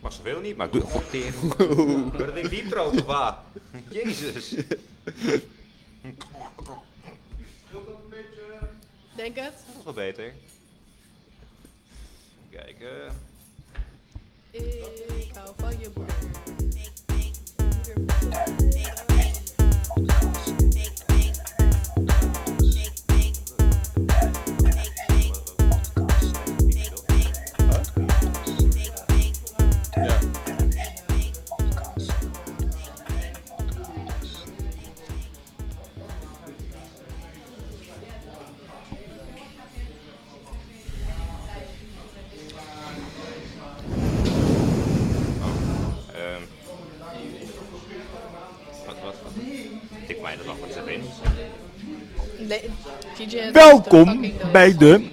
van zoveel niet, maar ik doe het tegen. Maar dat ding diep tropen, of wat? Jezus. Denk het. Dat is wel beter. Kijken. Ik hou van je broer. Ja. Ehm. wat, wat, wat? Tik mij er nog wat eens in. Nee, TJ is de Welkom fucking dood. bij de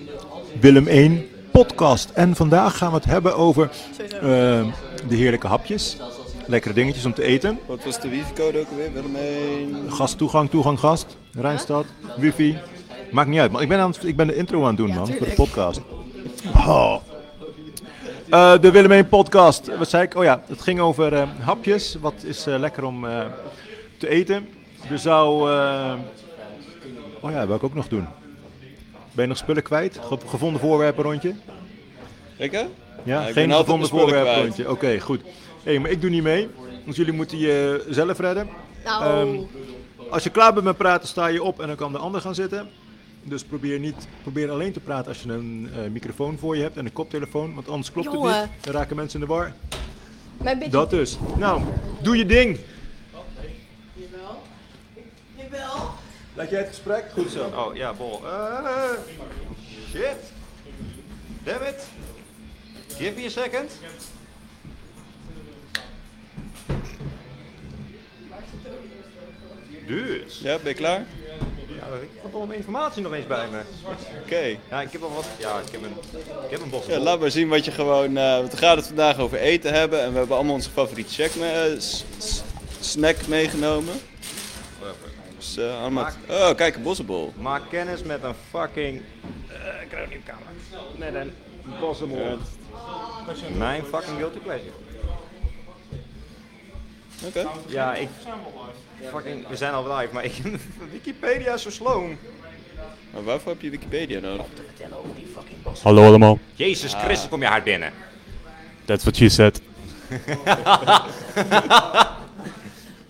Willem 1 podcast. En vandaag gaan we het hebben over eh, de heerlijke hapjes. Lekkere dingetjes om te eten. Wat was de wifi-code ook weer? Willem 1. Gasttoegang, toegang gast. Rijnstad, wifi. Maakt niet uit, maar ik ben, aan het- ik ben de intro aan het doen, man, tuurlijk. voor de podcast. Oh. Eh, de Willem 1 podcast. Wat zei ik? Oh ja, het ging over eh, hapjes. Wat is eh, lekker om eh, te eten? Er zou... eh, Oh ja, wil ik ook nog doen. Ben je nog spullen kwijt? Ge- gevonden voorwerpen rondje? Ik hè? Ja, Ja, ik geen ben altijd gevonden mijn spullen voorwerpen kwijt. rondje. Oké, goed. Hé, maar ik doe niet mee. Dus jullie moeten je zelf redden. Nou, Ehm, Als je klaar bent met praten, sta je op en dan kan de ander gaan zitten. Dus probeer, niet, probeer alleen te praten als je een eh, microfoon voor je hebt en een koptelefoon. Want anders klopt Jongen. het niet. Dan raken mensen in de war. mijn beetje... Dat dus. Nou, doe je ding. Jawel. Laat jij het gesprek? Goed zo. Oh ja, bol. Eh, shit. Damn it. Give me a second. Dus. Ja, ben je klaar? Ja, ik heb al mijn informatie nog eens bij me. Oké. Ja, ik heb al wat. Ja, ik heb een, ik heb een bos. Ja, laat maar zien wat je gewoon... eh, want we gaan het vandaag over eten hebben. En we hebben allemaal onze favoriete check me- eh, s- s- snack meegenomen. Dus eh, allemaal... Oh, kijk, een bossenbol. Maak kennis met een fucking. eh, ik krijg nu camera. Met een bossenbol. Mijn fucking guilty pleasure. Oké. Ja, ik. Fucking, we zijn al live, maar ik, Wikipedia is zo slow. Maar waarvoor heb je Wikipedia nodig? Hallo allemaal, Jezus Christus, kom je hard binnen. that's what she said.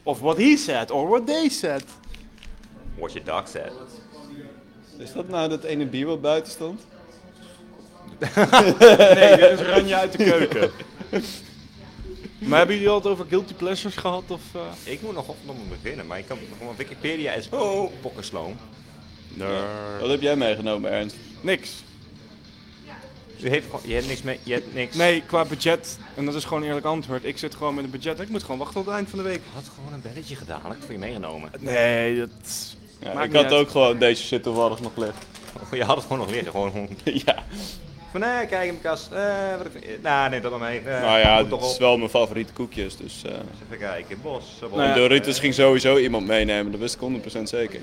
Of what he said, or what they said. What your dog said. Is dat nou dat ene bier wat buiten stond? Nee, dit is Ranja uit de keuken. maar hebben jullie al het over guilty pleasures gehad? Of, eh? Ik moet nog op om beginnen, maar ik kan gewoon Wikipedia is oh, pokkensloom. Wat heb jij meegenomen, Ernst? Niks. Je heeft gewoon, je hebt niks mee, je hebt niks. Nee, qua budget, en dat is gewoon een eerlijk antwoord. Ik zit gewoon met een budget. Ik moet gewoon wachten tot het eind van de week. Ik had gewoon een belletje gedaan, had ik voor je meegenomen. Nee, dat. Ja, Maakt ik niet had uit. ook gewoon deze shit toevallig nog liggen. Oh, Je had het gewoon nog liggen, gewoon. gewoon ja. Van nee, kijk in mijn kast. eh, wat ik, eh, nou, neem dat maar mee. eh, Nou ja, moet toch dit is op. wel mijn favoriete koekjes, dus... eh Even kijken, bos. Nou ja. en Doritos ging sowieso iemand meenemen, dat wist ik 100% zeker.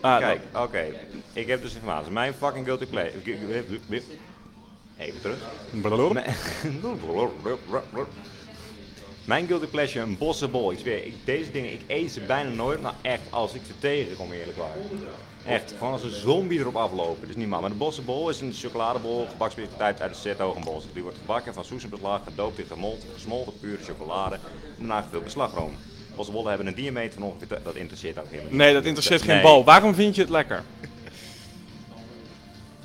Ah, Kijk, oké. Ik heb dus informatie. Mijn fucking guilty play. gu- gu- gu- Even terug. Mijn- Mijn guilty pleasure, een bosse bol. Ik zweer, ik, deze dingen, ik eet ze bijna nooit, maar echt als ik ze tegenkom, eerlijk waar. Echt, gewoon als een zombie erop aflopen. Dus niet maar. Maar de bosse bol is een chocoladebol, gebaksbeertijd uit de set Hogenbos. Die wordt gebakken van soesembeslag, gedoopt in gemolten, gesmolten pure chocolade en daarna gevuld met slagroom. Bossenbollen hebben een diameter van ongeveer, dat interesseert ook helemaal niet. Nee, dat interesseert geen Nee. bal. Waarom vind je het lekker?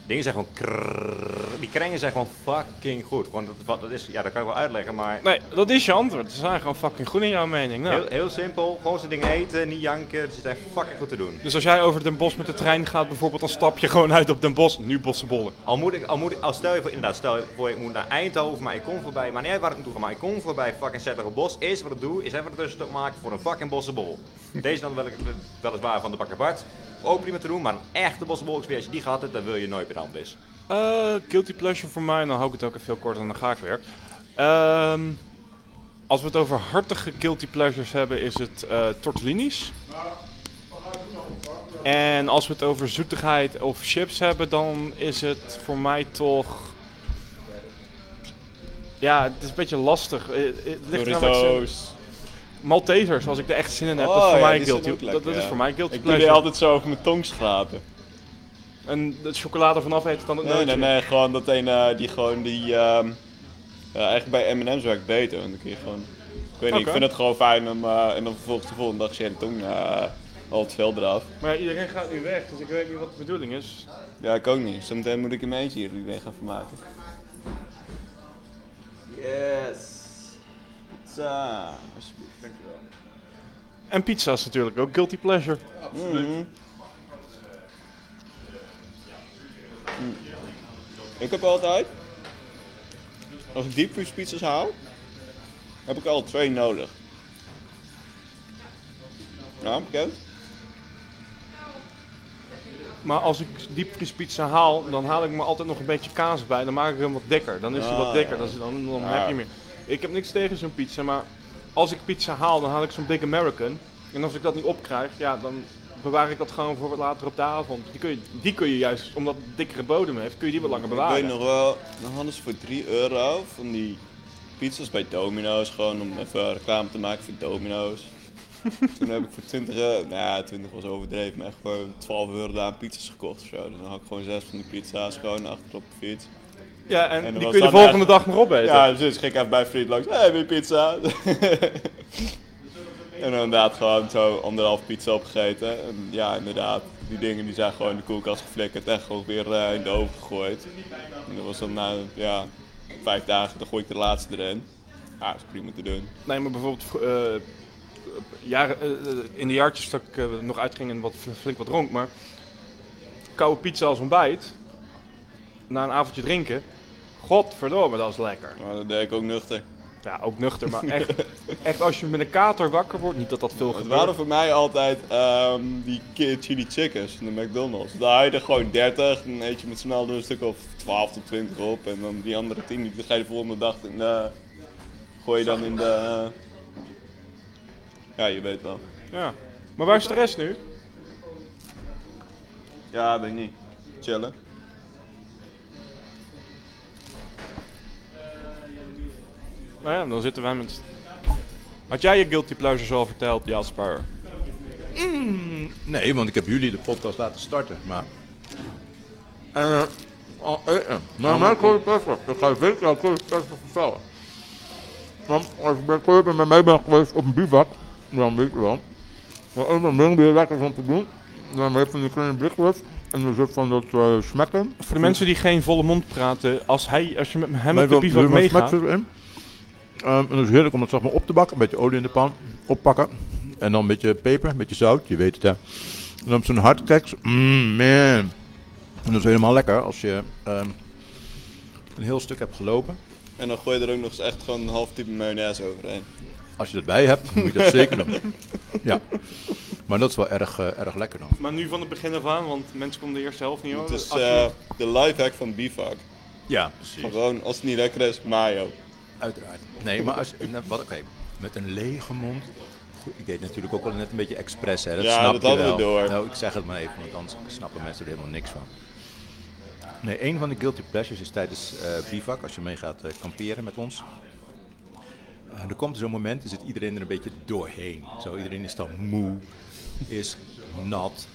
Dingen zijn gewoon krrrr. Die krengen zijn gewoon fucking goed. Gewoon dat, wat, dat is, ja, dat kan ik wel uitleggen, maar Nee, dat is je antwoord. Ze zijn gewoon fucking goed in jouw mening. Nou. heel, heel simpel. Gewoon zo'n dingen eten, niet janken. Dat is echt fucking goed te doen. Dus als jij over Den Bosch met de trein gaat bijvoorbeeld, dan stap je gewoon uit op Den Bosch. Nu bossenbollen. Al moet ik, al moet ik, al stel je voor, inderdaad, stel je voor, ik moet naar Eindhoven, maar ik kom voorbij. Maar niet uit waar ik naartoe ga, maar ik kom voorbij fucking Zetterige Bos. Eerst wat ik doe, is even een tussenstuk maken voor een fucking bossenbol. Deze dan wel, weliswaar van de bakker Bart. Ook prima te doen, maar een echte bossenbol, ik zweer, als je die gehad hebt, dan wil je nooit meer anders. Eh, guilty pleasure voor mij, dan hou ik het ook even heel kort en dan ga ik weer. Ehm, als we het over hartige guilty pleasures hebben, is het eh tortellinis. En als we het over zoetigheid of chips hebben, dan is het voor mij toch Ja, het is een beetje lastig. Eh, eh, Het ligt eraan wat ik zin- Doritos. Maltesers, als ik er echt zin in heb, Oh, dat, is voor ja, mij die een zijn guilty, ook lekker, dat, dat is ja. voor mij een guilty Ik doe pleasure. die altijd zo over mijn tong schrapen. En het chocolade vanaf eten dan het Nee, nee, nootje. nee, gewoon dat een eh, die gewoon die. ehm, ja, eigenlijk bij MM's werkt beter, want dan kun je gewoon. Ik weet niet, Oké. ik vind het gewoon fijn om. eh, en dan vervolgens de volgende dag is je hele tong eh, al het veld eraf. Maar iedereen gaat nu weg, dus ik weet niet wat de bedoeling is. Ja, ik ook niet. Zometeen moet ik in mijn eentje hier iedereen gaan vermaken. Yes. Zo, alsjeblieft. Dankjewel. En pizza is natuurlijk ook guilty pleasure. Ik heb altijd, als ik diepvriespizza's haal, heb ik al twee nodig. Nou, bekend? Maar als ik diepvriespizza haal, dan haal ik me altijd nog een beetje kaas bij. Dan maak ik hem wat dikker. Dan is hij Ah, wat dikker. Dan, is- dan, dan heb je meer. Ik heb niks tegen zo'n pizza, maar als ik pizza haal, dan haal ik zo'n Big American. En als ik dat niet opkrijg, ja, dan bewaar ik dat gewoon voor wat later op de avond. Die kun je, die kun je juist, omdat het dikkere bodem heeft, kun je die wat langer Ik weet bewaren. nog wel, dan hadden ze voor 3 euro van die pizza's bij Domino's, gewoon om even reclame te maken voor Domino's. toen heb ik voor 20 euro, nou ja, 20 was overdreven, maar echt gewoon 12 euro daar aan pizza's gekocht of zo. Dus dan had ik gewoon zes van die pizza's gewoon achterop de fiets. Ja, en, dan die was kun je de dan volgende echt- dag nog opeten. Ja, dus ging ik even bij Fried langs. Hé, hey, weer pizza. en dan inderdaad gewoon zo anderhalf pizza opgegeten. En ja, inderdaad. Die dingen die zijn gewoon in de koelkast geflikkerd en gewoon weer eh, in de oven gegooid. En dat was dan na ja, vijf dagen, dan gooi ik de laatste erin. Ja, is prima te doen. Nee, maar bijvoorbeeld vro- eh, jaren, eh, eh, in de jaartjes dat ik eh, nog uitging en wat, flink wat dronk, maar koude pizza als ontbijt, na een avondje drinken, godverdomme, dat is lekker. Maar dat deed ik ook nuchter. Ja, ook nuchter, maar echt, echt als je met een kater wakker wordt, niet dat dat veel Het gebeurt. waren voor mij altijd ehm, die ki- chili chickens van de McDonald's. Daar had je er gewoon 30, dan eet je met z'n allen er een stuk of 12 tot 20 op. En dan die andere 10, die ga je de volgende dag in de, gooi je dan in de... eh, ja, je weet wel. Ja. Maar waar is de rest nu? Ja, weet ik niet. Chillen. Nou ja, dan zitten wij met... Had jij je guilty pleasures al verteld, Jasper? Nee, want ik heb jullie de podcast laten starten. Maar. Eh, al eten. Maar mijn Curry Pepper, ik ga je weten dat Curry Pepper vertellen. Want als ik bij Curry Pepper met mij ben geweest op een bivak, dan weet je wel. Maar ook een ding die je lekker van te doen. Dan heb je een kleine blikjes en er zit van dat eh, smekken. Voor de mensen die geen volle mond praten, als, hij, als je met hem Met op de wat- bivak met wat meegaat... smaak zit erin. Ehm, en dat is heerlijk om het zeg maar, op te bakken. Een beetje olie in de pan. Oppakken. En dan een beetje peper, een beetje zout. Je weet het, hè. En dan zo'n hardkeks. Mmm, man. En dat is helemaal lekker als je ehm, een heel stuk hebt gelopen. En dan gooi je er ook nog eens echt gewoon een half type mayonaise overheen. Als je dat bij je hebt, moet je dat zeker doen. Ja. Maar dat is wel erg, eh, erg lekker dan. Maar nu van het begin af aan, want mensen konden de eerste helft niet horen. Het is Als je- eh, de lifehack van bivak. Ja, precies. Gewoon, als het niet lekker is, mayo. Uiteraard. Nee, maar als, nou, wat, oké, met een lege mond. Goed, ik deed natuurlijk ook wel net een beetje expres, hè? Dat Ja, snap dat je hadden we wel. door. Nou, ik zeg het maar even, want anders snappen mensen er helemaal niks van. Nee, een van de guilty pleasures is tijdens eh bivak, als je mee gaat eh, kamperen met ons. Eh, er komt zo'n moment, dan zit iedereen er een beetje doorheen. Zo, iedereen is dan moe, is nat,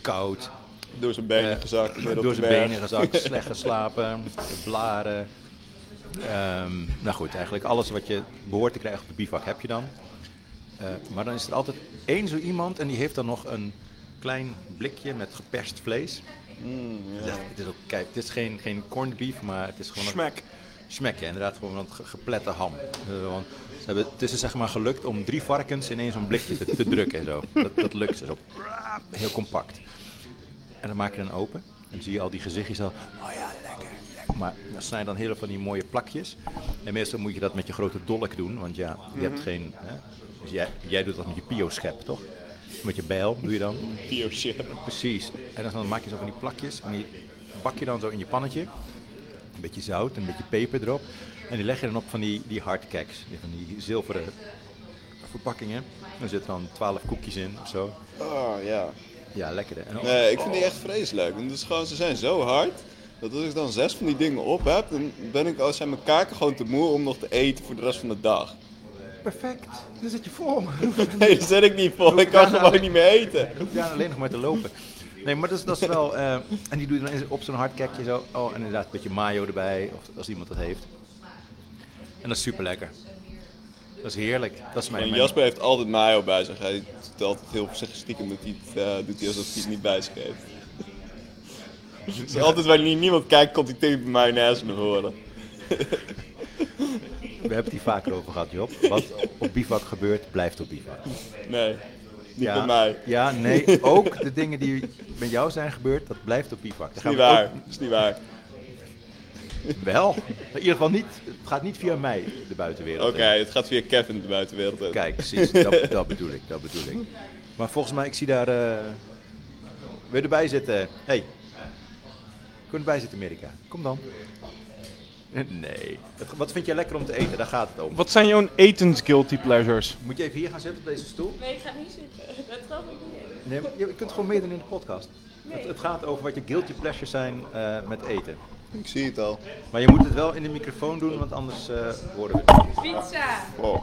koud, Door zijn benen eh, gezakt. weer op door de zijn berg. benen gezakt, slecht geslapen, blaren. Ehm, nou goed, eigenlijk alles wat je behoort te krijgen op de bivak heb je dan. Eh, maar dan is er altijd één zo iemand en die heeft dan nog een klein blikje met geperst vlees. Mm, ja. het is ook, kijk, het is geen, geen corned beef, maar het is gewoon een Smack. smack, ja, inderdaad gewoon een ge- geplette ham. Eh, want ze hebben, het is ze zeg maar gelukt om drie varkens in één zo'n blikje te, te drukken en zo. Dat, dat lukt ze zo. Heel compact. En dan maak je dan open. En dan zie je al die gezichtjes al. Oh ja, lekker. lekker. Maar dan snij je dan hele van die mooie plakjes. En meestal moet je dat met je grote dolk doen. Want ja, je Mhm. hebt geen... Hè? Dus jij, jij doet dat met je pio-schep, toch? Met je bijl doe je dan. Precies. En dan- dan maak je zo van die plakjes. En die bak je dan zo in je pannetje. Een beetje zout, een beetje peper erop. En die leg je dan op van die, die hardcakes. die- Van die zilveren verpakkingen. Er zitten dan twaalf koekjes in of zo. Ah, ja. Ja, lekker hè. En dan- Nee, ik vind die echt vreselijk. Want het is gewoon, ze zijn zo hard. Dat als ik dan zes van die dingen op heb, dan ben ik als zijn mijn kaken gewoon te moe om nog te eten voor de rest van de dag. Perfect. Dan zit je voor me. Nee, dat zet ik niet vol. Ik kan gewoon niet meer eten. hoef daar alleen nog maar te lopen. Nee, maar dat is, dat is wel... eh, en die doe je dan eens op zo'n hardkekje zo. Oh, en inderdaad een beetje mayo erbij, of als iemand dat heeft. En dat is super lekker. Dat is heerlijk. Dat is mijn... En mijn- Jasper heeft altijd mayo bij zich. Hij doet altijd heel voorzichtig stiekem dat hij het, eh, doet hij alsof hij het niet bij zich heeft. Dus altijd wanneer niemand kijkt, komt hij tegen mayonaise naar horen. We hebben het hier vaker over gehad, Job. Wat op bivak gebeurt, blijft op bivak. Nee, niet bij mij. Ja, nee. Ook de dingen die met jou zijn gebeurd, dat blijft op bivak. Dat Is niet waar, is niet waar. Wel. In ieder geval niet. Het gaat niet via mij, de buitenwereld. Oké, het gaat via Kevin de buitenwereld uit. Kijk, precies. Dat, dat bedoel ik, dat bedoel ik. Maar volgens mij, ik zie daar... eh weer erbij zitten. hey. Kun je erbij zitten, Amerika? Kom dan. Nee. Het- Wat vind jij lekker om te eten? Daar gaat eh, het om. Wat zijn jouw etens guilty pleasures? Moet je even hier gaan zitten op deze stoel? Nee, ik ga niet zitten. Dat geloof ik niet. Nee, maar je je kunt gewoon meedoen in de podcast. Het, het gaat over wat je guilty pleasures zijn eh, met eten. Ik zie het al. Maar je moet het wel in de microfoon doen, want anders eh, horen we het niet. Pizza. Oh.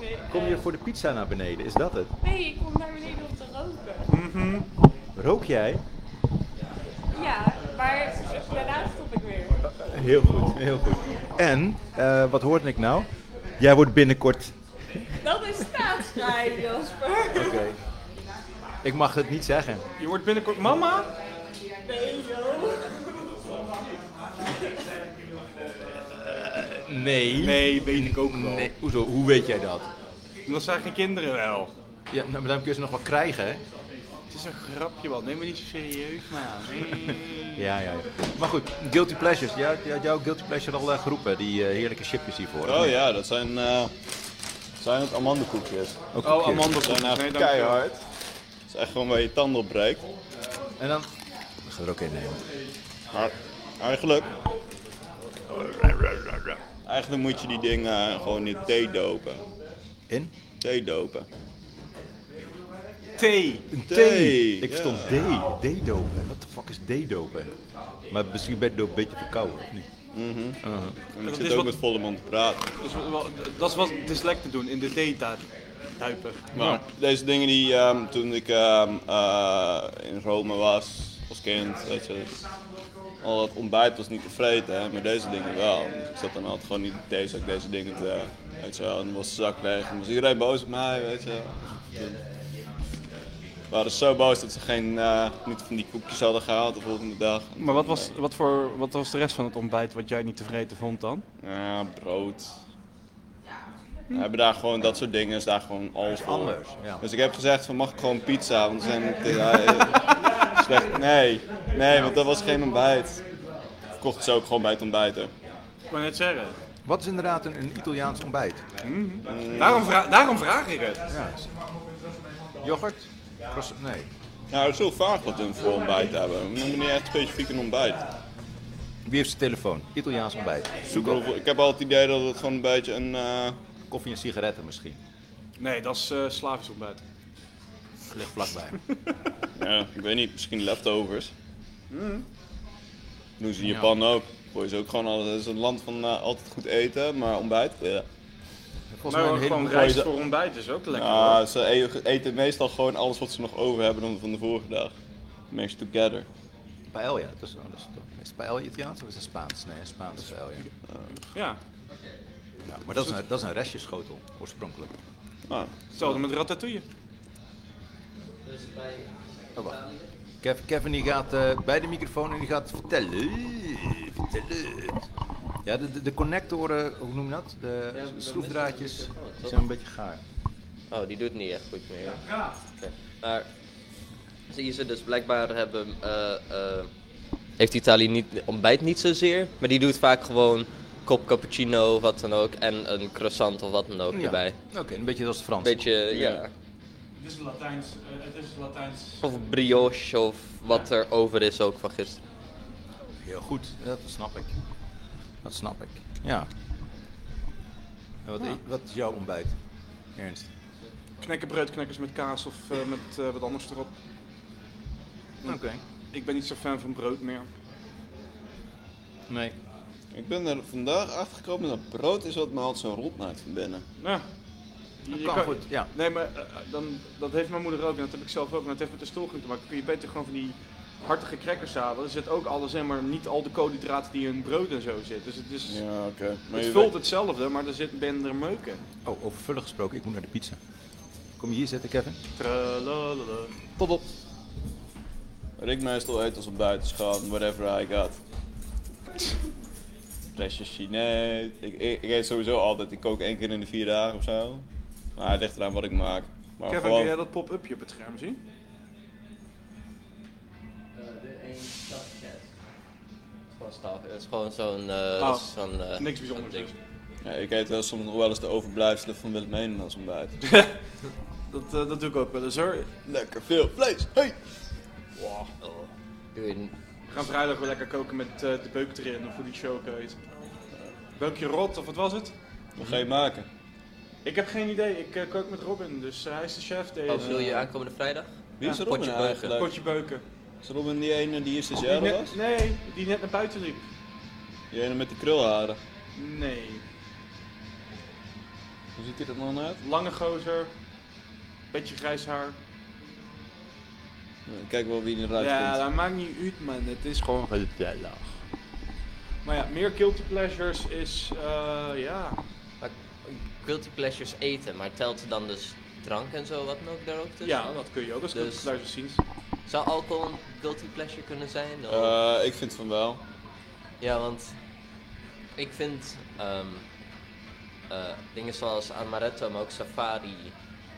Nee, eh, Kom je voor de pizza naar beneden, is dat het? nee, ik kom naar beneden om te roken. Rook jij? Ja, maar daarna stop ik weer. Heel goed, heel goed. En, eh, wat hoorde ik nou? Jij wordt binnenkort... Dat is staatsvrij, Jasper. Oké. Ik mag het niet zeggen. Je wordt binnenkort mama? Nee, joh. Nee. Nee, weet ik ook wel. Hoezo, hoe weet jij dat? Dat zijn geen kinderen wel. Ja, nou, maar dan kun je ze nog wel krijgen, hè? Het is een grapje wel, neem me niet zo serieus, maar. Ja, ja, ja. Maar goed, guilty pleasures. Jij jij had jouw guilty pleasure al eh, geroepen, die eh, heerlijke chipjes hiervoor. Oh ja, dat zijn, eh, zijn het amandelkoekjes. Ook koekjes. Dat Oh, zijn amandelkoekjes. Nee, eigenlijk dankjewel. keihard. Dat is echt gewoon waar je tanden op breekt. En dan... Ik ga er ook een nemen. Maar eigenlijk... Eigenlijk moet je die dingen gewoon in thee dopen. In? Thee dopen. Thee. Een Thee, Ik ja. verstond D. D-dopen. Wat de fuck is D-dopen? Maar misschien ben je door een beetje verkouden, of niet? En ik Dat zit is ook wat- met volle mond te praten. Dat is wel- Dat is wat dyslecten doen, in de thee daar duipen. Maar deze dingen die ehm, toen ik ehm, eh, in Rome was, als kind, weet je, al dat ontbijt was niet te vreten, hè, maar deze dingen wel. Dus ik zat dan altijd gewoon niet in de theezak deze dingen te, weet je wel, en dan was de zak leeg en dan was iedereen boos op mij, weet je wel. Toen waren ze zo boos dat ze geen, eh, niet van die koekjes hadden gehaald de volgende dag. Maar wat was, wat, voor, wat was de rest van het ontbijt wat jij niet tevreden vond dan? Ja, brood. We hebben daar gewoon dat soort dingen, is daar gewoon alles voor. anders, ja. Dus ik heb gezegd van mag ik gewoon pizza, want ze zijn het, ja, eh, slecht. Nee, nee, want dat was geen ontbijt. Ik kocht ze ook gewoon bij het ontbijten. Ik wou net zeggen. Wat is inderdaad een, een Italiaans ontbijt? Daarom, vra- daarom vraag ik het. Ja. Yoghurt? Cross- nee. Nou, er is heel vaak wat hun voor ontbijt hebben. We noemen niet echt specifiek een ontbijt. Wie heeft zijn telefoon? Italiaans ontbijt. Ik, bedoel, ik heb altijd het idee dat het gewoon een beetje een... eh, Koffie en sigaretten misschien. Nee, dat is eh, slavisch ontbijt. Ligt vlakbij. ja, ik weet niet, misschien leftovers. Hmm. Doen ze in Japan ook. Voor is ook gewoon alles. Het is een land van eh, altijd goed eten, maar ontbijt. ja. Volgens mij Maar een Nou, gewoon hele... rijst mooie- voor ontbijt is ook lekker. hoor. Ja, ze e- eten meestal gewoon alles wat ze nog over hebben dan van de vorige dag. Mixed together. Paella. Dat is, dat is, is het paella Italiaans of is het Spaans? Nee, Spaans paella. Ja, Ja, maar dat is, een, dat is een restjeschotel, oorspronkelijk. Nou, hetzelfde met ratatouille. Oh, wacht. Kev- Kevin die gaat eh, bij de microfoon en die gaat vertellen. Eh, vertellen. Ja, de, de, de connectoren, hoe noem je dat? De schroefdraadjes die zijn een beetje gaar. Oh, die doet niet echt goed meer. Oké. Maar zie je ze dus blijkbaar hebben. eh, eh, heeft Italië niet ontbijt niet zozeer, maar die doet vaak gewoon kop cappuccino, wat dan ook, en een croissant of wat dan ook Ja. erbij. Oké, een beetje als het Frans. Beetje, ja. Het is Latijns. eh, het is Latijns. Of brioche of wat er over is ook van gisteren. Heel goed, dat snap ik. Dat snap ik, ja. En wat, wat is jouw ontbijt, Ernst? Knekkenbreud, knekkers met kaas of eh, met eh, wat anders erop. Oké. Ik ben niet zo fan van brood meer. Nee. Ik ben er vandaag achter gekomen dat brood is wat me altijd zo'n rot maakt van binnen. Nou, je Kan kan- goed, ja. Nee, maar eh, dan, dat heeft mijn moeder ook en dat heb ik zelf ook. En dat heeft met de stoelgroep te maken. Kun je beter gewoon van die hartige crackers halen. Er zit ook alles in, maar niet al de koolhydraten die in brood en zo zit. Dus het, is, Ja, oké. Maar het je vult hetzelfde, maar er zit ben er meuken. Oh, over vullen gesproken, ik moet naar de pizza. Kom je hier zitten, Kevin? Tralalala. Tot op. weet- Rick meestal eet als op buiten gaat, whatever I got. Restje Chinees. Ik, ik, ik eet sowieso altijd. Ik kook één keer in de vier dagen of zo. Maar het ligt eraan wat ik maak. Maar Kevin, kun gewoon... jij dat pop-upje op het scherm zien? Gewoon staaf. Het is gewoon zo'n... eh, Oh. Ah, zo'n eh, Niks bijzonders. zo'n dus. ding. Ja, ik eet wel soms nog wel eens de overblijfselen van Willem Heen als ontbijt. Dat, eh, dat doe ik ook wel eens hoor. Lekker veel vlees. Hey! Doe je- We gaan vrijdag weer lekker koken met eh, de beuk erin, of hoe die show ook heet. Beukje rot, of wat was het? Wat ga je maken? Ik heb geen idee, ik eh, kook met Robin, dus eh, hij is de chef deze. Oh, wil je aankomende vrijdag? Wie is Ja, Robin potje beuken. eigenlijk? Potje beuken. Is Robin die ene die hier Die stagiaire was? net, nee, die net naar buiten liep. Die ene met de krulharen. Nee. Hoe ziet hij er dan uit? Lange gozer, beetje grijs haar. Ja, Nou, Kijk wel wie eruit Ja, komt. dat maakt niet uit man, het is gewoon gezellig. Maar ja, meer guilty pleasures is, eh, ja, Guilty pleasures eten, maar telt dan dus drank en zo wat dan ook daar ook tussen? ja, dat kun je ook als guilty Dus- pleasures zien. Zou alcohol een guilty pleasure kunnen zijn? Of- Eh, ik vind van wel. Ja, want ik vind ehm, eh, dingen zoals amaretto, maar ook safari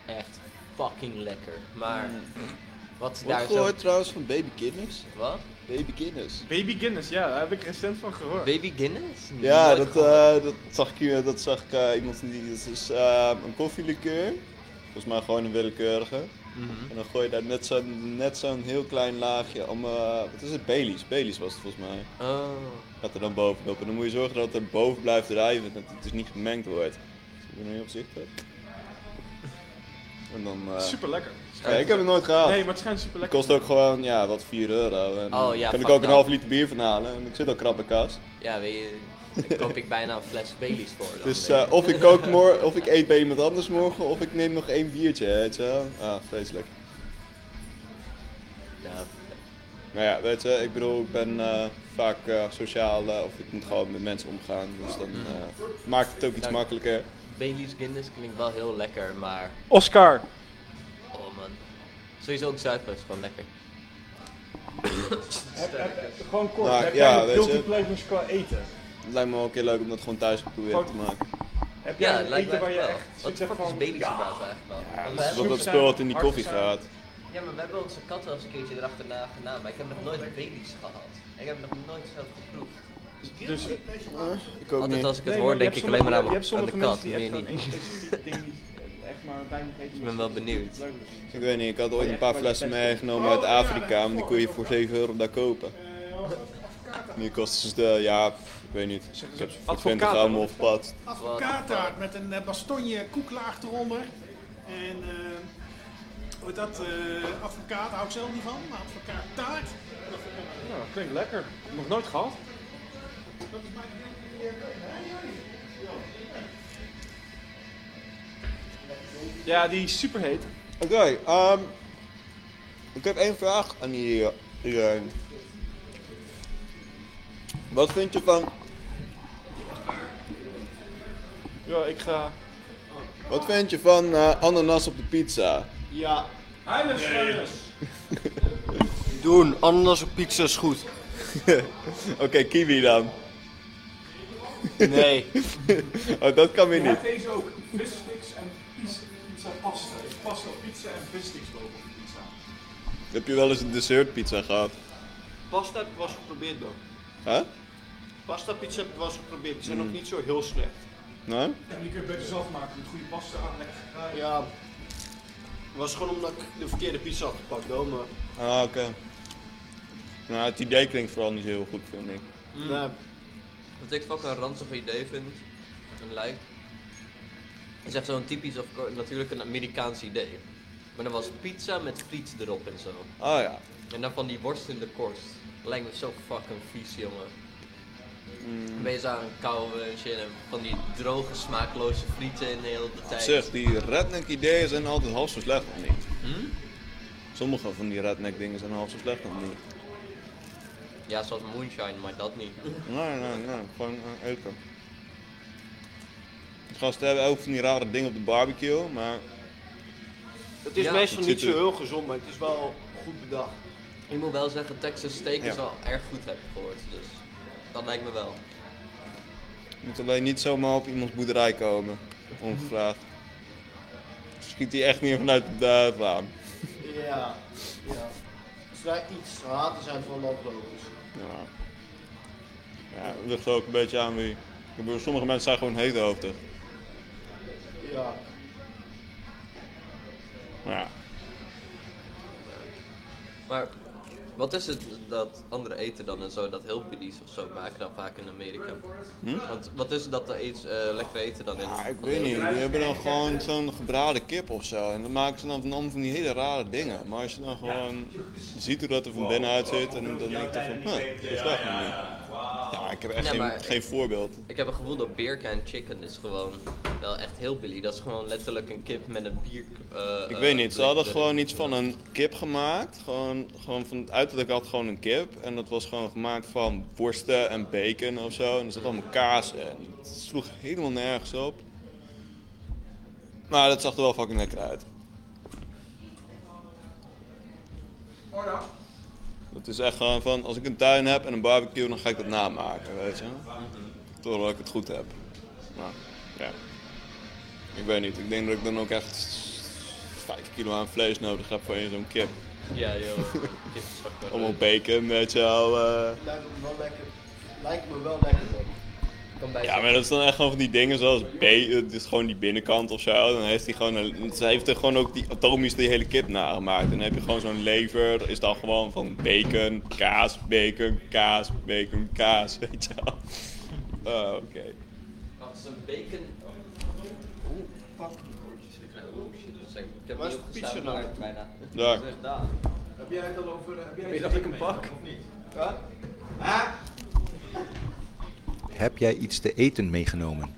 echt fucking lekker. Maar wat ze Wat daar Hmm. gehoord trouwens van Baby Guinness? zo... Wat? Baby Guinness. Baby Guinness, ja, daar heb ik recent van gehoord. Baby Guinness? Ja, Nooit dat, gehoord. eh, dat zag ik, eh, dat zag ik eh, iemand die. Dat is eh, een koffielikeur. Volgens mij gewoon een willekeurige. Mhm. En dan gooi je daar net zo'n net zo'n heel klein laagje om. eh, wat is het? Baileys. Baileys was het volgens mij. Oh, Gaat er dan bovenop. En dan moet je zorgen dat het er boven blijft drijven. Dat het dus niet gemengd wordt. Dus ik ben heel voorzichtig. En dan. eh, Super lekker. ja, ik heb het nooit gehaald. Nee, maar het schijnt super Het lekker. kost ook gewoon, ja, wat 4 euro. En Oh, ja, kan ik fuck ook een dat. half liter bier van halen. En ik zit al krap in kast. ja, weet je, daar koop ik bijna een fles Baileys voor. dan, Dus weet eh, of ik kook morgen, of ik eet bij iemand anders morgen, of ik neem nog één biertje, weet je wel. Ah, vreselijk. je. Ja. Maar ja, weet je, ik bedoel, ik ben eh, vaak eh, sociaal, eh, of ik moet gewoon met mensen omgaan. Dus dan eh, maakt het ook iets Dank. makkelijker. Baileys Guinness klinkt wel heel lekker, maar Oscar. oh man. Sowieso ook Zuidwest gewoon lekker. Gewoon kort, Nou, heb ja, jij weet guilty je. pleasures qua eten? Het lijkt me wel een keer leuk om dat gewoon thuis te proberen te maken. Heb Ja, jij het een lijkt me eten waar je wel. echt Wat de zegt fuck is van... Baileys ja, gebruikt eigenlijk wel? dat is Dat, Zoek dat zijn, spul wat in die hard koffie zijn. gaat. Ja, maar we hebben onze kat wel eens een keertje erachterna gedaan, maar ik heb nog nooit Baileys gehad. Ik heb nog nooit zelf geproefd. Dus, Ik ook Altijd niet. als ik het Nee, hoor, maar je denk hebt ik alleen maar sommige- aan, je hebt aan de sommige kat, mensen die meer echt niet. gewoon expliciet dingen die echt maar bijna niet eten. Ik ben wel benieuwd. Ik weet niet, ik had ooit een paar flessen meegenomen uit Afrika, maar die kon je voor 7 euro daar kopen. Nu kosten ze, de, ja, pff, ik weet niet. Ik heb ze voor 20 Advocaat, gram of pad. Advocaattaart met een eh, bastonje koeklaag eronder. En eh hoe heet dat? eh advocaat hou ik zelf niet van, maar advocaattaart. Ja, dat klinkt lekker. Nog nooit gehad. Ja, die is superheet. Oké, ehm, ik heb één vraag aan jullie- iedereen. Wat vind je van, Ja, ik ga... wat vind je van eh, ananas op de pizza? Ja. Heilig Doen, ananas op pizza is goed. Oké, kiwi dan. Nee. Oh, dat kan weer niet. Deze ook, vissticks en pizza pasta. Ik pasta pizza en vissticks boven op de pizza. Heb je wel eens een dessertpizza gehad? Pasta heb ik wel eens geprobeerd dan. Huh? Pasta pizza heb ik wel eens geprobeerd. Die zijn nog niet zo heel slecht. Nee? En die kun je beter zelf maken met goede pasta. Ah, Lekker gegraaid. Ja. Was gewoon omdat ik de verkeerde pizza had gepakt hoor, maar. Ah, oké. Nou, het idee klinkt vooral niet heel goed, vind ik. Nee, Wat Mm. ik fucking een ranzig idee vind, en lijkt, is echt zo'n typisch, of natuurlijk een Amerikaans idee. Maar dan was pizza met friet erop en zo. Ah ja. En dan van die worst in de korst. Lijkt me zo fucking vies, jongen. Mm. Wees aan het kauwen en shit. En van die droge, smaakloze frieten in de hele tijd. Zeg, die redneck ideeën zijn altijd half zo slecht of niet? Hm? Sommige van die redneck dingen zijn half zo slecht of niet? Ja, zoals moonshine, maar dat niet. Nee, nee, nee. Gewoon eh, eten. Die Gasten hebben ook van die rare dingen op de barbecue, maar... Het is Ja. meestal Het niet zit zo er- heel gezond, maar het is wel goed bedacht. Ik moet wel zeggen, Texas Steak Ja. is wel erg goed, heb ik gehoord. Dus dat lijkt me wel. Je moet alleen niet zomaar op iemands boerderij komen, ongevraagd. Schiet die echt meer vanuit de duif aan. Ja, ja. Als wij iets te haten zijn van landlopers. Ja. Ja, het ligt er ook een beetje aan wie. Ik bedoel, sommige mensen zijn gewoon heethoofdig. Ja. Maar ja, Maar wat is het dat andere eten dan en zo, dat hillbillies of zo maken dan vaak in Amerika? Hm? Want wat is het dat er iets eh lekker eten dan in? Ja, ik weet niet. Die hebben dan gewoon zo'n gebraden kip of zo. En dan maken ze dan van allemaal van die hele rare dingen. Maar als je dan gewoon ziet hoe dat er van binnen uitziet, en dan denk ik toch van, huh, dat is wel goed. Ja, ik heb echt Nee, geen, maar- geen voorbeeld. Ik heb het gevoel dat beer can chicken is gewoon wel echt hillbilly. Dat is gewoon letterlijk een kip met een bier. eh, Ik eh, weet niet, ze hadden erin. gewoon iets van een kip gemaakt. Gewoon, gewoon van het uiterlijk had gewoon een kip. En dat was gewoon gemaakt van worsten en bacon of zo. En er zat allemaal kaas en het sloeg helemaal nergens op. Maar dat zag er wel fucking lekker uit. Het is echt gewoon van, als ik een tuin heb en een barbecue, dan ga ik dat namaken, weet je. Totdat ik het goed heb. Maar, ja. Ik weet niet, ik denk dat ik dan ook echt 5 kilo aan vlees nodig heb voor één zo'n kip. Ja, joh. Kip is fucking wel Allemaal leuk. bacon, weet je wel. eh. Lijkt me wel lekker. Lijkt me wel lekker. Kan bij Ja, maar dat is dan echt gewoon van die dingen zoals B, het is gewoon die binnenkant of zo. Dan heeft hij gewoon, een, ze heeft er gewoon ook die atomisch die hele kip nagemaakt. Dan heb je gewoon zo'n lever, dat is dan gewoon van bacon, kaas, bacon, kaas, bacon, kaas, weet je wel. Oh, oké. Wacht, is een bacon. Oeh, fuck. Oeh, shit, dat is echt- dus Ik heb Waar is niet de pizza opgestaan, nou? maar bijna. Daar. Dat is echt daar. Heb jij het al over... Heb jij Weet iets dat ik mee, een pak? Of niet? Ja? Ah, Heb jij iets te eten meegenomen?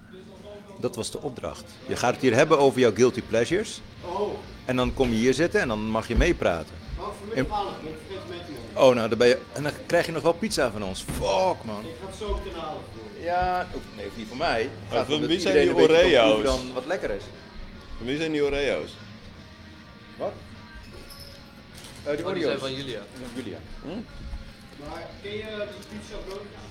Dat was de opdracht. Je gaat het hier hebben over jouw guilty pleasures. oh. En dan kom je hier zitten en dan mag je meepraten. Wat voor En- middelmalig, ik vergeet het met je. Oh, nou, dan ben je... En dan krijg je nog wel pizza van ons. Fuck, man. Ik ga het zo kanaal voor. Ja, ook- nee, niet voor mij. Maar Gaat van omdat wie zijn die iedereen een beetje kan Oreo's? proeven Dan wat lekker is. En Wie zijn die Oreo's? Wat? Eh die Oh, die zijn Oreo's. van Julia. Van Julia. Maar ken je die pizza broodjes?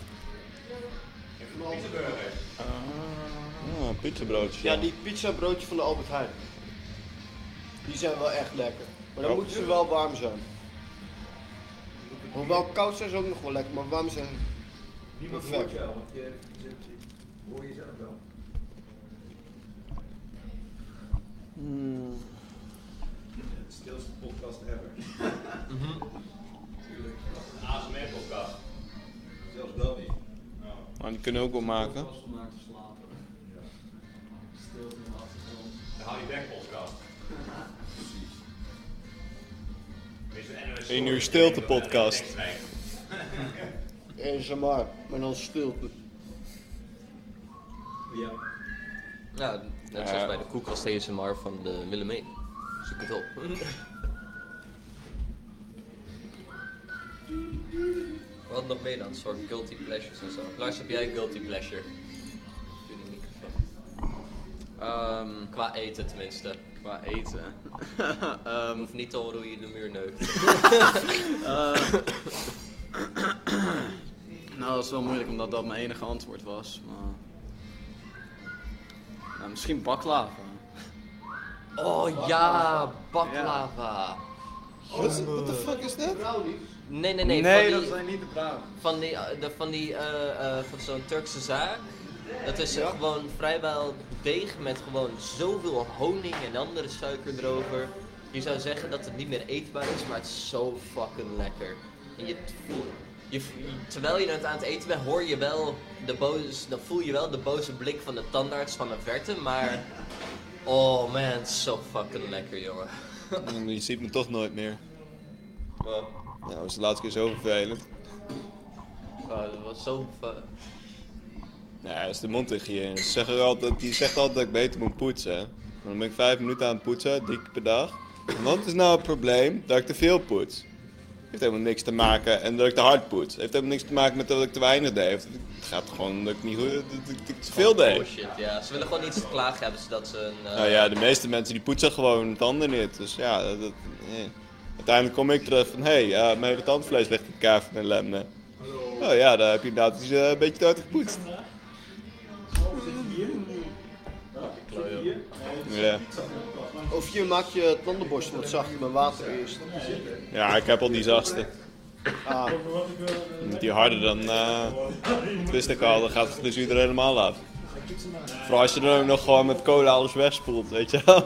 Ah, pizzabroodjes. Ja, dan. die pizza broodje van de Albert Heijn. Die zijn wel echt lekker. Maar dan Oh. moeten ze wel warm zijn. Hoewel koud zijn ze ook nog wel lekker, maar warm zijn. Niemand hoort jou, want je hoor jezelf wel. stilste podcast ever. Maar die kunnen ook wel maken. Hou je weg, podcast. 1 uur stilte podcast. ASMR, maar dan stilte. Ja, net zoals bij de koelkast ASMR van de Willemijn. Zoek het op. Wat nog meer dan? Soort guilty pleasures en zo. Lars, heb jij een guilty pleasure? Doe die microfoon. Ehm, Qua eten tenminste. qua eten. Ehm, Hoeft niet te horen hoe je de muur neukt. eh, nou, dat is wel moeilijk omdat dat mijn enige antwoord was. Maar... Nou, misschien baklava. Oh ja, baklava. What the fuck is dat? Nee, nee, nee. Nee, van dat die, zijn niet de braaf. Van die, eh, de- van die, eh, eh, van zo'n Turkse zaak. Dat is eh, gewoon vrijwel deeg met gewoon zoveel honing en andere suiker erover. Je zou zeggen dat het niet meer eetbaar is, maar het is zo fucking lekker. En je, voelt- je, terwijl je het aan het eten bent, hoor je wel de boze, dan voel je wel de boze blik van de tandarts van de verte, maar... Oh man, het is zo fucking lekker, jongen. Je ziet me toch nooit meer. Wow. Nou, dat was de laatste keer zo vervelend. Oh, dat was zo... ver- Nou, dat is de mondhygiëne. Ze zeggen altijd, die zegt altijd dat ik beter moet poetsen. Maar Dan ben ik vijf minuten aan het poetsen, drie keer per dag. En wat is nou het probleem? Dat ik te veel poets. Heeft helemaal niks te maken en dat ik te hard poets. Heeft helemaal niks te maken met dat ik te weinig deed. Het gaat gewoon dat ik niet goed, dat ik, dat ik te veel deed. Bullshit, ja. Ze willen gewoon iets te klagen hebben, zodat ze een... eh, Nou ja, de meeste mensen die poetsen gewoon hun tanden niet. Dus ja, dat, dat- eh. uiteindelijk kom ik terug van, hé, hey, ja, mijn hele tandvlees ligt in elkaar van mijn lemmen. Oh ja, daar heb je inderdaad iets, eh, een beetje te hard gepoetst. Ja. Of je maakt je tandenborstel wat zachter met water eerst. ja, ik heb al die zachtste. Ah. Die harder dan, eh, dat wist ik al, dan gaat het dus er helemaal af. Vooral als je dan ook nog gewoon met cola alles wegspoelt, weet je wel.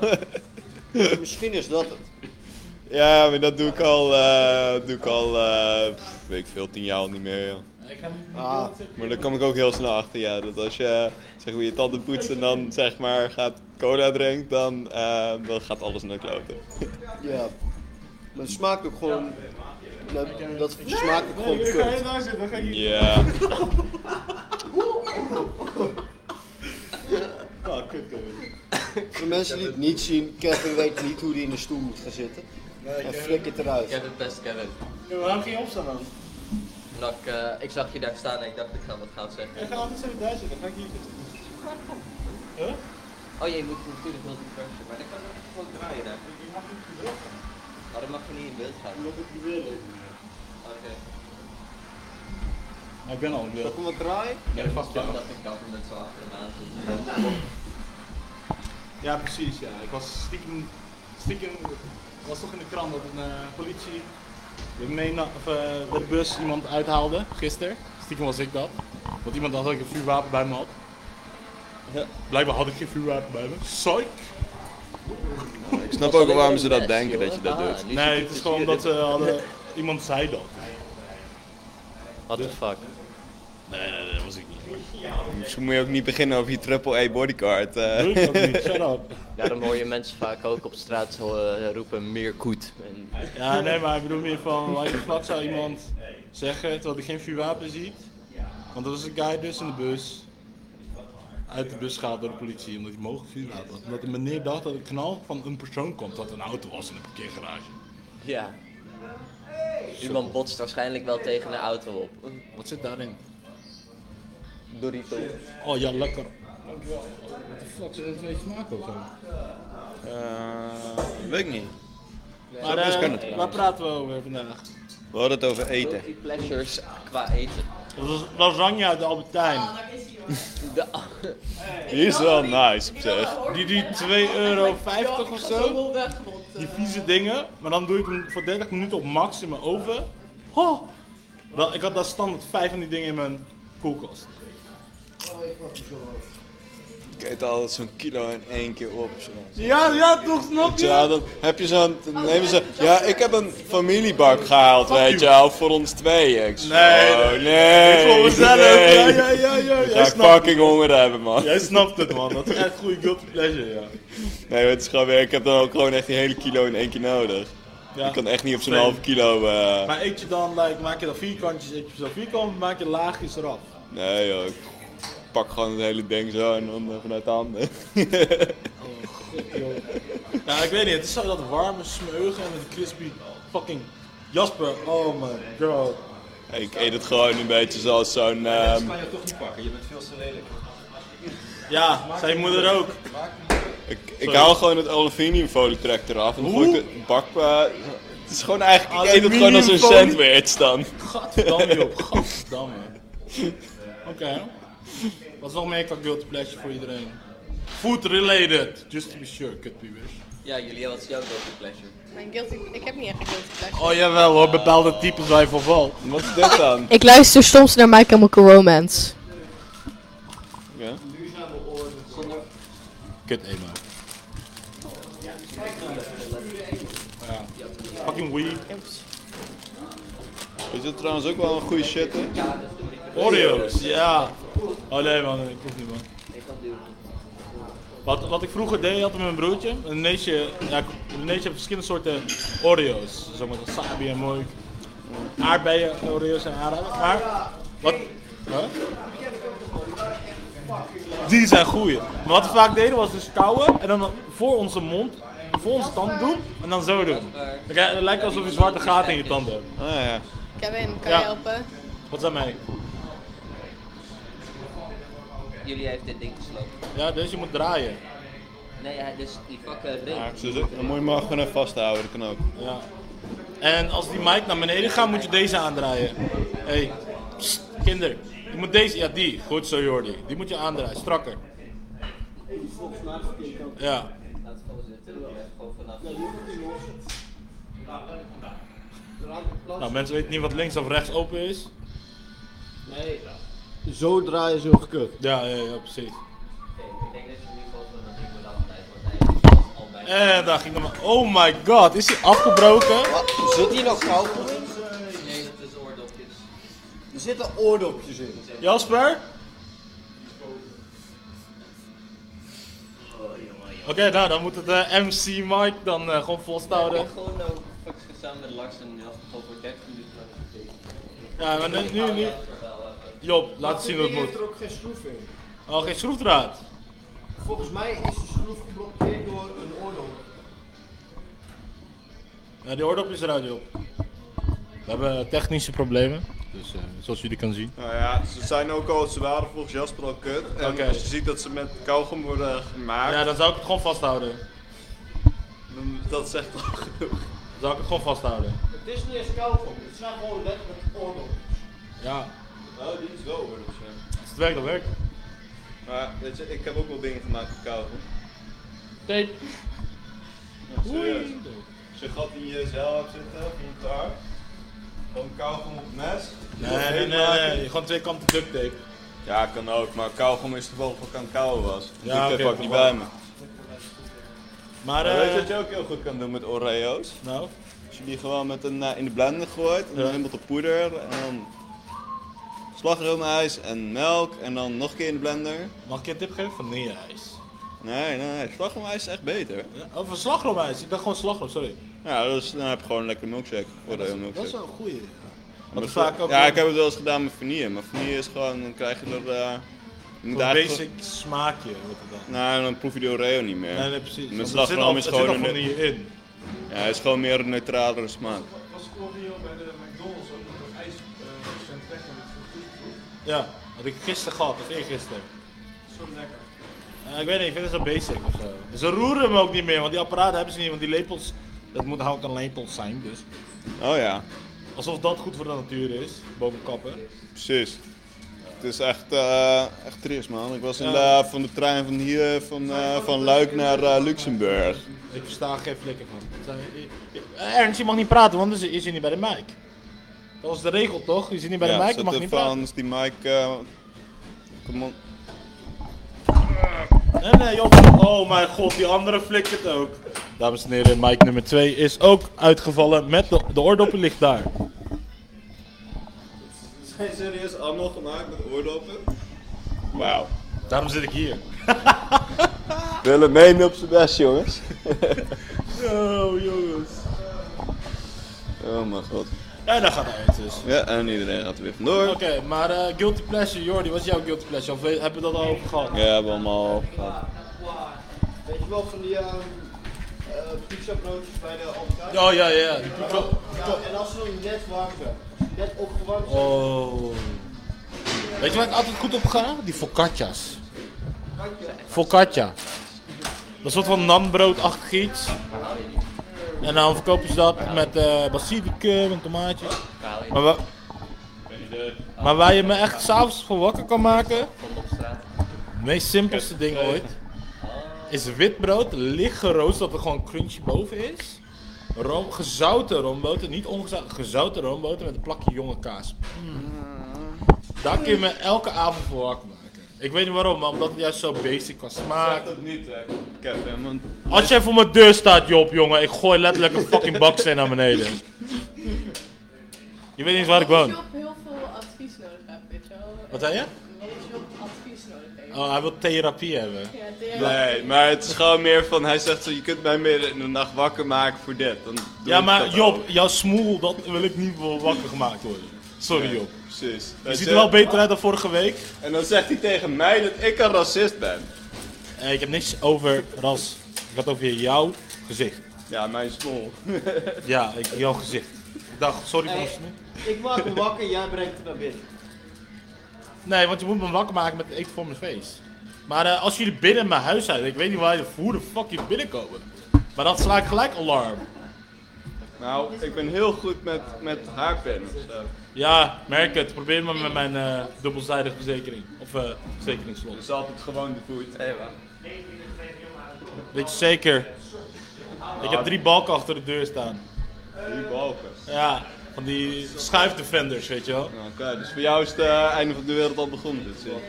Misschien is dat het. ja, maar dat doe ik al, eh, doe ik al eh, pff, weet ik veel, tien jaar al niet meer. joh. Ah. Maar daar kom ik ook heel snel achter, ja. Dat als je zeg maar, je tanden poetst en dan zeg maar gaat cola drinken, dan, eh, dan gaat alles naar de kloten. Ja. Maar het smaakt ook gewoon. Dat, dat smaakt ook gewoon kut. Ja. Ah, kut, Voor mensen die het niet zien, Kevin weet niet hoe hij in de stoel moet gaan zitten. en flik het eruit. Kevin, best Kevin. waarom ging je opstaan dan? Omdat ik, eh, ik zag je daar staan en ik dacht, ik ga wat gaan zeggen. Ik ga altijd zo daar zitten, dan ga ik hier zitten. Huh? Oh jee, je moet natuurlijk wel die versie, maar dan kan ik ook gewoon draaien daar. Maar dan mag je niet in beeld gaan. Omdat ik wil. Oké. Ik ben al een Zal ik hem wat draaien? Ja, dat was bang dat ik dat met z'n achter en aan Ja, precies. Ja. Ik was stiekem, stiekem, het was toch in de krant dat een eh, politie de, meena, of, eh, de bus iemand uithaalde gisteren. Stiekem was ik dat. Want iemand had dat ik een vuurwapen bij me had. Blijkbaar had ik geen vuurwapen bij me. Psych! Ik snap ook wel waarom ze dat denken dat je dat doet. Nee, het is gewoon dat ze hadden, iemand zei dat. What the fuck? Nee, nee, nee, dat was ik niet. Misschien moet je ook niet beginnen over je triple A bodycard. eh. Doe ik ook niet, shut up. Daarom hoor je mensen vaak ook op straat zo, eh, roepen meer koet. En... Ja, nee, maar ik bedoel meer van, waar de fuck zou iemand zeggen terwijl hij geen vuurwapen ziet? Want dat was een guy dus in de bus. Uit de bus gaat door de politie, omdat hij mogelijk vuurwapen had. Omdat de meneer dacht dat een knal van een persoon komt dat een auto was in een parkeergarage. Ja. Iemand botst waarschijnlijk wel tegen een auto op. Wat zit daarin? Dorito. Oh ja, lekker. Wat de fuck, zou dat iets maken of zo? weet ik niet. Maar, Zo best eh, kan het. waar praten we over vandaag? We hadden het over eten. Guilty pleasures qua eten. Las- Lasagne uit de Albertijn. De... Die is wel nice op zich. Die, die 2,50 euro of zo. Die vieze dingen. Maar dan doe ik hem voor 30 minuten op max in mijn oven. Oh. Wel, ik had daar standaard 5 van die dingen in mijn koelkast. Ik eet altijd zo'n kilo in één keer op. Zo. Ja, ja, toch snap Ja, dan heb je zo'n. dan nemen ze. Ja, ik heb een familiebak gehaald, weet je wel, voor ons tweeën. Ik zo, Nee, oh, nee. nee. Ik voor mezelf, ja, nee. ja, ja, ja, Ik jij ga snapt fucking honger hebben, man. Jij snapt het man, dat is echt goede guilty pleasure, ja. Nee, het is gewoon weer. Ik heb dan ook gewoon echt die hele kilo in één keer nodig. Ja. Ik kan echt niet op zo'n Nee. halve kilo. eh, Maar eet je dan, like, maak je dan vierkantjes, eet je zo vierkant, maak je laagjes eraf. Nee, joh. Ik pak gewoon het hele ding zo en dan eh, vanuit de handen. Ja, ik weet niet, het is zo dat warme smeugen en dat crispy fucking Jasper, oh my god. ik eet het gewoon een beetje zoals zo'n. ehm, je toch niet pakken, je bent veel te lelijk. Ja, zijn moeder ook. Ik Sorry. haal gewoon het aluminiumfolietrek eraf en dan gooi ik het in een bak. eh, het is gewoon eigenlijk, ik eet het gewoon als een Aluminiumfolie- sandwich dan. Gadverdamme joh, gadverdamme. Oké. Wat is nog meer qua guilty pleasure voor iedereen? Food related, just to be sure, could be wish. Ja, Julia, wat is jouw guilty pleasure? Mijn guilty, ik heb niet echt een guilty pleasure. Oh jawel hoor, bepaalde types waar je voor valt. Wat is dit dan? Ik luister soms naar My Chemical Romance. Ja. Kut emo. Ja. Fucking weed. Is dit trouwens ook wel een goede shit hè? Oreos, ja. Oh nee man, ik hoef niet man. Wat, wat ik vroeger deed, had ik met mijn broertje. Een neetje, ja, een neetje heeft verschillende soorten Oreos. Zo met wasabi en mooi. aardbeien, Oreo's en aanraden. Maar, wat? Huh? Die zijn goeie. Maar wat we vaak deden was dus kauwen en dan voor onze mond, voor onze tand doen en dan zo doen. Dan krijg- Het lijkt alsof je zwarte gaten in je tanden hebt. ja. Kevin, kan Ja. je helpen? Wat zijn mij? Jullie heeft dit ding gesloten. Ja, dus je moet draaien. Nee, ja, dus die fucking ding. Ja, Dus dan moet je maar gewoon even vasthouden, dat kan ook. Ja. En als die mic naar beneden gaat, moet je deze aandraaien. Hé, hey. Psst, kinder. Je moet deze, ja die. Goed zo Jordi. Die moet je aandraaien, strakker. Ja. Nou, mensen weten niet wat links of rechts open is. Nee. Zo draaien ze heel gekut. Ja, ja, ja, precies. Ik denk dat je nu volgens mij dat ik moet altijd En daar ging hem. Oh my god, is hij afgebroken? Zit hier nog goud in? Er zitten oordopjes in. Jasper? Oké, nou dan moet het eh, MC Mike dan eh, gewoon volstouden. gewoon nou fucking samen met Lars en Jas gewoon voor 30 minuten Ja, lang maar nu, nu, nu. Job, laat zien hoe het Dit ding heeft moet. er ook geen schroef in. Oh, geen schroefdraad. Volgens mij is de schroef geblokkeerd door een oordop. Ja, die oordop is eruit, Job. We hebben technische problemen, dus, eh, zoals jullie kunnen zien. Nou ja, ze zijn ook al, ze waren volgens Jasper al kut. En Oké. als je ziet dat ze met kauwgom worden gemaakt. Ja, dan zou ik het gewoon vasthouden. dan- Dat zegt al genoeg. Zou ik het gewoon vasthouden. Het is niet eens koud om, het zijn gewoon letterlijk oordopjes. Ja. Oh, die is wel hoor, dus ja. Als het werkt, dan werkt het. Maar weet je, ik heb ook wel dingen gemaakt met kauwgom. Nee. Ja, serieus. Als je een gat in je zeil hebt zitten, of in je taart. Gewoon kauwgom op het mes. Nee, nee, nee, nee. Gewoon twee kanten duct tape. Ja, kan ook, maar kauwgom is toevallig wat aan kauwen was. Ja, Ja, ik heb oké, ook niet maar- bij me. Maar, Maar weet eh, je wat je ook heel goed kan doen met Oreo's? Nou? Als je die gewoon met een, eh, in de blender gooit, en dan helemaal op poeder, en dan slagroomijs en melk, en dan nog een keer in de blender. Mag ik je een tip geven? Vanilleijs. Nee, nee, nee, slagroomijs is echt beter. Oh, van slagroomijs. Ik dacht gewoon slagroom, sorry. Ja, dus dan heb je gewoon een lekkere milkshake. Oreo milkshake. Dat is wel een goeie. Maar Wat dat- vaak ook ja, wel- ik heb het wel eens gedaan met vanille, maar vanille is gewoon, dan krijg je er... eh, je Een moet eigenlijk basic smaakje. wordt het dan. gewoon- Nou, dan proef je de Oreo niet meer. Nee, nee, precies. Want er Met zit al- slagroom er is zit gewoon... al een- vanille in. Ja, het is gewoon meer een neutralere smaak. Was Oreo bij de McDonald's ook nog dat ijs eh, zijn trek en het vergoed? Ja, had ik gisteren gehad, of eergisteren. Zo lekker. Eh, ik weet niet, ik vind het zo basic of zo. Dus Ze roeren hem ook niet meer, want die apparaten hebben ze niet, want die lepels, dat moet ook een lepels zijn, dus. Oh ja. Alsof dat goed voor de natuur is, boven kappen. Precies. Het is echt, eh, echt triest man. Ik was Ja. inderdaad van de trein van hier, van, eh, van Luik naar eh, Luxemburg. Ik versta er geen flikker van. Het zijn- Eh, Ernst, je mag niet praten, want dan is je niet bij de mic. Dat was de regel toch? Je zit niet bij de mic, je zet mag even niet praten. aan, is die mic... eh, come on. Nee, nee, joh. Oh mijn god, die andere flikkert ook. Dames en heren, mic nummer 2 is ook uitgevallen met de, de oordoppen ligt daar. Zijn serieus allemaal gemaakt met oordoppen? Wauw. Daarom zit ik hier. Willen meen op zijn best jongens. Yo, jongens. oh mijn god. En daar gaat hij uit dus. Ja, en iedereen gaat er weer vandoor. Oké, maar eh, Guilty Pleasure, Jordi, wat is jouw Guilty Pleasure? Of we- hebben we dat al over gehad? Ja, we hebben allemaal gehad. Weet je wel van die ehm eh, pizza broodjes bij de Albert Heijn? Oh, ja, ja, ja. Die En pro- dan- ja, en als ze nog net warm zijn, net opgewarmd zijn. Oh. Weet je waar ik altijd goed op ga? Die focaccia's. Focaccia. Dat is wat van nanbroodachtig iets. En dan verkopen ze dat met eh basilicum en tomaatjes. Maar, wa- maar waar je me echt s'avonds voor wakker kan maken, het meest simpelste ding ooit, is witbrood, licht geroost, dat er gewoon crunchy boven is. Room, gezouten roomboter, niet ongezouten, gezouten roomboter met een plakje jonge kaas. Daar kun je me elke avond voor wakker maken. Ik weet niet waarom, maar omdat het juist zo basic qua smaak. Ah, dat niet, hè, Kevin. want- Als jij voor mijn deur staat, Job, jongen, ik gooi letterlijk een fucking baksteen naar beneden. Je weet niet eens waar ik Als woon. je op heel veel advies nodig hebt, weet je wel. Wat zei je? Als je op advies nodig Oh, hij wil therapie hebben. Nee, maar het is gewoon meer van, hij zegt zo, je kunt mij midden in de nacht wakker maken voor dit. Dan doe Ja, ik maar dat Job, ook. jouw smoel, dat wil ik niet voor wakker gemaakt worden. Sorry Nee, Job. Precies. Je Hij ziet er zegt- wel beter uit dan vorige week. En dan zegt hij tegen mij dat ik een racist ben. Eh, ik heb niks over ras. Ik had over jouw gezicht. Ja, mijn smoel. ja, ik, jouw gezicht. Dag, sorry voor mijn smoel. Ik maak me wakker, jij brengt me naar binnen. Nee, want je moet me wakker maken met een eten voor mijn feest. Maar eh, als jullie binnen mijn huis zijn, ik weet niet waar, hoe de fuck jullie binnenkomen. Maar dan sla ik gelijk alarm. Nou, ik ben heel goed met, met Dus, eh, haarpennen. Zo. Ja, merk het. Probeer maar met mijn eh dubbelzijdige verzekering. Of eh verzekeringslot. Dus altijd gewoon de voet. Weet je zeker? Ik heb drie balken achter de deur staan. Drie balken? Ja, van die schuifdefenders, weet je wel. Oké, dus voor jou is het eh, einde van de wereld al begonnen. Dus, eh.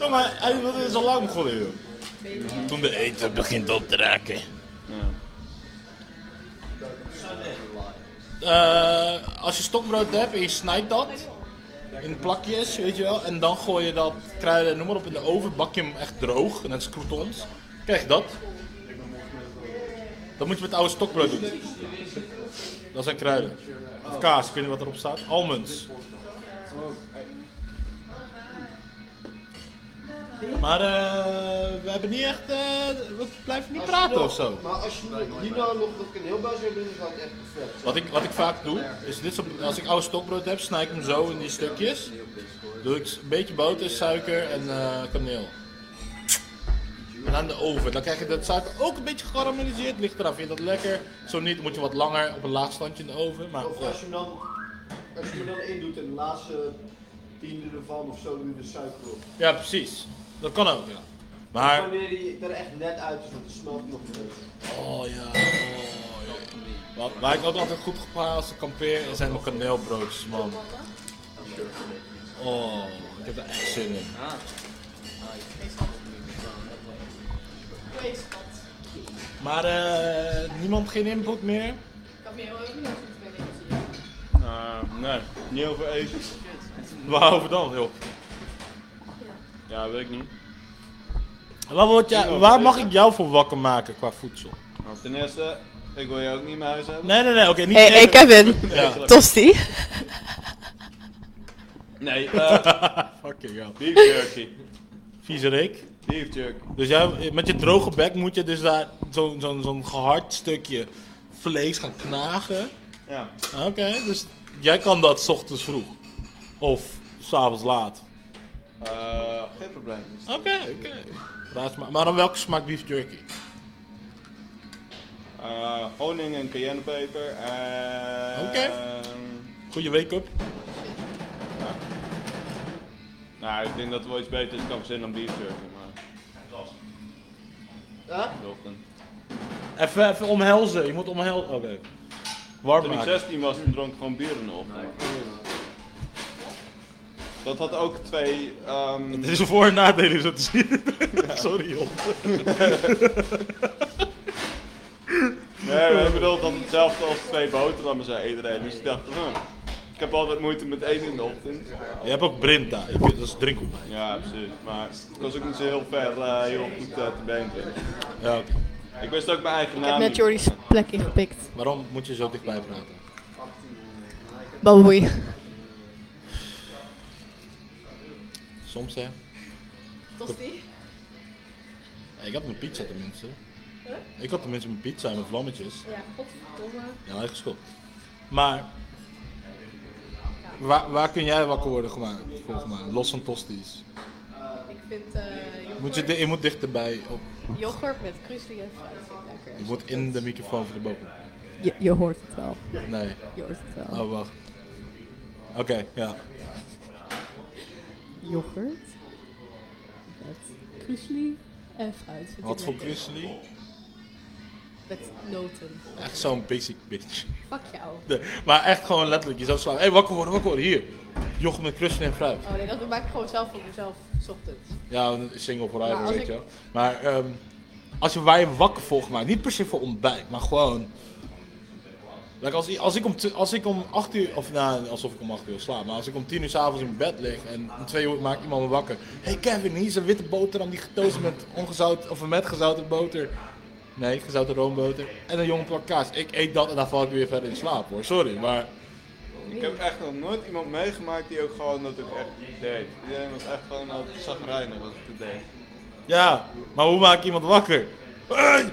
Jongen, hij hij is al lang begonnen, joh. Toen de eten begint op te raken. Eh, als je stokbrood hebt en je snijdt dat in plakjes, weet je wel, en dan gooi je dat kruiden en noem maar op in de oven, bak je hem echt droog, net als croutons, krijg je dat. Dat moet je met oude stokbrood doen. Dat zijn kruiden. Of kaas, ik weet niet wat erop staat. Almonds. Maar eh, we hebben niet echt, eh, we blijven niet praten of zo. Maar als je hierna nog dat ik een heel buis heb, dan gaat het echt perfect. Wat ik, wat ik vaak doe, is dit soort- als ik oude stokbrood heb, snij ik hem zo in die stukjes. Doe ik een beetje boter, suiker en eh, kaneel. En aan de oven. Dan krijg je dat suiker ook een beetje gekarameliseerd. Ligt eraf. Vind je dat lekker? Zo niet, moet je wat langer op een laag standje in de oven. Maar Of eh, als je dan, als je hem dan indoet en de laatste tiende ervan of zo doe je de suiker op. ja, precies. Dat kan ook, ja. Maar, Wanneer die er echt net uit is, want het smelt nog niet. oh ja. Oh, ja. Wat- Waar ik ook altijd goed gepraat als ik kampeer, zijn mijn kaneelbroodjes, man. Oh, ik heb er echt zin in. Maar eh, niemand geen input meer? nee, niet over eten. Waarover dan, joh? Ja, weet ik niet. Waar, word jij- Ik ook. waar mag ik jou voor wakker maken qua voedsel? Nou, ten eerste, ik wil je ook niet in mijn huis hebben. Nee, nee, nee, oké, niet Hé, hey, even- Kevin. Ja. Tosti. Nee, eh Fucking hell. beef jerky. Vieze reek. Beef jerky. Dus jij, met je droge bek moet je dus daar zo'n zo'n zo'n gehard stukje vlees gaan knagen. Ja. Oké, dus jij kan dat 's ochtends vroeg. Of s'avonds laat. Eh, geen probleem. Oké, oké. Raar smaak. Maar dan welke smaak beef jerky? Eh, honing en cayennepeper en... Oké. Goeie wake-up. Nou, ik denk dat er wel iets beters kan verzinnen dan beef jerky, maar... Ja? Toch, dan- Even, even omhelzen, je moet omhelzen. Oké. Warm Toen ik maken. 16 was, toen dronk ik gewoon bier in de ochtend. Dat had ook twee... ehm Dit is een voor- en nadelen zo te zien. Sorry joh. Nee, maar ik bedoel dat hetzelfde als twee boterhammen zei iedereen. Dus ik dacht, hm, ik heb altijd moeite met eten in de ochtend. Je hebt ook Brinta, ik vind- dat is drinkelbaar. Ja, precies. Maar ik was ook niet zo heel ver, eh, heel goed eh, te been. Ja, Ik wist ook mijn eigen Ik heb naam. net Jordi's plek ingepikt. Waarom moet je zo dichtbij praten? Baboei. Soms hè. Tosti? Ik had mijn pizza tenminste. Ik had tenminste mijn pizza en mijn vlammetjes. Ja, godverdomme. Ja, hij is gestopt. Maar waar, waar kun jij wakker worden gemaakt, volgens mij? Los van tosti's. Ik vind eh yoghurt, Moet je, di- je moet dichterbij op. yoghurt met krusli en fruit vind ik lekker. Je moet in de microfoon van de boven. Je, je hoort het wel. Nee. Je hoort het wel. Oh, wacht. Oké, ja. Yoghurt met krusli en fruit vind Wat ik voor lekker. krusli? Met noten. Echt zo'n basic bitch. Fuck jou. Nee, maar echt gewoon letterlijk, je zou slaan. Hé, hey, wakker worden, wakker worden, hier. Joch met krusli en fruit. Oh nee, dat maak ik gewoon zelf voor mezelf, s ochtends. Ja, een single Maar forever, als weet ik- je wel. Maar ehm, als je waar je wakker voor gemaakt, niet per se voor ontbijt, maar gewoon... Like als, i- als, ik om t- als ik om 8 uur, of nou, alsof ik om 8 uur slaap, maar als ik om 10 uur s'avonds in bed lig en om 2 uur maakt iemand me wakker. hey Kevin, hier is een witte boterham die getoast met ongezout, of met gezouten boter. Nee, gezouten roomboter. En een jonge plak kaas. Ik eet dat en dan val ik weer verder in slaap hoor, sorry. Maar Ik heb echt nog nooit iemand meegemaakt die ook gewoon dat ook echt deed. Iedereen was echt gewoon al zagrijnig als ik het deed. ja, maar hoe maak ik iemand wakker? Hey!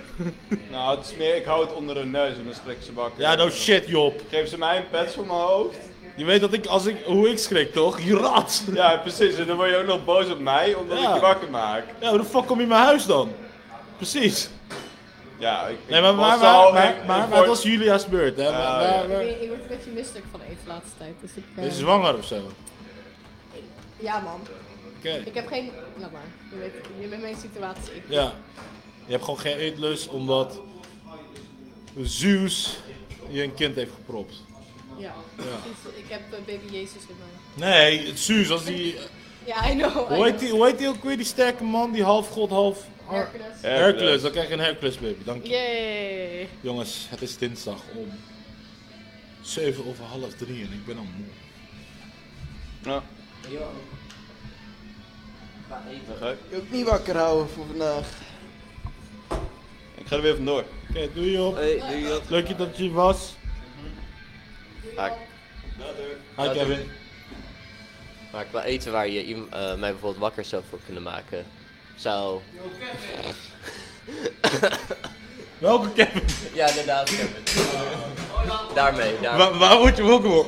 Nou, het is meer, ik hou het onder hun neus en dan strik ze bakken. Ja, nou shit Job. Geef ze mij een pet voor mijn hoofd. Je weet dat ik, als ik, hoe ik schrik toch? Je rat! Ja, precies. En dan word je ook nog boos op mij, omdat Ja. ik je wakker maak. Ja, hoe de fuck kom je in mijn huis dan? Precies. Ja, ik, ik Nee, maar, maar, was maar, al- maar, ik- ik maar- maar word- het was Julia's beurt, hè? maar, ja. maar, maar- Ik, weet- ik word een beetje misselijk van eten de laatste tijd. Dus ik, eh, Ben je zwanger of zo? Ja, man. Oké. Ik heb geen. Laat maar. Je weet, je bent mijn situatie. Ik- Ja. Je hebt gewoon geen eetlust omdat Zeus je een kind heeft gepropt. Ja. Ja. precies. Ik heb eh, baby Jezus in mijn. Nee, het Zeus als die... Ja, I know. I Hoe heet know. die, hoe heet die ook weer, die sterke man, die half god, half... Hercules. Hercules, dan krijg je een Hercules baby, dank je. Yay. Jongens, het is dinsdag om 7 over half 3 en ik ben al moe. Ja. Dan ga ik. Je ook niet wakker houden voor vandaag. Ik ga er weer vandoor. Oké, doei joh. Hey, doei joh. Leuk dat je er was. Vaak. Hi Kevin. Maar qua eten waar je iem- eh, mij bijvoorbeeld wakker zou voor kunnen maken, zou... Welke Kevin? Ja, inderdaad Kevin. Daarmee, daar. Waar, waar word je wakker voor?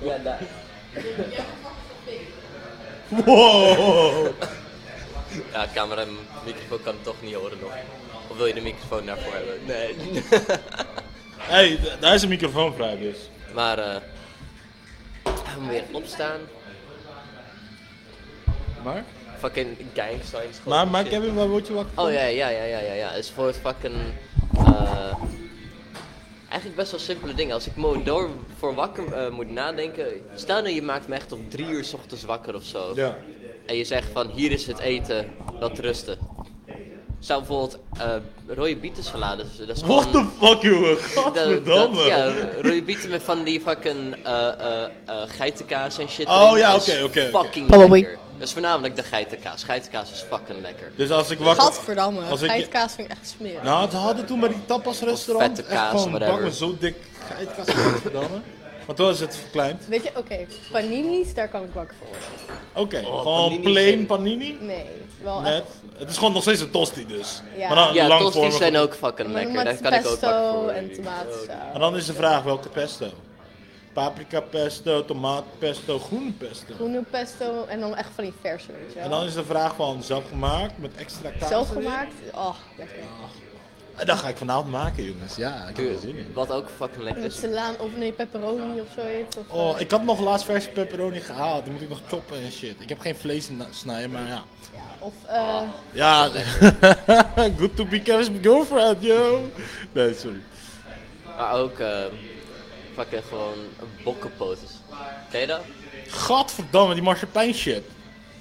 Ja, daar. Wow. Ja, camera en microfoon kan het toch niet horen nog. Of wil je de microfoon daarvoor hebben? Nee. Hé, hey, daar is een microfoon vrij dus. maar, eh... we moeten weer opstaan. Maar? Fucking gangsters. Maar, maar Kevin, waar word je wakker van? Oh ja, ja, ja, ja, ja, ja. Het is voor het fucking. eh, eigenlijk best wel simpele dingen. Als ik me door voor wakker eh, moet nadenken. Stel nou, je maakt me echt om drie uur 's ochtends wakker of zo. Ja. En je zegt van hier is het eten, dat rusten. Zou bijvoorbeeld eh, rode bietensalades. Dat is What gewoon- the fuck, jongen? dat- dat- Godverdamme. Ja, rode bieten met van die fucking eh, eh, eh, geitenkaas en shit. Oh, erin. ja, Dat is oké, oké, oké. Fucking Probably. lekker. Dat is voornamelijk de geitenkaas. Geitenkaas is fucking lekker. Dus als ik wakker... Gadverdamme. Als ik- Geitkaas vind ik echt smerig. Nou, ze hadden toen bij die tapas restaurant Vette kaas, echt gewoon whatever. bakken zo dik geitkaas Gadverdamme. Maar toen is het verkleind. Weet je, oké, paninis, daar kan ik wakker voor worden. Oké, gewoon Oh, panini plain zijn- panini. Nee, wel Net. echt. Het is gewoon nog steeds een tosti dus. Ja. Maar dan Ja, langvormig. tosti's zijn ook fucking Maar lekker. Daar Met kan ik ook wakker voor pesto worden. en tomatensaus. Maar dan is de vraag welke pesto? Paprika pesto, tomaat pesto, groen pesto. Groene pesto en dan echt van die verse, weet je wel. En dan is de vraag van zelfgemaakt met extra kaas. Zelfgemaakt? Oh, lekker. erin? Dat ga ik vanavond maken jongens. Ja, ik heb er zin in. Wat ook fucking lekker Met is. salaan of nee, pepperoni of zoiets. Of, Oh, eh, ik had nog laatst verse pepperoni gehaald. Die moet ik nog choppen en shit. Ik heb geen vlees na- snijden, maar ja. Of, eh, Ja, good to be Kevin's girlfriend, yo. Nee, sorry. Maar ook eh, fucking gewoon bokkenpoten. Ken je dat? Gadverdamme, die marsepein shit.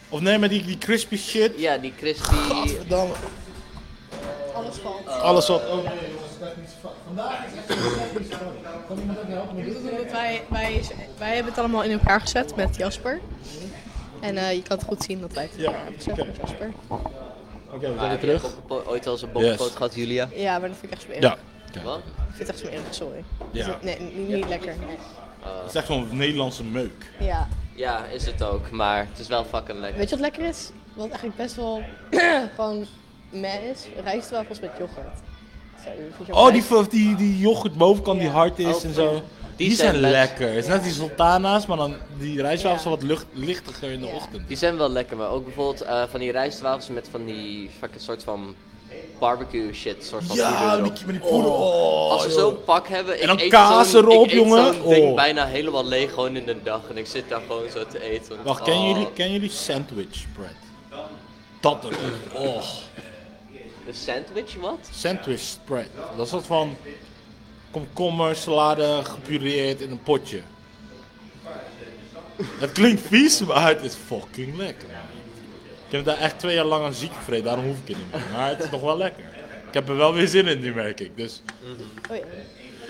Of nee, maar die, die crispy shit. Ja, die crispy. Ah, Gadverdamme. alles valt. Alles wat... Oh, Omdat wij, wij, wij hebben het allemaal in elkaar gezet met Jasper. En eh, je kan het goed zien dat wij het in Ja, elkaar hebben gezet oké. met Jasper. Oké, we Maar zijn weer heb jij terug. bokkenpo- ooit wel eens een bokkenpoot Yes. gehad, Julia? Ja, maar dat vind ik echt smerig. Ja. Wat? Ik vind het echt smerig, sorry. Ja. Dus, nee, niet, niet lekker. Het is echt zo'n Nederlandse meuk. Ja. Ja, is het ook, maar het is wel fucking lekker. Weet je wat lekker is? Wat eigenlijk best wel van meh is? Rijstwafels met yoghurt. Zo, vind je ook Oh, die, rijst- die, die yoghurt bovenkant die hard is Oh, en zo. Die, zijn zijn, best- lekker. Het is net die sultana's, maar dan die rijstwafels wat lucht, lichtiger in de Ja. ochtend. Die zijn wel lekker, maar ook bijvoorbeeld eh, van die rijstwafels met van die fucking soort van barbecue shit. Soort van poeder Ja, erop. met die, met die poeder. Oh, Als we joh. zo'n pak hebben, ik En dan eet kaas zo'n- erop, ik jongen. eet zo'n ding Oh. bijna helemaal leeg gewoon in de dag. En ik zit daar gewoon zo te eten. want- Wacht, kennen oh, jullie, kennen jullie sandwich bread? Dat er. Oh, Een sandwich, wat? sandwich spread. Dat is wat van komkommer, salade gepureerd in een potje. Het klinkt vies, maar het is fucking lekker. Ik heb daar echt twee jaar lang aan ziek gevreden, daarom Oh hoef ik het niet meer. Maar het is nog wel lekker. Ik heb er wel weer zin in, nu merk ik. Dus Oei.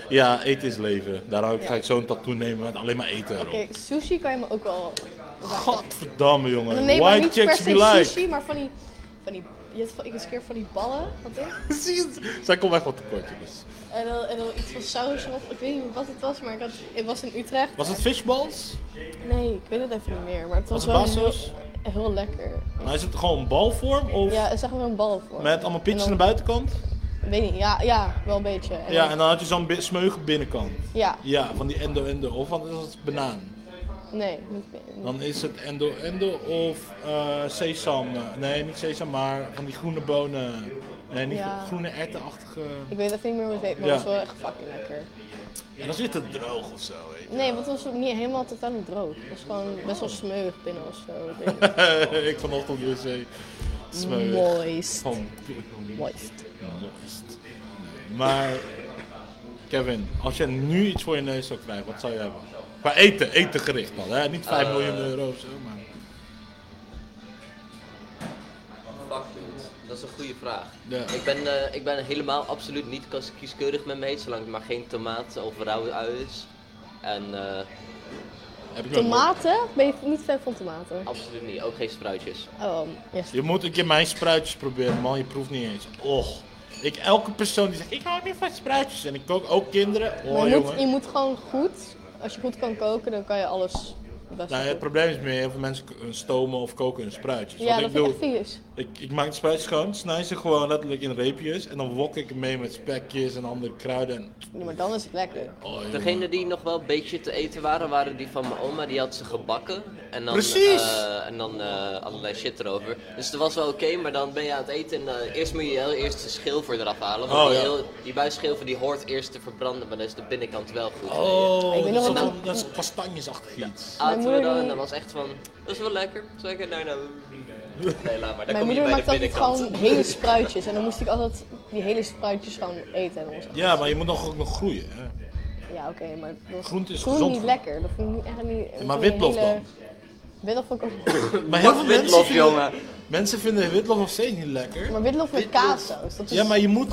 Ja, eten is leven. Daarom ga ik zo'n tattoo nemen met alleen maar eten erop. Oké, sushi kan je me ook wel. Godverdamme, En jongen. dan neem ik White niet per checks se be like. sushi, maar van die, van die, je hebt van, ik eens een keer van die ballen, wat is? Zij komt echt wat tekort, jongens. En dan, en dan iets van saus erop. Ik weet niet wat het was, maar ik, had, ik was in Utrecht. Was het fishballs? Nee, ik weet het even niet meer, maar het was, Was het wel basso's? heel, heel lekker. Maar is het gewoon een balvorm? Of Ja, het zag er wel een bal voor. met allemaal pitjes En aan dan- de buitenkant? Weet niet, ja, ja, wel een beetje. Ja, en dan had je zo'n bi- smeuige binnenkant. Ja, Ja, van die endo-endo. Of wat is het? Banaan. nee, niet meer. Dan is het endo-endo of eh, sesam. Nee, niet sesam, maar van die groene bonen. Nee, niet Ja. groene ertenachtige. Ik weet even niet meer hoe het heet, maar Ja. het was wel echt fucking lekker. En dan zit het droog of zo, weet je. Nee, want het was ook niet helemaal totaal niet droog. Het was gewoon best wel smeug binnen of zo. ik weet niet. ik vanochtend weer zee. Smeuig. Moist. Van- Moist. Moist. Nee, Maar Kevin, als je nu iets voor je neus zou krijgen, wat zou je hebben? Qua eten, eten gericht dan, hè? Niet 5 Eh. miljoen euro of zo, maar... Fuck dude, dat is een goede vraag. Ja. Ik, ben, eh, ik ben helemaal absoluut niet kies- kieskeurig met mijn eten, zolang het maar geen tomaat of rauwe ui is. En eh, Tomaten? Ben je niet fan van tomaten? Absoluut niet, ook geen spruitjes. Oh, yes. Oh. Je moet een keer mijn spruitjes proberen, man. Je proeft niet eens. Och. Ik, elke persoon die zegt, ik hou niet van spruitjes. En ik kook ook kinderen. Oh, maar je moet, jongen. je moet gewoon goed, als je goed kan koken, dan kan je alles best Nou, het doen. probleem is meer, heel veel mensen k- stomen of koken hun spruitjes. Ja, Wat dat ik vind doe, ik echt vies. Ik, ik maak de spruitjes schoon, snij ze gewoon letterlijk in reepjes. En dan wok ik hem mee met spekjes en andere kruiden. En, Nee, maar dan is het lekker. jongen. Degene die nog wel een beetje te eten waren, waren die van mijn oma. Die had ze gebakken. En dan, Precies! eh, en dan eh, allerlei shit erover. Dus dat was wel oké, maar dan ben je aan het eten. En eh, eerst moet je heel eerst de schilver eraf halen. Want Oh, die, ja. heel- die buisschilver die hoort eerst te verbranden, maar dan is de binnenkant wel goed. oh, Ik weet dat nog is, wat wel- mijn- dat is kastanjesachtig iets. Mijn Aten we moeder dan en die- dat was echt van, dat is wel lekker. Zeker, nee, nou, nee, Mijn laat maar. Dan kom moeder je bij de maakt altijd binnenkant. gewoon hele spruitjes en dan moest ik altijd die hele spruitjes gewoon eten. En dan was het- Ja, maar je moet nog, ook nog groeien. Hè? Ja, oké, maar dat was Groente is groen gezond niet voor je. lekker. Dat vind ik niet- echt niet... Ja, maar vind ik witlof hele- dan? Witlof vond ik ook... Maar heel veel Wat mensen witlof, vinden, jongen? Mensen vinden witlof nog steeds niet lekker. Maar witlof met kaassaus, dat is... Ja, maar je moet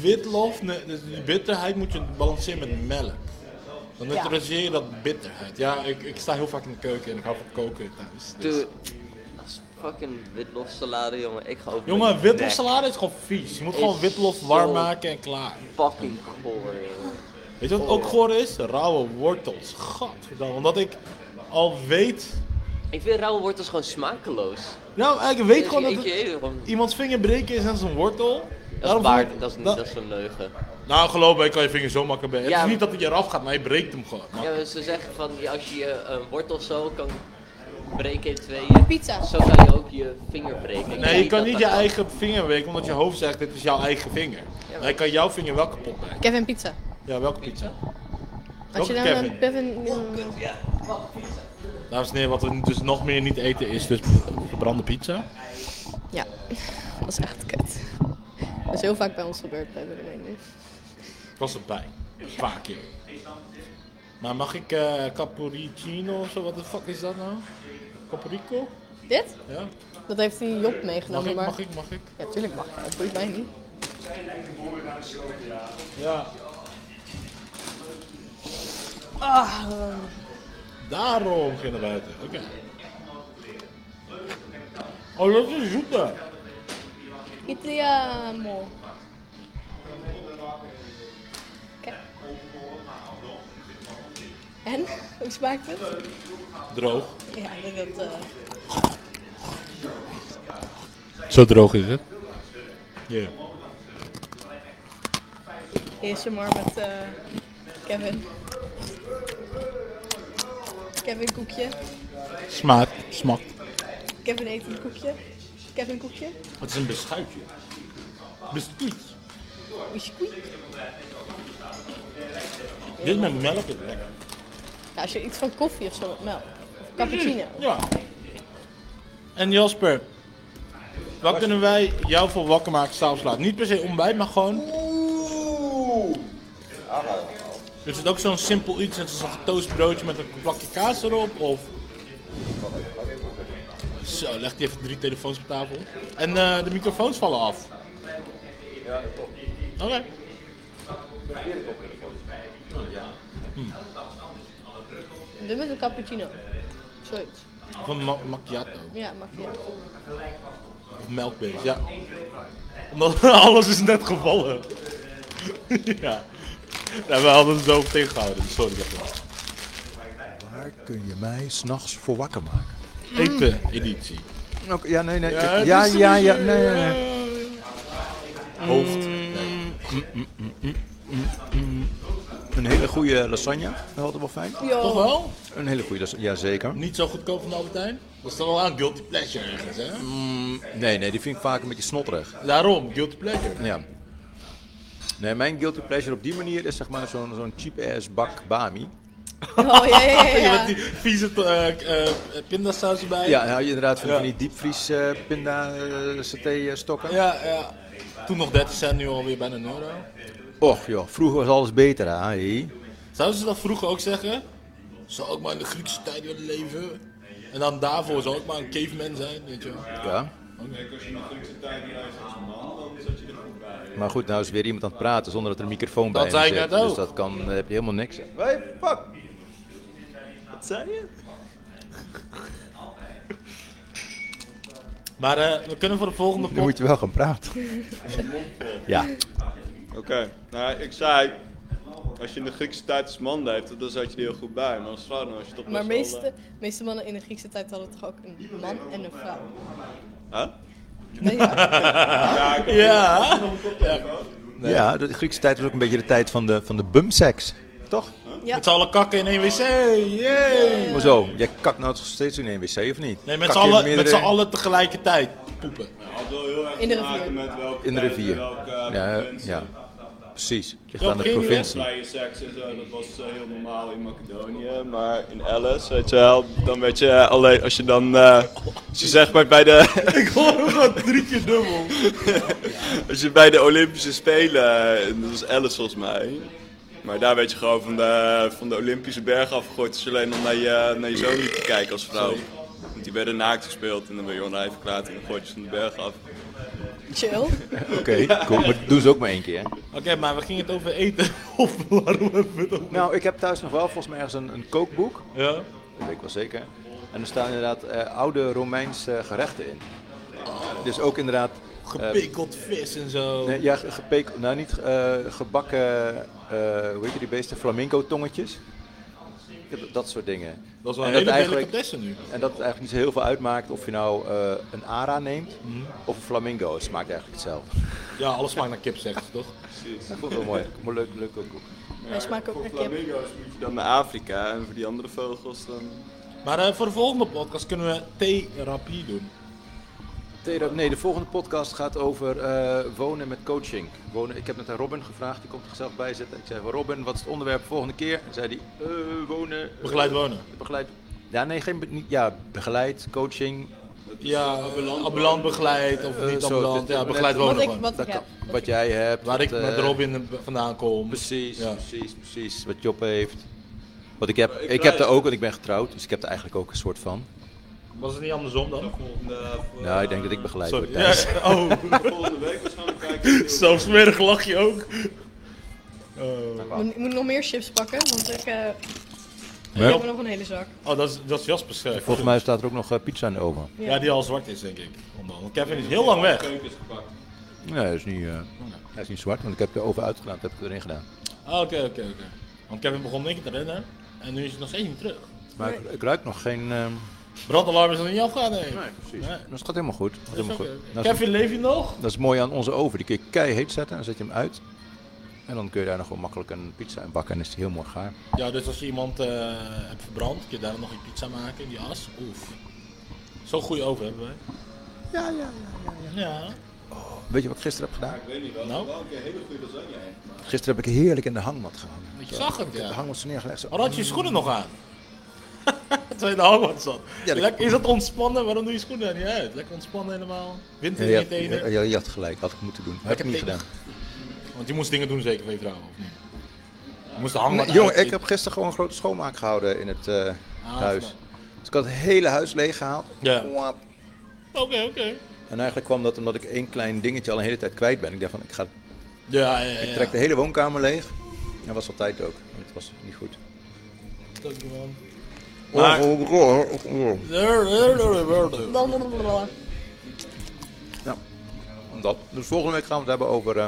witlof, nee, dus die bitterheid moet je balanceren met melk. Dan Ja. neutraliseer je dat bitterheid. Ja, ik, ik sta heel vaak in de keuken en ik hou van koken thuis. dus- Dude, dat is fucking witlofsalade, jongen. Ik ga over Jongen, mijn nek. witlofsalade is gewoon vies. Je moet Is gewoon witlof warm zo maken en klaar. Fucking goor, jongen. Weet je wat ook goor is? Rauwe wortels. Gadverdamme, omdat ik al weet... Ik vind rauwe wortels gewoon smakeloos. Nou, ik weet Ik- gewoon ik- dat ik- het, gewoon- iemands vinger breken is net als een wortel. Dat is Daarom waar, vind ik- dat is, niet, da- dat is een leugen. Nou, geloof me, ik kan je vinger zo makkelijk bij. Ja, het is maar- niet dat hij eraf gaat, maar hij breekt hem gewoon. Maar- Ja, ze zeggen van ja, als je je eh, wortel zo kan breken in tweeën, Pizza. zo kan je ook je vinger breken. Ik Nee, weet je kan dat niet je dat eigen vinger breken, omdat je hoofd zegt, dit is jouw eigen vinger. maar- Hij kan jouw vinger wel kapot breken. Kevin pizza. Ja, welke pizza? Als je Welke dan Kevin? een Kevin... Ja, Dames en heren, wat we dus nog meer niet eten is dus verbrande pizza. ja, dat is echt kut. Dat is heel vaak bij ons gebeurd bij de mening. Ik was erbij. Vaak keer. Maar mag ik eh cappuccino of zo? Wat de fuck is dat nou? Capurico? Dit? Ja. Dat heeft die Job Mag meegenomen, ik, maar... mag ik, mag ik? Ja, tuurlijk mag je. Dat boeit mij niet. Ja. Ah, eh, Daarom ging naar buiten. Oké. Oh, dat is zoete. italiano. Oké. En? Hoe smaakt het? Droog. Ja, ik denk dat... eh, Zo droog is het? Ja. Eerst maar met eh, Kevin. Kevin koekje. Smaakt, smakt. Kevin eet een koekje. Kevin koekje. Het is een beschuitje. Biscuit. Biscuit. Dit met melk is lekker. Ja, als je iets van koffie of zo met melk. Of cappuccino. Ja. En Jasper, wat kunnen wij jou voor wakker maken s'avonds laat? Niet per se ontbijt, maar gewoon... Is het ook zo'n simpel iets, net als een getoast broodje met een plakje kaas erop? Of... Zo, legt hij even drie telefoons op tafel. En eh, de microfoons vallen af. Oké. Doe met een cappuccino. Zoiets. Of een ma- macchiato. Ja, macchiato. Of melkbeest, ja. Omdat alles is net gevallen. ja. ja. We hadden het zo tegengehouden, sorry daarvoor. Waar kun je mij s'nachts voor wakker maken? Eten editie. Oké, ja, nee, nee. Ja, Ja, het ja, is- Hmm. ja, nee, nee, nee. Hmm, Hoofd. Een hele goede lasagne. Dat hadden wel fijn. Yo. Toch wel? Een hele goede lasagne, jazeker. Niet zo goedkoop van de Albert Heijn? Dat is dan wel aan guilty pleasure ergens, hè? Mm, nee, nee, die vind ik vaak een beetje snotterig. Daarom, guilty pleasure. Ja. Nee, mijn guilty pleasure op die manier is zeg maar zo'n zo'n cheap-ass bak bami. Oh, ja, ja, ja, Je ja. hebt die vieze eh, eh, pindasaus erbij. Ja, dan hou je inderdaad van Ja. die diepvries eh, pinda eh, saté eh, stokken. Ja, ja. Toen nog 30 cent, nu alweer bijna een euro. Och joh, vroeger was alles beter, hè? Zouden ze dat vroeger ook zeggen? Zou ook maar in de Griekse tijd willen leven? En dan daarvoor zou ik maar een caveman zijn, weet je wel. Ja. Oké. Maar goed, nou is weer iemand aan het praten zonder dat er een microfoon Dat bij zei hem ik zit. net ook. Dus dat kan, daar heb je helemaal niks aan. Hey, fuck! Wat zei je? Maar eh, we kunnen voor de volgende Dan moet je wel gaan praten. Ja. Oké, nou ik zei, als je in de Griekse tijd als man leeft, dan zat je er heel goed bij. Maar als vrouw, dan was je toch Maar best wel, meeste, eh, meeste mannen in de Griekse tijd hadden toch ook een man en een vrouw. eh, Hè? Nee, ja. ik- Ja. Eh, Ja, de Griekse tijd was ook een beetje de tijd van de, van de bumseks. Toch? Met z'n allen kakken in één wc, yay! Maar zo, jij kakt nou toch steeds in één wc of niet? Nee, met Kak z'n je allen, meerdere- met z'n allen tegelijkertijd poepen. eh, In de rivier. In de rivier. Ja, ja. precies. Ligt aan de Ging provincie. Vrije seks en zo, dat was eh, heel normaal in Macedonië, maar in Alice, weet je wel, dan weet je eh, alleen als je dan, eh, als je zeg maar bij de, Ik hoor hem gewoon drie keer dubbel. als je bij de Olympische Spelen, eh, dat was Alice volgens mij, maar daar werd je gewoon van de, van de Olympische berg afgegooid, dus alleen om naar je, naar je zoon te kijken als vrouw. Want die werden naakt gespeeld en dan ben je onrijf verklaard en dan gooit je ze van de berg af. Chill. Oké, cool. Maar dat doen ze ook maar één keer. hè? Oké, maar we gingen het over eten. of waarom hebben we het over? Nou, ik heb thuis nog wel volgens mij ergens een, een kookboek. Ja. Dat weet ik wel zeker. En er staan inderdaad eh, oude Romeinse gerechten in. Dus ook inderdaad... eh, Gepikkeld vis en zo. Nee, ja, ge- gepek, nou niet eh, gebakken, eh, hoe heet je die beesten, flamingo tongetjes. Ja, dat- Dat soort dingen. Dat is wel En een hele eigenlijk- delicatesse nu. En dat het eigenlijk niet zo heel veel uitmaakt of je nou eh, een ara neemt of een flamingo. Het smaakt eigenlijk hetzelfde. Mhm. Ja, alles smaakt naar kip, zeggen ze toch? Dat vond ik wel mooi. Maar leuk, leuk ook. Wij smaken ook naar kip. Flamingo's moet je dan naar Afrika en voor die andere vogels dan... Maar eh, voor de volgende podcast kunnen we therapie doen. Thera- Nee, de volgende podcast gaat over eh, wonen met coaching. Wonen, ik heb net aan Robin gevraagd, die komt er zelf bij zitten. Ik zei van Robin, wat is het onderwerp volgende keer? En zei hij, eh, wonen... eh, Begeleid wonen. Begeleid... Ja, nee, geen... be- niet- Ja, begeleid, coaching... Ja, ambulant, begeleid of Eh, niet zo, ambulant. dit- dit- Ja, begeleid net- Oh, wonen Wat ik- gewoon. wat ik Dat heb. kan- wat jij hebt, Waar wat, ik met eh, Robin vandaan kom. Precies, Ja. precies, precies. Wat Job heeft. Wat ik heb, Ik ik heb luister. er ook, want ik ben getrouwd, dus ik heb er eigenlijk ook een soort van. Was het niet andersom dan? Nou, ik denk dat ik begeleid Sorry. word thuis. Ja, oh. Volgende week waarschijnlijk kijken. Zo smerig lach je ook. Moet, moet ik nog meer chips pakken, want ik, eh ik Ja. heb er nog een hele zak. Oh, dat is, dat is Jasper's eh, Volgens mij staat er ook nog eh, pizza in de oven. Ja. Ja, die al zwart is, denk ik. Omdat- Want Kevin is heel lang weg. Nee, dat is niet, eh, dat is niet zwart, want ik heb de oven uitgedaan, dat heb ik erin gedaan. Ah, Oké, oké, oké. Want Kevin begon denk ik te rennen. En nu is hij nog steeds niet terug. Maar ik, ik ruik nog geen. ehm, Brandalarm is nog niet afgegaan, nee. Nee, precies. Dus het gaat helemaal goed. Het gaat helemaal oké. goed. Dat is- eh, Kevin, leef je nog? Dat is mooi aan onze oven. Die kun je keiheet zetten, dan zet je hem uit. En dan kun je daar nog wel makkelijk een pizza in bakken en is die heel mooi gaar. Ja, dus als je iemand eh, hebt verbrand, kun je daar nog een pizza maken in die as. Oef. Zo'n goede oven hebben wij. Ja, ja, ja. Ja. Weet je wat ik gisteren heb gedaan? Ik weet niet wel, Nou? wel een keer hele goede lasagne eigenlijk. Gisteren heb ik heerlijk in de hangmat gehangen. Ik zag het, ja. De hangmat zo neergelegd. Zo. Maar had je je schoenen nog aan? Terwijl je in de hangmat zat. Ja, dat- Lekker, is dat ontspannen? Waarom doe je schoenen daar niet uit? Lekker ontspannen helemaal. Wind Ja, in je, je tenen. had, ja, je had gelijk, had ik moeten doen. Heb ik Lekker niet tegen. gedaan. Want je moest dingen doen zeker van je vrouw, of niet? Je moest de hangmat Nee, jongen, uit- ik heb gisteren gewoon een grote schoonmaak gehouden in het eh, Ah, huis. snap. Dus ik had het hele huis leeggehaald. Ja. Wap. Oké, oké. En eigenlijk kwam dat omdat ik één klein dingetje al een hele tijd kwijt ben. Ik dacht van, ik ga het Ja, ja, ja. Ik trek de hele woonkamer leeg. Dat was op tijd ook. want Het was niet goed. Dankjewel. Maar... Ja, dat. Dus volgende week gaan we het hebben over eh,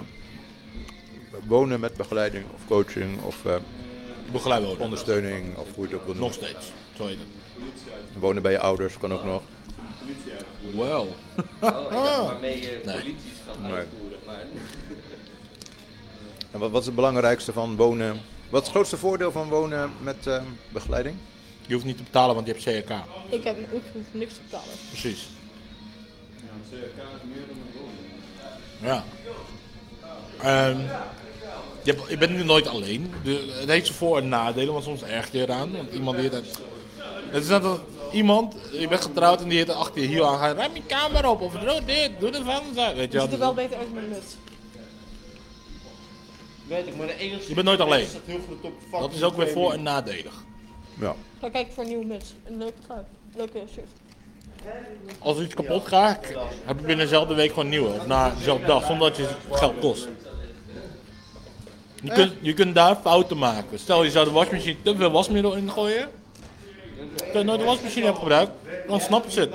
wonen met begeleiding of coaching of eh, Begeleiding. ondersteuning of hoe je het ook wil noemen. Nog steeds. Zo heet het. Wonen bij je ouders kan ook nog. Wow. Oh, ik dacht waarmee je Nee. politisch gaat Nee. uitvoeren. Maar... En wat, wat is het belangrijkste van wonen? Wat is het grootste voordeel van wonen met eh, begeleiding? Je hoeft niet te betalen, want je hebt CRK. Ik heb ook niks te betalen. Precies. Ja. Ehm, je, hebt- je bent nu nooit alleen. De- het heeft zijn voor- en nadelen, want soms erg je eraan. Want iemand die het, het is net als iemand, je bent getrouwd en die heeft achter je hiel aan. Ga, ruim je kamer op, of doe dit, doe dit van. Weet je Je wel. ziet er wel beter uit met een muts. Weet ik, maar de enige... Je bent nooit alleen. Is dat, heel goed op Dat is ook weer voor- en nadelig. Ga kijken voor een nieuwe muts. Een leuke trui. Leuke shirt. Als er iets kapot gaat, heb je binnen dezelfde week gewoon een nieuwe. Of na dezelfde dag, zonder dat je het geld kost. Eh? Je kunt, je kunt daar fouten maken. Stel je zou de wasmachine te veel wasmiddel in gooien. Terwijl je nooit de wasmachine hebt gebruikt, dan snappen ze het.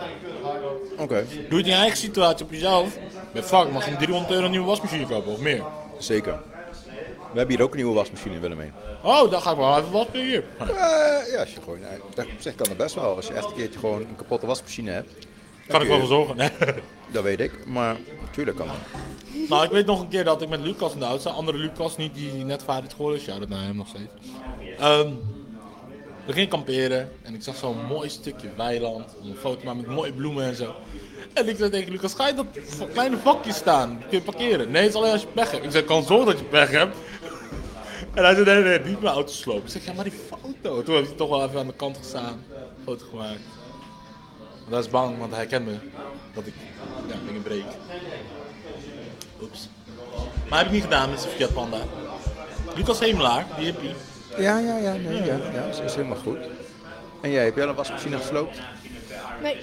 Oké. Doe het in je eigen situatie op jezelf. Bij vak mag je 300 euro een nieuwe wasmachine kopen of meer. Zeker. We hebben hier ook een nieuwe wasmachine in Willemijn. Oh, dan ga ik wel even wasmachine hier. Eh, ja, als je gewoon, nou, dat op zich kan dat best wel. Als je echt een keertje gewoon een kapotte wasmachine hebt. Kan ik wel voor zorgen, hè? Dat weet ik, maar natuurlijk kan dat. Nou, ik weet nog een keer dat ik met Lucas in de auto zat. Andere Lucas, niet die net vader het geworden is. Ja, dat naar hem nog steeds. Ehm, we gingen kamperen en ik zag zo'n mooi stukje weiland. om Een foto te maken met mooie bloemen en zo. En ik zei tegen Lucas, ga je dat v- kleine vakje staan? Kun je parkeren? Nee, het is alleen als je pech hebt. Ik zei, kan zorgen dat je pech hebt. En hij zei, nee, nee, niet mijn auto slopen. Ik zeg, ja, maar die foto. Toen heb ik toch wel even aan de kant gestaan. Foto gemaakt. Want hij is bang, want hij kent me. Dat ik ja, dingen breek. Oeps. Maar heb ik niet gedaan met zijn Fiat Panda. Lucas Hemelaar, die hippie. Ja, ja, ja, nee, ja, ja, dat is helemaal goed. En jij, heb jij al een wasmachine gesloopt? Nee,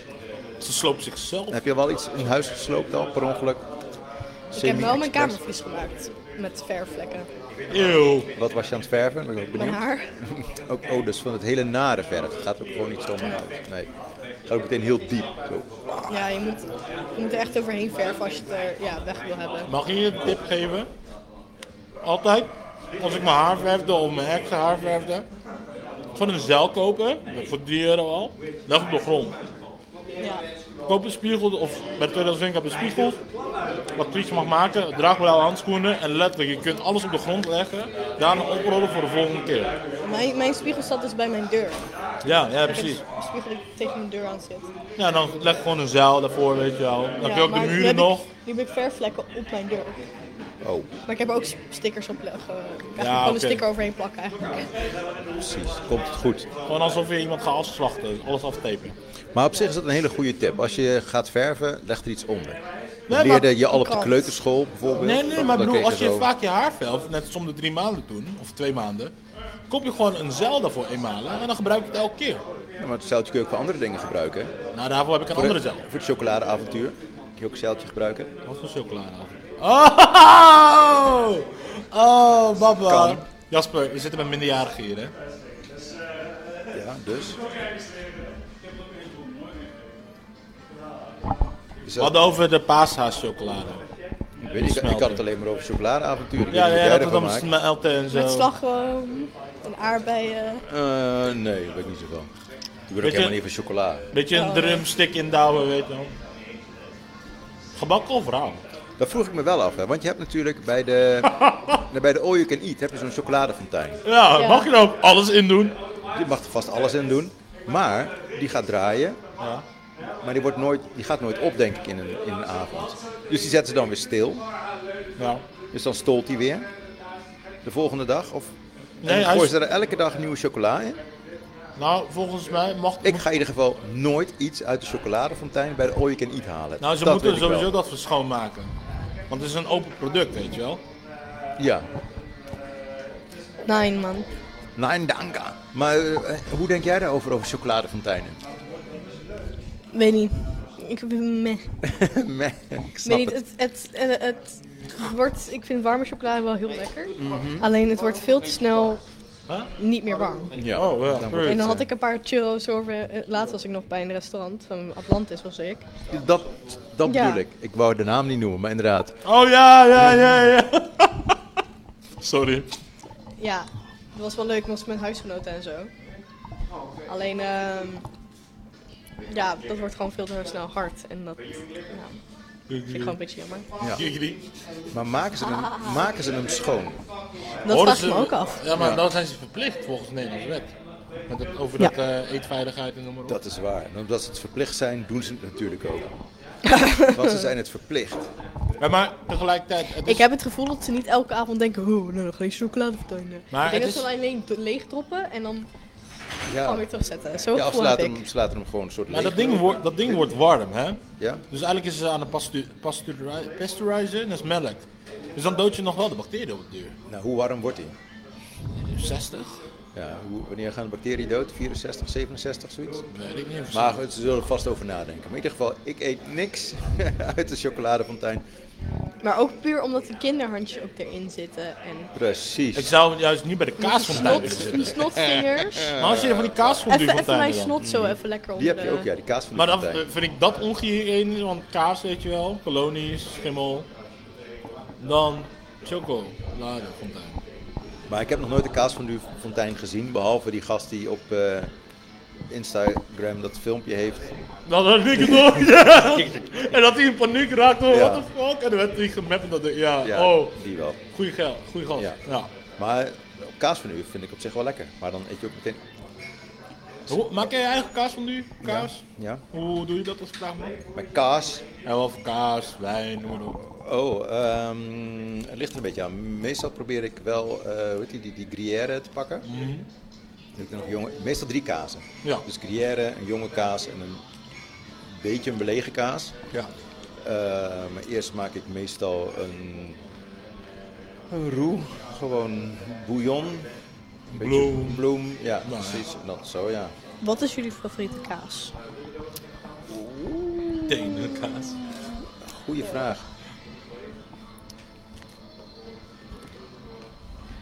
Ze sloopt zichzelf. Heb je wel iets in huis gesloopt al, per ongeluk? ik heb wel mijn kamer vies gemaakt. Met verfvlekken. Eeuw. Wat was je aan het verven? Ben ik ook Mijn benieuwd. haar. Ook, oh, dus van het hele nare verf. Het gaat ook gewoon niet zomaar uit. Nee. Het gaat ook meteen heel diep. Zo. Ja, je moet, je moet er echt overheen verven als je het er ja, weg wil hebben. Mag je je een tip geven? Altijd, als ik mijn haar verfde of mijn ex haar verfde, gewoon een zeil kopen, voor 3 euro al, leg op de grond. Ja. Koop een spiegel, of bij de tweedehands winkel heb je spiegels, wat Tries mag maken, draag blauwe handschoenen en letterlijk, je kunt alles op de grond leggen, daarna oprollen voor de volgende keer. Mijn, mijn spiegel staat dus bij mijn deur. Ja, ja Ik heb precies. een spiegel die tegen mijn deur aan zit. Ja, dan leg gewoon een zeil daarvoor, weet je wel. Dan heb je ook de maar nu muren heb ik- nog. Nu heb ik verfvlekken op mijn deur. Oh. Maar ik heb er ook s- stickers op leggen. Ik kan Ja, gewoon oké. een sticker overheen plakken eigenlijk. Precies, komt het goed. Gewoon alsof je iemand gaat afslachten, alles aftepen. Maar op zich is dat een hele goede tip. Als je gaat verven, leg er iets onder. Dat maar- leerde je al op de Krant. kleuterschool bijvoorbeeld. Nee, nee, Dat- maar dat bedoel, kreeg als je zo. vaak je haar verft, net als om de drie maanden doen, of twee maanden, koop je gewoon een zeil daarvoor eenmalen en dan gebruik je het elke keer. Ja, maar het zeiltje kun je ook voor andere dingen gebruiken. hè? Nou, daarvoor heb ik een Voor- andere zeil. Voor het chocoladeavontuur. Kun je ook een zeiltje gebruiken. Wat voor chocoladeavontuur? Oh! Oh, baba. Kan. Jasper, je zit er met minderjarigen hier, hè? Ja, dus. We hadden over de paashaaschocolade. Ik, weet, niet, ik, ik had het alleen maar over chocoladeavontuur. Ik weet Ja, niet wat jij ja, dat ervan was maakt. dan smelt en zo. Met slagroom en aardbeien. Eh, nee, dat weet ik niet zoveel. Ik ben ook Weet je- helemaal niet van chocola. Beetje een Oh. drumstick indouwen, weet je wel. Gebakken of rauw? Dat vroeg ik me wel af, hè? want je hebt natuurlijk bij de, bij de All You Can Eat heb je zo'n chocoladefontein. Ja, Ja. mag je er ook alles in doen? Je mag er vast alles in doen, maar die gaat draaien. Ja. Maar die, wordt nooit, die gaat nooit op, denk ik, in een, in een avond. Dus die zetten ze dan weer stil. Ja. Dus dan stolt hij weer. De volgende dag. Of, Nee, en hij gooien is- ze er elke dag nieuwe chocola in. Nou, volgens mij mag... Ik ga in ieder geval nooit iets uit de chocoladefontein bij de All You Can Eat halen. Nou, ze Dat moeten weet ik wel. sowieso dat voor schoonmaken. Want het is een open product, weet je wel. Ja, Nee man. Nou, nein danke. Maar eh, hoe denk jij daarover, over chocoladefonteinen? Weet niet. Ik ben meh. Meh, ik Ik snap weet niet, het. het, het, eh, het wordt, ik vind warme chocolade wel heel lekker. Mhm. Alleen het wordt veel te snel niet meer warm. Ja. Oh, ja. En dan had ik een paar churros over. eh, Laatst was ik nog bij een restaurant van Atlantis, was ik. Dat, dat Ja. bedoel ik. Ik wou de naam niet noemen, maar inderdaad. Oh ja, ja, ja, ja. Sorry. Ja, dat was wel leuk, was met huisgenoten en zo. Alleen, ehm, ja, dat wordt gewoon veel te snel hard. En dat ja, vind ik gewoon een beetje jammer. Ja. Maar maken ze, hem, maken ze hem schoon? Dat vraag Horen ik me ze- ook af. Ja, maar Ja. dan zijn ze verplicht volgens de Nederlandse wet. Met het, over dat eh, eetveiligheid en noem maar op. Dat is waar. En omdat ze het verplicht zijn, doen ze het natuurlijk ook. Want ze zijn het verplicht. Ja, maar tegelijkertijd... het is- Ik heb het gevoel dat ze niet elke avond denken, oh, nou, dan ga ik chocolade vertuinen. Maar ik denk het dat ze is- dan alleen d- leegdroppen en dan Ja. gewoon weer terugzetten. Zo ja, of voel ze heb laten, ik. hem, ze laten hem gewoon een soort Maar dat leeg- ding, wordt, dat ding wordt warm, hè? Ja. Dus eigenlijk is ze aan een pastu- pasteuri- pasteurizer en dat is melk. Dus dan dood je nog wel de bacteriën op de duur. Nou, hoe warm wordt hij? 60? Ja, hoe, wanneer gaan de bacteriën dood? 64, 67, zoiets? Weet ik niet. Maar goed, ze zullen er vast over nadenken. Maar in ieder geval, ik eet niks uit de chocoladefontein. Maar ook puur omdat de kinderhandjes ook erin zitten. En Precies. Ik zou juist niet bij de kaasfontein willen zitten. die snotvingers. Maar als je van die kaasfontein even, Mm. even mijn snot zo even lekker onder de... die kaas Maar dan eh, vind ik dat ongehygiënisch, want kaas weet je wel, kolonies, schimmel. Dan choco, lade, fontein. Maar ik heb nog nooit de kaas van de fontein gezien, behalve die gast die op eh, Instagram dat filmpje heeft. Nou, dat ik het nog. ja. En dat hij in paniek raakt, oh, Ja. what the fuck. En dan werd hij gemapt en dat ding, ja, Ja, oh. die wel. Goeie geld, goeie gast. Ja. Ja. Maar op kaas van u vind ik op zich wel lekker. Maar dan eet je ook meteen. Hoe, maak jij je eigen kaas van nu? Kaas? Ja. Hoe doe je dat als vraag man? Met kaas. En wel voor kaas, wijn, noem maar op. Oh, ehm, het ligt er een beetje aan. Meestal probeer ik wel, eh hoe heet die, die, die Gruyère te pakken. Mhm. Dan heb ik nog jonge, meestal drie kazen. Ja. Dus Gruyère, een jonge kaas en een beetje een belegen kaas. Ja. Eh, maar eerst maak ik meestal een, een roux, gewoon bouillon. Een beetje Bloem. Bloem, ja, Nou, ja. precies. Dat zo, ja. Wat is jullie favoriete kaas? Tenenkaas. Goeie vraag.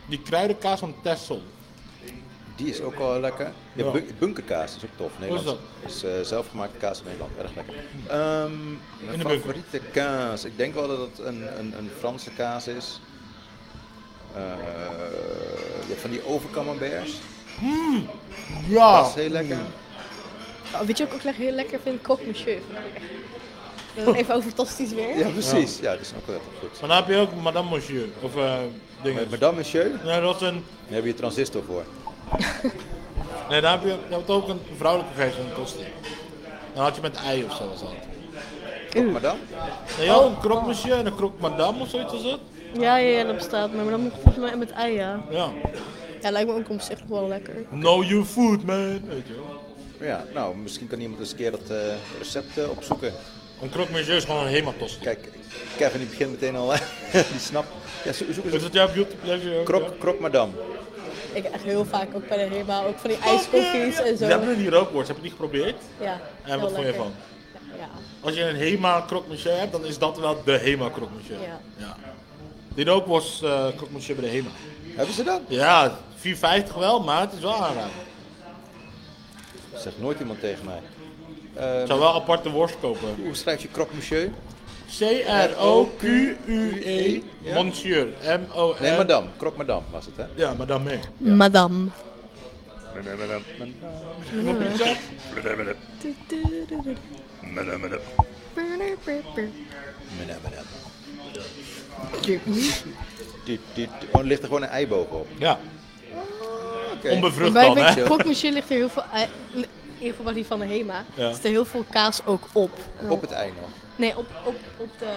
Die kruidenkaas van Tessel. Die is ook wel lekker. Ja, Ja. bu- bunkerkaas is ook tof. Nederlands. dat? is eh, zelfgemaakte kaas in Nederland. Erg lekker. Ehm mijn favoriete kaas. Ik denk wel dat het een, een, een Franse kaas is. Eh, je hebt van die overcamemberts. ja. Dat is heel lekker. Oh, weet je wat ik ook le- heel lekker vind? Croque monsieur. Dan Even over fantastisch weer. Ja, precies. Ja, dat is ook wel lekker goed. Maar dan heb je ook Madame Monsieur. Of eh dingen. Madame Monsieur? Nee, dat is een... Daar heb je transistor voor. Nee, daar heb je, je hebt ook een vrouwelijke versie van Tosti. Dan had je met ei of zo was dat. Krok madame? Nee, joh, een krok monsieur en een krok madame of zoiets was het. Ja, ja, ja, dat bestaat. Maar dan moet volgens mij met ei, ja. Ja. Ja, lijkt me ook om zich wel lekker. Know your food, man. Weet je wel. Ja, nou, misschien kan iemand eens een keer dat eh, recept eh, opzoeken. Een krok monsieur is gewoon een hematosti. Kijk, Kevin die begint meteen al, die snapt. Ja, zo- zoek Is eens dat jouw YouTube pleasure? ook, ja? Krok, krok madame. Ik echt heel vaak ook bij de Hema, ook van die ijskoffies en zo. We hebben die rookworst, heb je die geprobeerd? Ja, heel En wat vond je lekker. ervan? Ja. Als je een Hema croque monsieur hebt, dan is dat wel de Hema croque monsieur. Ja. Die rookworst eh croque monsieur bij de Hema. Hebben ze dat? Ja, 4,50 wel, maar het is wel aanraden. Zegt nooit iemand tegen mij. Ehm, Ik zou wel aparte worst kopen. Hoe schrijf je croque monsieur? C-R-O-Q-U-E E, Monsieur. M-O-N. Nee, madame. Croque madame was het, hè? Ja, madame mee. Madame. Madame, madame. Dit, dit, oh, er ligt er gewoon een eiboog op. Ja. Ah, Oké. Onbevrucht Bij dan, bij hè? Croque Monsieur ligt er heel veel, ei- in ieder geval die van de Hema, Ja. zit er heel veel kaas ook op. Op het ei nog. Nee, op, op, op de...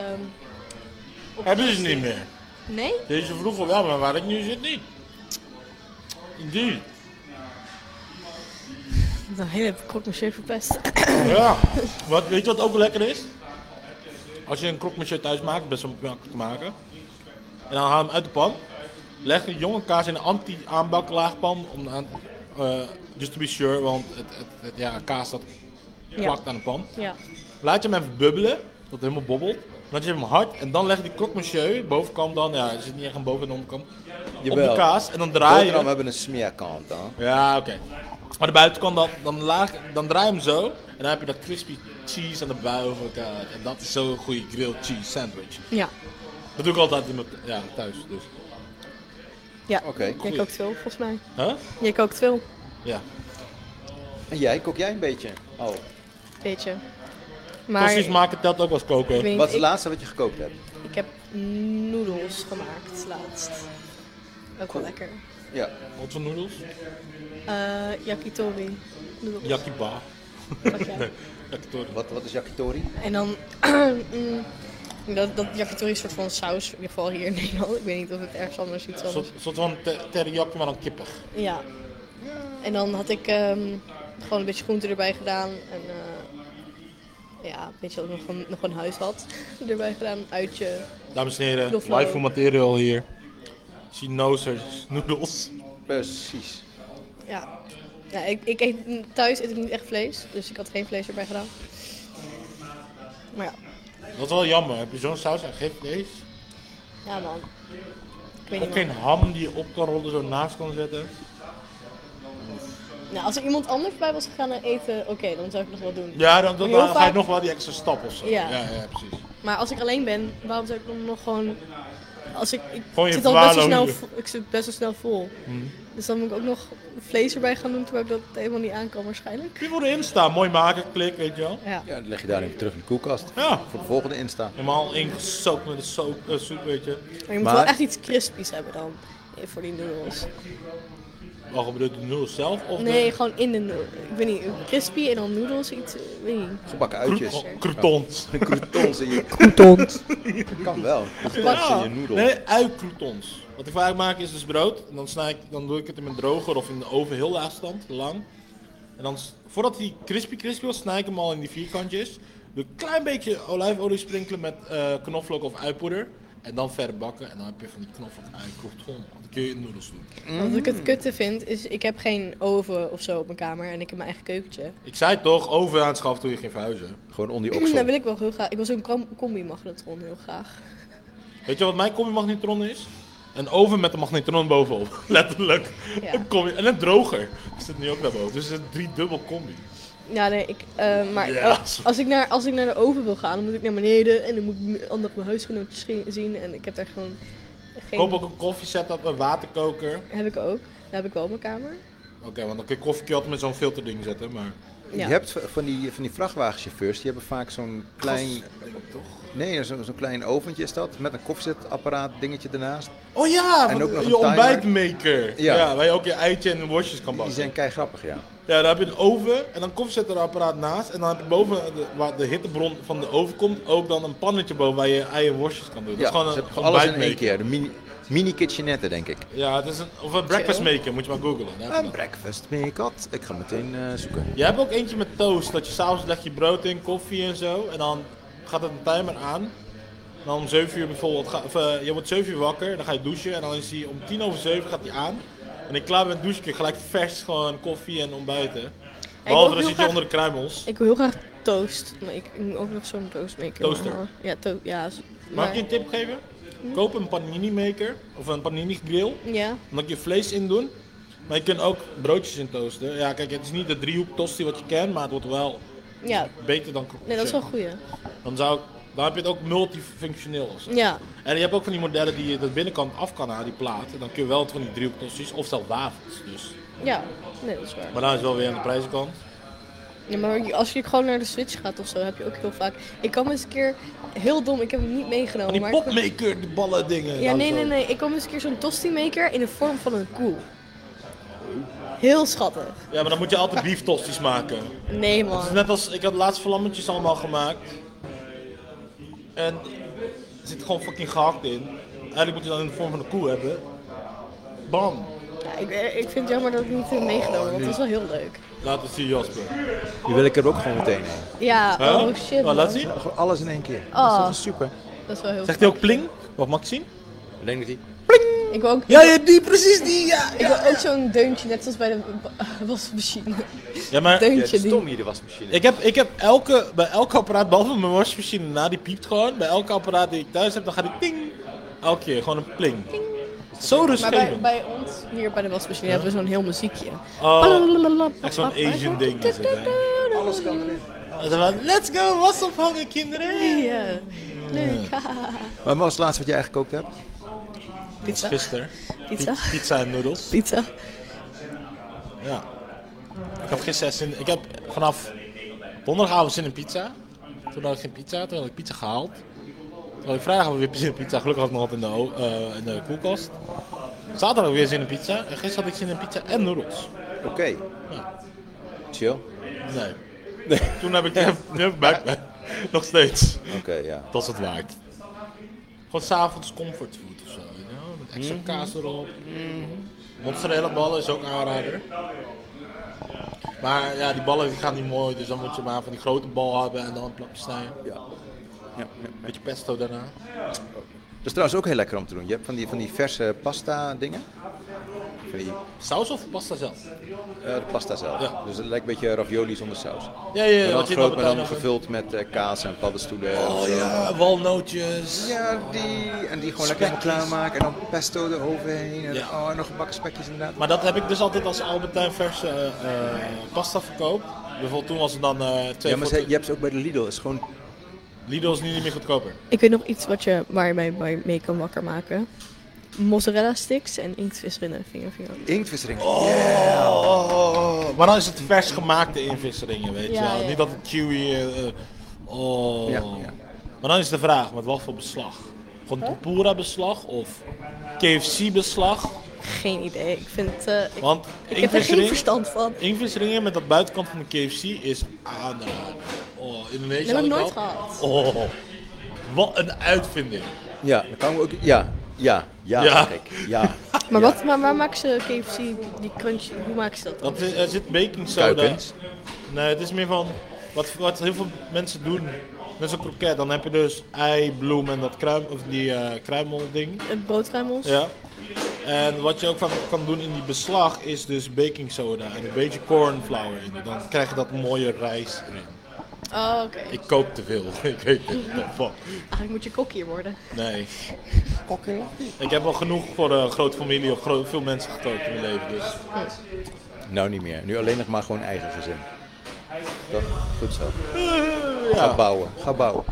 op Hebben ze de- niet meer. Nee? Deze vroeger wel, maar waar ik nu zit niet. Die. Dan hele Croque Monsieur verpest. Ja. Wat, weet je wat ook lekker is? Als je een croque-monsieur thuis maakt, best wel makkelijk te maken. En dan haal je hem uit de pan. Leg een jonge kaas in een anti-aanbaklaagpan. Om aan, eh, just to be sure, want het, het, het- ja, kaas dat Ja. plakt aan de pan. Ja. Laat je hem even bubbelen, dat het helemaal bobbelt. Laat je hem hard en dan leg je die croque monsieur, bovenkant dan, ja, er zit niet echt een boven- en onderkant, op de kaas. En dan draai je We hem. hebben een smeerkant dan. Ja, oké. Maar de buitenkant, dan, dan, laag, dan draai je hem zo. En dan heb je dat crispy cheese aan de boven elkaar. En dat is zo'n goede grilled cheese sandwich. Ja. Dat doe ik altijd in mijn, ja, thuis. Dus. Ja, Oké. jij kookt veel volgens mij. Huh? Jij kookt veel, Ja. En jij, kook jij een beetje? Oh. weet je. Maar Precies maken telt ook als Ik weet koken. niet, Wat is het ik- laatste wat je gekookt hebt? ik heb noedels gemaakt laatst. Ook wel lekker. Ja. Wat voor noedels? Eh, yakitori noedels. Yakiba. Nee, yakitori. Wat, wat is yakitori? En dan, mm, dat, dat yakitori is een soort van saus, in ieder geval hier in Nederland. Ik weet niet of het ergens anders iets Een anders soort- soort van te- teriyaki, maar dan kippig. Ja. En dan had ik ehm, gewoon een beetje groente erbij gedaan. En eh, ja, een beetje dat ik nog een, nog een huis had erbij gedaan. Een uitje. Dames en heren, Knoflook. live voor material hier. She knows her noedels. Precies. Ja. ja ik, ik eet, mm, thuis eet ik niet echt vlees, dus ik had geen vlees erbij gedaan. Maar ja, Dat is wel jammer. Heb je zo'n saus en geen vlees? ja man. Ik weet Ook niet geen man. ham die je op kan rollen, zo naast kan zetten? Nou, als er iemand anders bij was gegaan naar eten, oké, dan zou ik nog wat doen. Ja, dan, Maar dan, heel dan ga je vaak- nog wel die extra stap of zo. Ja. ja, ja, precies. Maar als ik alleen ben, waarom zou ik dan nog gewoon... Als ik, ik Gewoon je zit al best wel, snel, verwaarlozen. vo- ik zit best wel snel vol. Mhm. Dus dan moet ik ook nog vlees erbij gaan doen, terwijl ik dat helemaal niet aan kan waarschijnlijk. Je voor de Insta, mooi maken, klik, weet je wel. Ja. Ja, dat leg je daarin terug in de koelkast. Ja. Voor de volgende Insta. Helemaal ingesoakt met de soep, eh, soep, weet je. Maar je moet wel echt iets crispies hebben dan, eh, voor die noedels. Wacht, je bedoelt de noedels zelf? Of Nee, de... gewoon in de noedels. Ik weet niet, crispy en dan noedels, iets, eh, weet niet. Gebakken uitjes. Croutons. Croutons. Croutons in je... Croutons. Kan wel. Croutons in je noedel. Nee, uicroutons. Wat ik vaak maak is dus brood. En dan, snij ik, dan doe ik het in mijn droger of in de oven heel laag stand, lang. En dan, s- voordat hij crispy crispy was, snij ik hem al in die vierkantjes. Doe een klein beetje olijfolie sprinkelen met eh, knoflook of uipoeder. En dan verder bakken. En dan heb je van die knoflook uicrouton. Dan kun je in noedels doen. Wat ik het kutte vind, is ik heb geen oven of zo op mijn kamer en ik heb mijn eigen keukentje. Ik zei toch, oven aanschaffen toen je ging verhuizen. Gewoon onder Daar wil ik wel heel graag. Ik wil zo'n com- combi-magnetron heel graag. Weet je wat mijn combi-magnetron is? Een oven met een magnetron bovenop. Letterlijk. Ja. Een combi- en een droger. Zit nu ook naar boven. Dus het is een driedubbel combi. Ja, nee, ik, eh, maar Ja. als- als, ik naar, als ik naar de oven wil gaan, dan moet ik naar beneden en dan moet ik m- andere mijn huisgenootjes ge- zien. En ik heb daar gewoon Ik geen... Koop ook een koffiezet op een waterkoker. Oké, Heb ik ook. Dat heb ik wel op mijn kamer. want dan kun je koffie altijd met zo'n filterding zetten, maar... Ja. Je hebt van die, van die vrachtwagenchauffeurs, die hebben vaak zo'n klein... Nee, zo- zo'n klein oventje is dat. Met een koffiezetapparaat dingetje ernaast. Oh ja, En want ook nog je een timer. ontbijtmaker. Ja. Ja. waar je ook je eitje en worstjes kan Die bakken. zijn kei grappig, ja. Ja, daar heb je een oven en dan koffiezetapparaat naast. En dan heb je boven, de, waar de hittebron van de oven komt, ook dan een pannetje boven waar je ei en worstjes kan ja doen. dat is gewoon ze een, hebben gewoon alles in ontbijtmaker. één keer. De mini, mini kitchenette, denk ik. Ja, het is een, of een breakfast maker, moet je maar googlen. Daar heb je Een dat. breakfast meerkat. Ik ga meteen eh, zoeken. Jij hebt ook eentje met toast, dat je s'avonds leg je brood in, koffie en zo. En dan gaat het een timer aan. En dan om 7 uur bijvoorbeeld, ga- of, eh, je wordt 7 uur wakker, dan ga je douchen. En dan is die om 10 over 7 gaat die aan. En ik klaar ben met douchen, kun je gelijk vers gewoon koffie en ontbijten. Behalve ook dan heel zit je graag- onder de kruimels. Ik wil heel graag toast, maar ik, ik moet ook nog zo'n toastmaker. Toaster? halen. Ja, to ja. z- Mag maar- ik je een tip geven? Hm? Koop een panini maker, of een panini grill. Ja. Dan kan je vlees in doen. Maar je kunt ook broodjes in toasten. Ja, kijk, het is niet de driehoek tosti wat je kent, maar het wordt wel Ja. beter dan croque Nee, dat is wel monsieur. een goeie. Dan, zou ik- dan heb je het ook multifunctioneel. of zo. Ja. En je hebt ook van die modellen die je de binnenkant af kan halen, die plaat. En dan kun je wel van die driehoektossies of zelfs wafels. Dus. Ja, nee, dat is waar. Maar dan is het wel weer aan de prijzenkant. Ja, maar als je gewoon naar de Switch gaat of zo, heb je ook heel vaak. Ik kwam eens een keer, heel dom, ik heb hem niet meegenomen. Van die Oh, maar popmaker, die ballen dingen. Ja, dan nee, zo. nee, nee. Ik kwam eens een keer zo'n tosti maker in de vorm van een koe. Heel schattig. Ja, maar dan moet je altijd beef tosti's maken. Nee, man. Het is net als, ik had laatst vlammetjes allemaal gemaakt. En er zit gewoon fucking gehakt in. Eigenlijk moet je dan in de vorm van een koe hebben. Bam. Ja, ik, eh, ik vind het jammer dat ik niet heb meegenomen, want het is wel heel leuk. Laat het zien, Jasper. Die wil ik er ook gewoon meteen heen. Ja, Huh? oh shit. Oh, laat man. zien. Gewoon alles in één keer. Oh. Dat is super. Dat is wel heel Zegt hij ook pling? Wat mag ik zien? Ik denk dat hij... Ik wil ook, Ja, ja, die, precies die, ja. Ik wil ook zo'n deuntje, net zoals bij de wa- wasmachine. Ja, maar... Deuntje die- de wasmachine. Ik heb, ik heb elke, bij elk apparaat, behalve mijn wasmachine, na die piept gewoon. Bij elk apparaat die ik thuis heb, dan gaat die ting. Elke keer, gewoon een pling. Zo Maar rustig. bij, bij ons, hier bij de wasmachine, Ja. hebben we zo'n heel muziekje. Oh, echt zo'n Asian ding. is het, hè. Alles kan erin. En dan van, Let's go, was ophangen, kinderen! Ja, leuk. Wat was het laatste wat jij gekookt hebt? Pizza. Gisteren. Pizza. Pi- Pizza en noedels. Pizza. Ja. Ik heb gisteren zin, ik heb vanaf donderdagavond zin in pizza. Toen had ik geen pizza, toen had ik pizza gehaald. Toen had ik vrijdagavond weer zin in pizza, gelukkig had ik nog wat in de, o- eh, in de koelkast. Zaterdag had ik weer zin in pizza en gisteren had ik zin in pizza en noedels. Oké. Chill. Nee. Toen heb ik nu heb ik buikpijn. Nog steeds. Oké, ja. Dat is het waard. Gewoon s'avonds comfortfood of zo. weet je wel, Met extra Mhm. kaas erop. Mhm. Mozzarella ballen is ook aanrader. Maar ja, die ballen die gaan niet mooi, dus dan moet je maar van die grote bal hebben en dan een plakje snijden. Ja. Beetje pesto daarna. Dat is trouwens ook heel lekker om te doen. Je hebt van die, van die verse pasta dingen. Van die, Saus of pasta zelf? eh, de pasta zelf. Dus het lijkt een beetje ravioli zonder saus. Ja, ja, ja, Maar dan wat je groot, dan maar dan meteen- gevuld met eh, kaas en paddenstoelen. en Oh zo. ja, walnootjes. Ja, die. En die gewoon lekker helemaal klaarmaken. En dan pesto eroverheen. En, oh, en nog gebakken spekjes inderdaad. Maar dat heb ik dus altijd als Albertijn verse eh, eh, pasta verkoop. Bijvoorbeeld toen was het dan eh twee ja, maar ze- je hebt ze ook bij de Lidl. is gewoon... Lidl is niet meer goedkoper. Ik weet nog iets wat je, waar je mij bij- mee kan wakker maken. Mozzarella sticks en inktvis erin en vingervinger. Inktvisring. Oh, maar dan is het vers gemaakte invisseringje, weet je Ja, wel. ja. Niet dat het chewy... eh, eh, oh. Ja, Maar dan is de vraag, met wat voor beslag? Gewoon tempura beslag of KFC beslag? Geen idee. Ik vind het... eh, ik- Want ik heb er geen verstand van. Inviseringen met dat buitenkant van de KFC is aanraden. Oh, Indonesië Dat heb ik had nooit al. gehad. Oh, wat een uitvinding. Ja, dan kan ik ook... Ja, ja, ja. Ja. Kijk, ja. Maar, wat, maar waar maken ze KFC, die crunch, hoe maken ze dat dan? Dat is, er zit baking soda. Kuipens. Nee, het is meer van wat, wat heel veel mensen doen. Net zo'n kroket, dan heb je dus ei, bloem en dat kruim, of die eh kruimelding. Het broodruimels? Ja. En wat je ook van, kan doen in die beslag is dus baking soda en een beetje cornflour in. Dan krijg je dat mooie rijst erin. Oh, oké. Ik koop te veel, ik weet het nog van. Eigenlijk moet je kok hier worden. Nee. Ik heb al genoeg voor een grote familie of gro- veel mensen gekookt in mijn leven. Dus. Nou niet meer. Nu alleen nog maar gewoon eigen gezin. Dat, goed zo. Eh, ja. Ga bouwen. Ga bouwen.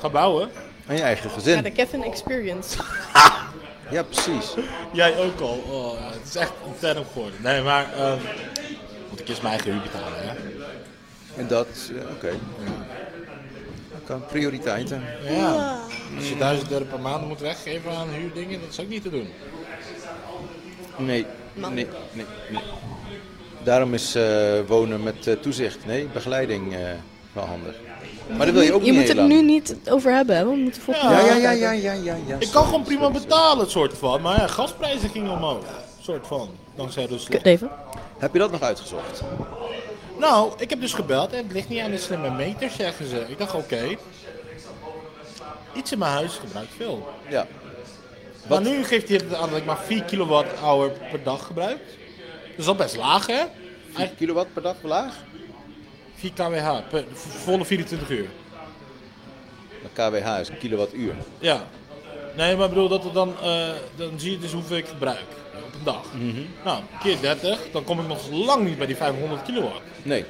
Ga bouwen? Aan je eigen Ja, gezin. de Kevin Experience. Ja, precies. Jij ook al. Oh, ja, het is echt een term geworden. Nee, maar. ehm want ik is mijn eigen huur betalen, hè? En dat, ja, oké. Kan prioriteiten. Ja. Als je 1000 euro per maand moet weggeven aan huurdingen, dat is ook niet te doen. Nee, nee, nee, nee. Daarom is eh, wonen met eh, toezicht, nee, begeleiding eh, wel handig. Maar dat wil je ook je niet moet heel het lang. nu niet over hebben, hè? want we moeten volgende Ja, keer ja, ja, ja, kijken. ja, ja, ja. Ik kan gewoon prima betalen, soort van. Maar ja, gasprijzen gingen omhoog. Soort van. Dankzij Rusland. Heb je dat nog uitgezocht? Nou, ik heb dus gebeld en het ligt niet aan de slimme meter, zeggen ze. Ik dacht, oké. Iets in mijn huis gebruikt veel. Ja. Maar nu geeft hij het aan dat ik maar 4 kilowattuur per dag gebruik. Dat is al best laag, hè? 4 kilowatt per dag laag? 4 kWh, per, volle 24 uur. Maar KWH is een kilowattuur. Ja. Nee, maar ik bedoel, dat het dan, eh, dan zie je dus hoeveel ik gebruik op een dag. Mhm. Nou, keer 30, dan kom ik nog lang niet bij die 500 kilowatt. Nee.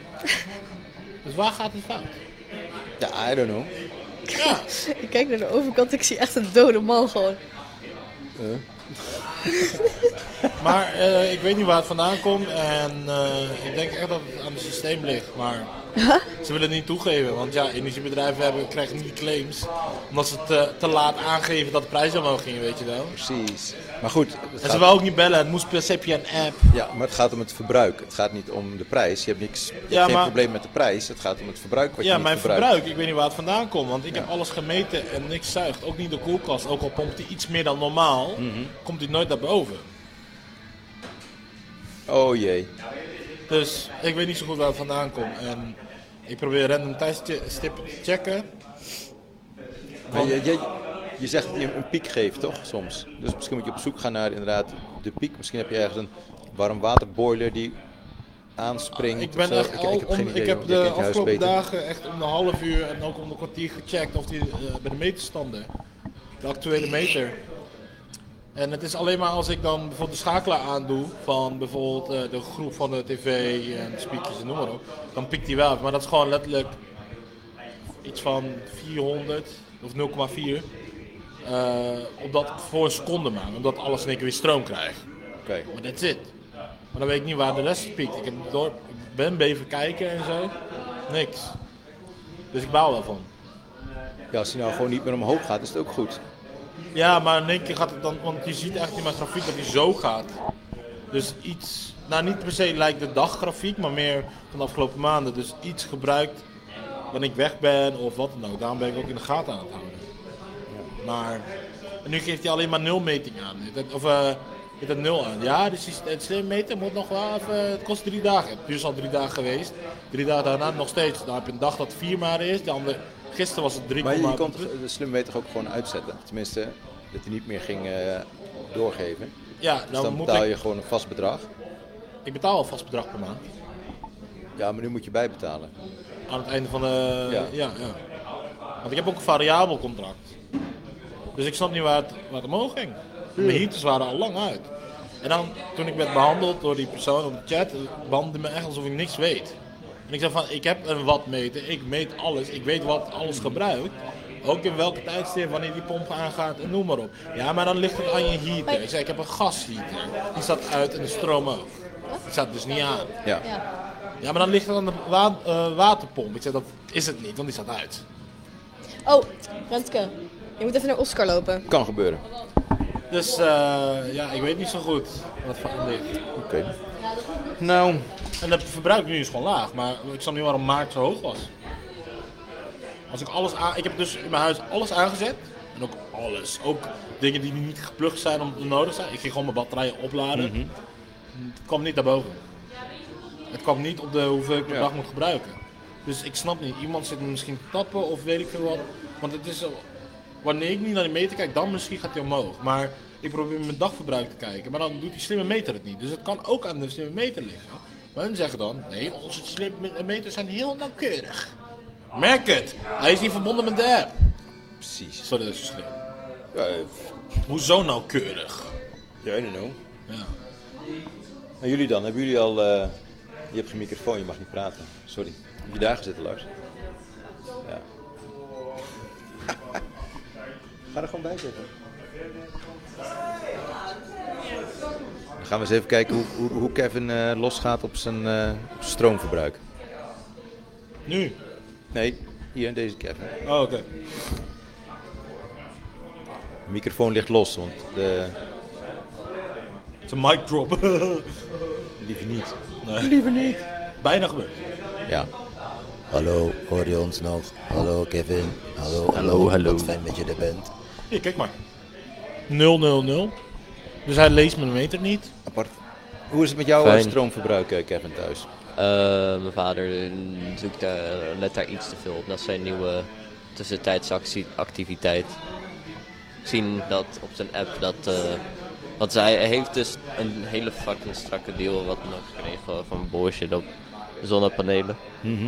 Dus waar gaat het fout? Ja, I don't know. ik kijk naar de overkant, ik zie echt een dode man gewoon. Eh. Maar eh, ik weet niet waar het vandaan komt en eh, ik denk echt dat het aan het systeem ligt. Maar ze willen het niet toegeven, want ja, energiebedrijven hebben, krijgen niet die claims. Omdat ze te, te laat aangeven dat de prijzen omhoog gingen, weet je wel. Precies. Maar goed. het En ze gaat- wou ook niet bellen, het moest per se via een app. Ja, maar het gaat om het verbruik. Het gaat niet om de prijs. Je hebt niks, je hebt Ja, geen maar- probleem met de prijs. Het gaat om het verbruik wat Ja, je niet mijn verbruikt. verbruik, ik weet niet waar het vandaan komt, want ik heb alles gemeten en niks zuigt. Ook niet de koelkast, ook al pompt hij iets meer dan normaal, Mhm. komt hij nooit daarboven. Oh jee. Dus ik weet niet zo goed waar het vandaan komt. En ik probeer random tijdstippen te checken. Maar Want- je- je- je zegt dat je hem een piek geeft, toch? Soms. Dus misschien moet je op zoek gaan naar inderdaad de piek. Misschien heb je ergens een warm waterboiler die aanspringt. Ik ben of zo. echt al heb om, geen idee, ik want heb jij de kent je huis afgelopen beter. dagen echt om de half uur en ook om de kwartier gecheckt of die eh, bij de meterstanden. De actuele meter. En het is alleen maar als ik dan bijvoorbeeld de schakelaar aandoe van bijvoorbeeld eh, de groep van de tv en de speakers en noem maar op, dan pikt die wel. uit. Maar dat is gewoon letterlijk iets van 400 of 0,4 eh, op dat voor een seconde maken, omdat alles in één keer weer stroom krijgt. Oké. Maar that's it. Maar dan weet ik niet waar de rest piekt. Ik, heb het dorp, ik ben even kijken en zo. Niks. Dus ik baal daarvan. Ja, als hij nou gewoon niet meer omhoog gaat, is het ook goed. Ja, maar in één keer gaat het dan, want je ziet echt in mijn grafiek dat hij zo gaat. Dus iets, nou niet per se lijkt de daggrafiek, maar meer van de afgelopen maanden. Dus iets gebruikt wanneer ik weg ben of wat dan ook. Daarom ben ik ook in de gaten aan het houden. Maar en nu geeft hij alleen maar nulmeting aan. Het- Of eh het het nul aan. Ja, dus die- het slimmeter moet nog wel even, het kost drie dagen. Het is al drie dagen geweest. Drie dagen daarna nog steeds. Dan heb je een dag dat vier maar is. De andere, gisteren was het drie Maar je, komma- je kon toch de slimme meter ook gewoon uitzetten. Tenminste, dat hij niet meer ging eh, doorgeven. Ja, dus dan dan moet betaal ik- je gewoon een vast bedrag. Ik betaal al vast bedrag per maand. Ja, maar nu moet je bijbetalen. Aan het einde van de... Ja. Ja. Ja, Want ik heb ook een variabel contract. Dus ik snap niet waar het, waar het omhoog ging. Mijn heaters waren al lang uit. En dan, toen ik werd behandeld door die persoon op de chat, behandelde me echt alsof ik niks weet. En ik zei van, ik heb een wattmeter, ik meet alles, ik weet wat alles gebruikt. Ook in welke tijdstip, wanneer die pomp aangaat en noem maar op. Ja, maar dan ligt het aan je heater. Ik zei, ik heb een gasheater. Die staat uit en de stroom ook. Die staat dus niet aan. Ja. Ja, maar dan ligt het aan de wa- eh, waterpomp. Ik zei, dat is het niet, want die staat uit. Oh, Renske. Je moet even naar Oscar lopen. Kan gebeuren. Dus eh, ja, ik weet niet zo goed wat van ligt. Oké. Nou. En het verbruik nu is gewoon laag, maar ik snap niet waarom maart zo hoog was. Als ik alles aan... Ik heb dus in mijn huis alles aangezet. En ook alles. Ook dingen die niet geplukt zijn om te nodig zijn. Ik ging gewoon mijn batterijen opladen. Mhm. Het kwam niet daarboven. Het kwam niet op de hoeveel ik per Ja. dag moet gebruiken. Dus ik snap niet. Iemand zit me misschien te tappen of weet ik veel wat. Want het is... zo- Wanneer ik niet naar die meter kijk, dan misschien gaat hij omhoog. Maar ik probeer mijn dagverbruik te kijken. Maar dan doet die slimme meter het niet. Dus het kan ook aan de slimme meter liggen. Maar hun zeggen dan, nee, onze slimme meters zijn heel nauwkeurig. Merk het! Hij is niet verbonden met de app. Precies. eh, Sorry, dat is zo slim. Hoezo nauwkeurig? Ja, I don't know. Ja. En jullie dan? Hebben jullie al... eh, Je hebt geen microfoon, je mag niet praten. Sorry. Heb je daar gezeten, Lars? Ja. Ga er gewoon bij zitten. Dan gaan we eens even kijken hoe, hoe, hoe Kevin eh, losgaat op zijn eh, op zijn stroomverbruik. Nu? Nee, hier, deze Kevin. Oh, oké. De microfoon ligt los, want de... Het is een mic drop. Liever niet. Liever niet. Bijna gebeurd. Ja. Hallo, hoor je ons nog? Hallo Kevin. Hallo, hallo. Wat fijn dat je er bent. Hier, kijk maar. 000. Dus hij leest mijn meter niet. Apart. Hoe is het met jouw Fijn. eh, stroomverbruik, eh, Kevin, thuis? Eh, mijn vader mm, zoekt daar, let daar iets te veel op. Dat is zijn nieuwe tussentijdsactiviteit. Ik zie dat op zijn app dat. eh want zij heeft dus een hele fucking strakke deal wat hij nog kreeg van Boosje op zonnepanelen. Mhm.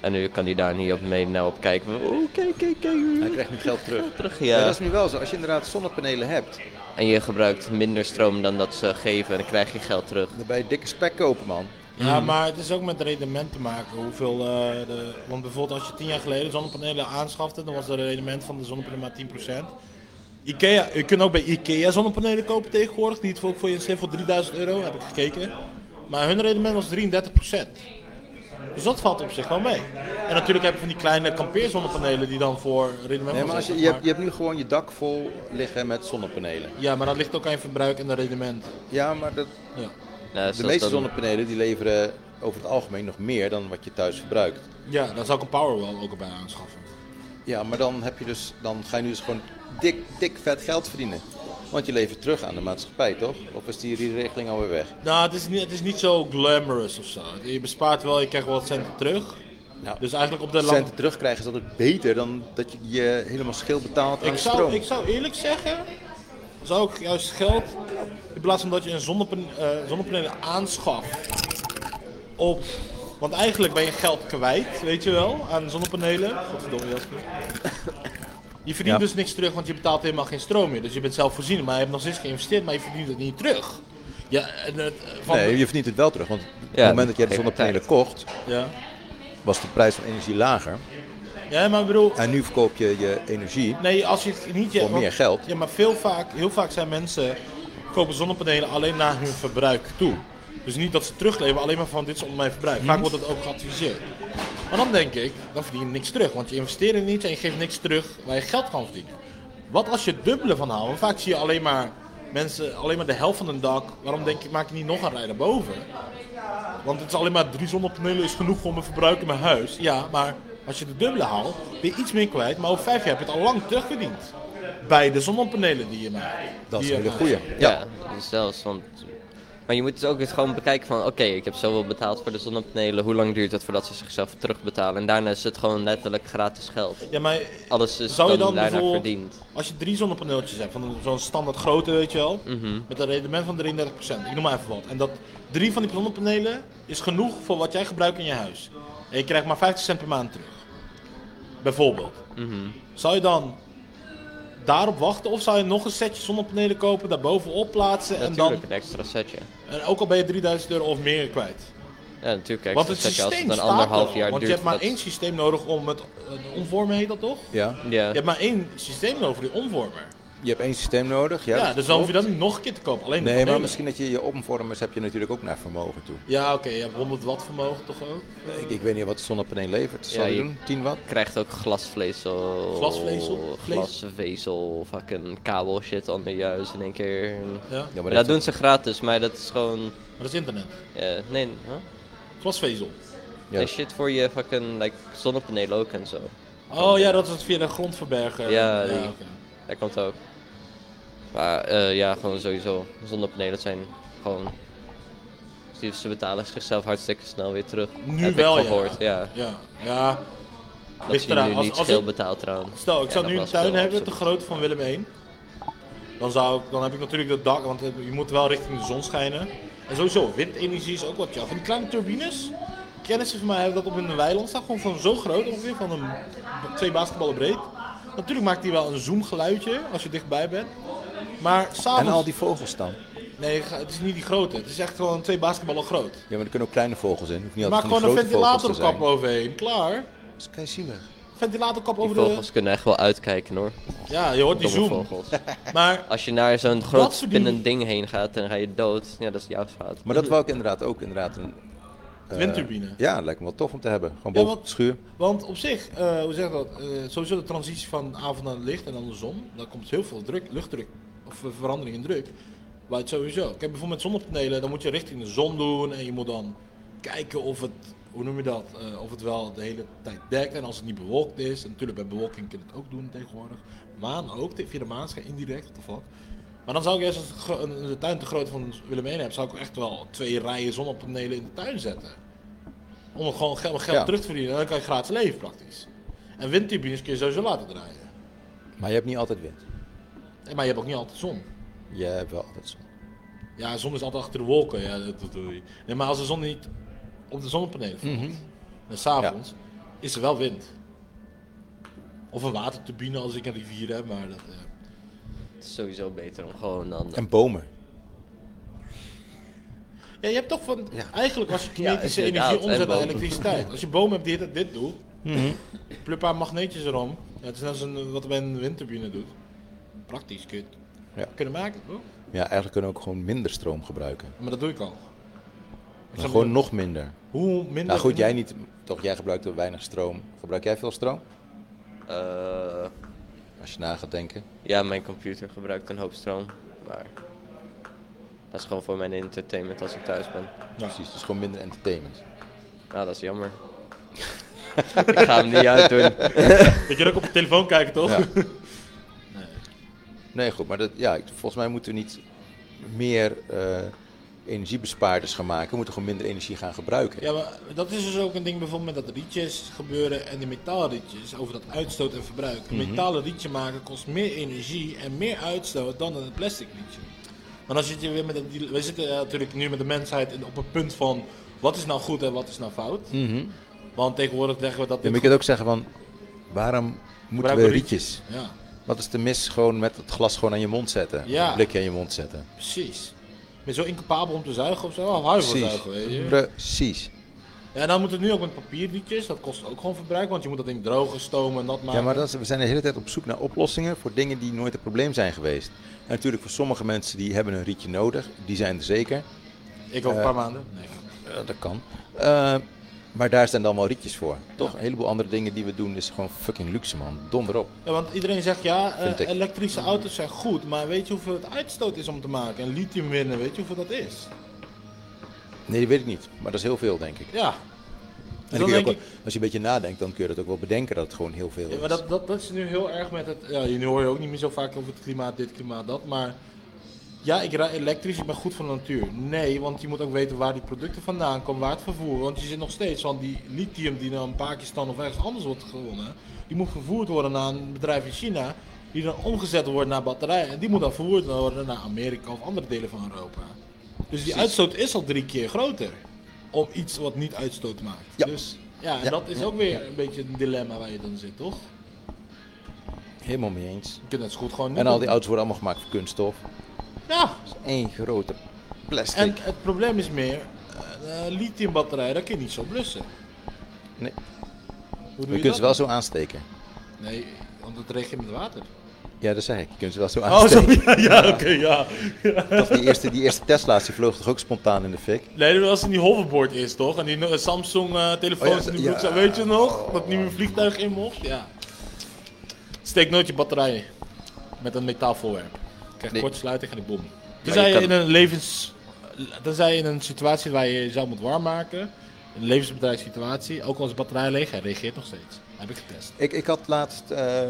En nu kan hij daar niet op mee nou op kijken. Oh, kijk, kijk, kijk. Hij krijgt nu geld terug. terug, Nee, ja. dat is nu wel zo. Als je inderdaad zonnepanelen hebt, En je gebruikt minder stroom dan dat ze geven en dan krijg je geld terug. dan ben je dikke spek kopen, man. Ja, Mhm. maar het is ook met rendement te maken. Hoeveel, eh, de, want bijvoorbeeld als je tien jaar geleden zonnepanelen aanschafte, dan was het rendement van de zonnepanelen maar 10%. Ikea, je kunt ook bij Ikea zonnepanelen kopen tegenwoordig. Die het ook voor je zin voor 3000 euro, heb ik gekeken. Maar hun rendement was 33%. Dus dat valt op zich wel mee. En natuurlijk heb je van die kleine kampeerzonnepanelen die dan voor rendement Nee, van maar als je, 60 je, hebt, maken. je hebt nu gewoon je dak vol liggen met zonnepanelen. Ja, maar dat ligt ook aan je verbruik en de rendement. Ja, maar dat... Ja. dus de dat meeste dan- zonnepanelen die leveren over het algemeen nog meer dan wat je thuis verbruikt. Ja, dan zou ik een Powerwall ook erbij aanschaffen. Ja, maar dan, heb je dus, dan ga je nu dus gewoon dik, dik vet geld verdienen. Want je levert terug aan de maatschappij, toch? Of is die regeling alweer weg? Nou, het is niet, het is niet zo glamorous of zo. Je bespaart wel, je krijgt wel wat centen terug. dus eigenlijk op de lange... centen terugkrijgen is altijd beter dan dat je je helemaal schil betaalt aan Ik de zou, stroom. ik zou eerlijk zeggen, zou ik juist geld, in plaats van dat je een zonnepan, eh, zonnepanelen aanschaft, op, want eigenlijk ben je geld kwijt, weet je wel, aan zonnepanelen. Godverdomme Jasper. Je verdient Ja. dus niks terug, want je betaalt helemaal geen stroom meer. Dus je bent zelfvoorzienend, maar je hebt nog steeds geïnvesteerd, maar je verdient het niet terug. Ja, en het, eh, van nee, je verdient het wel terug. Want op Ja, het moment dat jij de tegen zonnepanelen tijd. kocht, Ja. was de prijs van energie lager. Ja, maar bedoel... En nu verkoop je je energie. Nee, als je het niet... Voor want- meer geld. Ja, maar veel vaak, heel vaak zijn mensen kopen zonnepanelen alleen naar hun verbruik toe. Dus niet dat ze terugleveren, alleen maar van dit is onder mijn verbruik. Vaak Mhm. wordt dat ook geadviseerd. Maar dan denk ik, dan verdien je niks terug. Want je investeert er niet en je geeft niks terug waar je geld kan verdienen. Wat als je het dubbele van haalt? Want vaak zie je alleen maar mensen, alleen maar de helft van een dak. Waarom denk ik, maak ik niet nog een rij naar boven? Want het is alleen maar drie zonnepanelen is genoeg voor mijn verbruik in mijn huis. Ja, maar als je de dubbele haalt, ben je iets meer kwijt. Maar over vijf jaar heb je het al lang terugverdiend. Bij de zonnepanelen die je maakt. Dat is Die een je hele maakt. goeie. Ja, dus zelfs. Want, maar je moet dus ook eens gewoon bekijken van... Oké, ik heb zoveel betaald voor de zonnepanelen. Hoe lang duurt het voordat ze zichzelf terugbetalen? En daarna is het gewoon letterlijk gratis geld. Ja, maar Alles is Zou je dan daarna bijvoorbeeld, verdiend. als je drie zonnepaneeltjes hebt, van een- zo'n standaard grote, weet je wel, Mhm. met een rendement van 33%, ik noem maar even wat. En dat drie van die zonnepanelen is genoeg voor wat jij gebruikt in je huis. En je krijgt maar 50 cent per maand terug. Bijvoorbeeld. Mhm. Zou je dan daarop wachten of zou je nog een setje zonnepanelen kopen, daarbovenop plaatsen en dan... Natuurlijk een extra setje. En ook al ben je 3000 euro of meer kwijt. Ja, natuurlijk een Want extra het setje systeem als het staat een er anderhalf al, jaar Want duurt. je hebt maar dat- één systeem nodig om het... Een omvormer heet dat toch? Ja. Ja. Je hebt maar één systeem nodig voor die omvormer. Je hebt één systeem nodig. Ja, Ja, dat dus dan hoef je klopt. dat niet nog een keer te kopen. Alleen de Nee, maar panelen. misschien dat je je omvormers heb je natuurlijk ook naar vermogen toe. Ja, oké, je hebt 100 watt vermogen toch ook? Ik, ik weet niet wat de zonnepaneel levert. Zal je doen? 10 watt? Krijgt ook glasvleesel. Glasvezel? Vlees? Glasvezel, fucking kabel shit onder je huis in één keer. Ja, maar maar dat dat- doen ze gratis, maar dat is gewoon. Maar dat is internet. nee, huh? Glasvezel. Ja. Nee, shit voor je fucking like, zonnepanelen ook en zo. Oh ja, dat is het via de grond verbergen. ja, die, oké. dat komt ook. Maar eh, ja, gewoon sowieso. Zonnepanelen zijn gewoon. die- Ze betalen zichzelf hartstikke snel weer terug. Nu heb wel, ik ja. gehoord. Ja. Ja, ja. Dat Ligt ze je eraan. nu Als- niet als veel ik- betaalt trouwens. Stel, ik Ja, zou nog nu wel een veel, tuin hebben, absoluut. te groot van Willem 1. Dan, zou ik, dan heb ik natuurlijk dat dak, want je moet wel richting de zon schijnen. En sowieso, windenergie is ook wat ja. Van die kleine turbines, kennissen van mij hebben dat op hun weiland staan. Gewoon van zo groot ongeveer, van een, twee basketballen breed. Natuurlijk maakt die wel een zoomgeluidje als je dichtbij bent. Maar s'avonds... En al die vogels dan? Nee, ga- het is niet die grote. Het is echt gewoon twee basketballen groot. Ja, maar er kunnen ook kleine vogels in. Hoeft niet Maak altijd van gewoon die een grote vogels te ventilatorkap zijn. overheen. Klaar. Dat is kei zielig. Ventilatorkap Die over vogels kunnen echt wel uitkijken hoor. Ja, je hoort die Domme zoom. vogels. Maar Als je naar zo'n groot dat soort dingen- spinnend ding heen gaat, dan ga je dood. Ja, dat is jouw fout. Maar dat wou ik inderdaad ook inderdaad een... eh, Windturbine. Ja, lijkt me wel tof om te hebben. Gewoon Ja, boven want- op de schuur. de... Want op zich, eh, hoe zeg je dat? eh, sowieso de transitie van avond naar licht en andersom. Daar komt heel veel druk, luchtdruk. Of eh, verandering in druk. Maar het sowieso. Kijk, bijvoorbeeld met zonnepanelen, dan moet je richting de zon doen. En je moet dan kijken of het, hoe noem je dat? eh, of het wel de hele tijd dekt. En als het niet bewolkt is. En natuurlijk bij bewolking kun je het ook doen tegenwoordig. Maan ook, via de maanschijn indirect. What the fuck. Maar dan zou ik juist als ik gro- een- een tuin te groot van Willem 1 heb, zou ik echt wel twee rijen zonnepanelen in de tuin zetten. Om gewoon geld, geld Ja. terug te verdienen. En dan kan je gratis leven praktisch. En windturbines kun je sowieso laten draaien. Maar je hebt niet altijd wind. Eh, Maar je hebt ook niet altijd zon. Je hebt wel altijd zon. Ja, zon is altijd achter de wolken. Ja, dat, dat doe je. Nee, maar als de zon niet op de zonnepanelen valt, Mhm. en s'avonds, is er wel wind. Of een waterturbine als ik een rivier heb, maar dat... eh, Het is sowieso beter om gewoon dan. En bomen. Ja, je hebt toch van... Eigenlijk als je Ja, kinetische inderdaad, energie en omzet naar bomen. elektriciteit. Als je bomen hebt die dit, dit doet, Mhm. pluk een paar magneetjes erom. Ja, het is net als een, wat men een windturbine doet. Praktisch, kut. Ja. Kunnen maken, toch? Ja, eigenlijk kunnen we ook gewoon minder stroom gebruiken. Maar dat doe ik al. Maar zou gewoon bedoel- nog minder. Hoe minder- Nou goed, jij niet. Toch, jij gebruikt wel weinig stroom. Gebruik jij veel stroom? Eh, Als je na gaat denken. Ja, mijn computer gebruikt een hoop stroom. Maar dat is gewoon voor mijn entertainment als ik thuis ben. Precies, dus gewoon minder entertainment. Nou, dat is jammer. ik ga hem niet uitdoen. Dat je ook op de telefoon kijkt, toch? Ja. Nee. Nee, goed, maar dat, ja, ik- volgens mij moeten we niet meer eh, energiebespaarders gaan maken, we moeten gewoon minder energie gaan gebruiken. Ja, maar dat is dus ook een ding bijvoorbeeld met dat rietjes gebeuren en de metaalrietjes over dat uitstoot en verbruik. Een Mhm. metalen rietje maken kost meer energie en meer uitstoot dan een plastic rietje. Maar dan zit je weer met een, dile- we zitten eh, natuurlijk nu met de mensheid in- op het punt van wat is nou goed en wat is nou fout. Mhm. Want tegenwoordig zeggen we dat Ja, dit maar je kunt ook zeggen van, waarom moeten Waarom we de rietjes? rietjes? Ja. Wat is de mis gewoon met het glas gewoon aan je mond zetten? Ja. Een blikje aan je mond zetten. Precies. Ben je zo incapabel om te zuigen of zo? Of hou je van zuigen, weet je? Precies. Ja, dan moet het nu ook met papierrietjes. Dat kost ook gewoon verbruik, want je moet dat ding drogen, stomen en dat maken. Ja, maar dat is- we zijn de hele tijd op zoek naar oplossingen voor dingen die nooit een probleem zijn geweest. En natuurlijk voor sommige mensen die hebben een rietje nodig, die zijn er zeker. Ik over Eh, een paar maanden. Nee. eh, dat kan. Eh, maar daar zijn dan wel rietjes voor. Toch? Een heleboel andere dingen die we doen is gewoon fucking luxe man. Donder op. Ja, want iedereen zegt ja, eh, Vind ik. elektrische auto's zijn goed, maar weet je hoeveel het uitstoot is om te maken? En lithium winnen, weet je hoeveel dat is? Nee, die weet ik niet. Maar dat is heel veel denk ik. Ja. Dus En dan dan kun je ook denk wel- als je een beetje nadenkt, dan kun je dat ook wel bedenken dat het gewoon heel veel Ja, is. maar dat, dat, dat is nu heel erg met het. Ja, nu hoor je ook niet meer zo vaak over het klimaat, dit, klimaat, dat. Maar ja, ik rijd elektrisch, ik ben goed voor de natuur. Nee, want je moet ook weten waar die producten vandaan komen, waar het vervoer. Want je zit nog steeds van die lithium die dan in Pakistan of ergens anders wordt gewonnen. Die moet vervoerd worden naar een bedrijf in China. Die dan omgezet wordt naar batterijen. En die moet dan vervoerd worden naar Amerika of andere delen van Europa. Dus die Precies. uitstoot is al drie keer groter. Om iets wat niet uitstoot maakt. Dus ja, en Ja. dat is ook weer een beetje een dilemma waar je dan zit, toch? Helemaal mee eens. Je kunt het zo goed gewoon niet En al doen. die auto's worden allemaal gemaakt van kunststof. Ja. Dat is één grote plastic. En het probleem is meer, eh, een lithiumbatterij, dat kun je niet zo blussen. Nee. Hoe je doe je kunt dat ze wel dan? zo aansteken. Nee, want het reageert met water. Ja, dat zei ik. Je kunt ze wel zo Oh, zo, aansteken. ja, ja, oké, ja. Dat die, eerste, die eerste Tesla's, die vloog toch ook spontaan in de fik? Nee, dat was in die hoverboard is toch? En die eh, Samsung eh, telefoons Oh ja, in die ja. Oh, broek, zaten, weet je nog? Dat nieuwe vliegtuig in mocht, ja. Steek nooit je batterij in met een metaalvoorwerp. Krijg kortsluiting en ik bom. Tenzij je je kan- in een levens... Tenzij je in een situatie waar je jezelf moet warm maken, een levensbedrijfssituatie, ook als de batterij leeg, hij reageert nog steeds. Heb ik getest. Ik, ik had laatst, eh,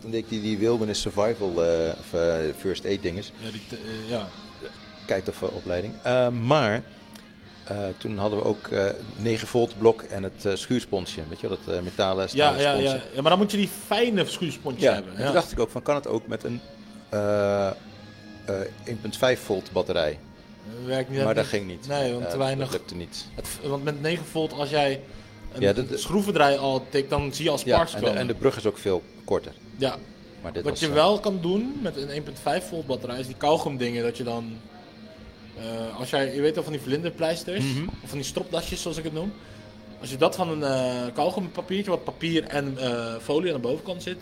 toen deed ik die, die Wilderness Survival, eh, of eh, First Aid dinges. Ja, die te- eh, ja. Kijk of eh, opleiding. Eh, maar eh, toen hadden we ook eh 9 volt blok en het eh, schuursponsje. Weet je wel, dat eh, metalen Ja, stalen ja, ja, sponsje. ja, maar dan moet je die fijne schuursponsje Ja, hebben. en toen dacht ik ook van kan het ook met een eh, eh, 1.5 volt batterij. Werkt niet, maar dat niet- ging niet. Nee, want Eh, te weinig. Dat lukte niet. Het- want met 9 volt, als jij een Ja, dat- schroevendraai al tikt, dan zie je al Ja, sparks en, de, komen. en de brug is ook veel korter. Ja. Maar dit Wat was, je eh, wel kan doen met een 1.5 volt batterij is die kauwgom dingen dat je dan eh, als jij je weet wel van die vlinderpleisters Mhm. of van die stropdasjes zoals ik het noem. Als je dat van een eh kauwgompapiertje wat papier en eh, folie aan de bovenkant zit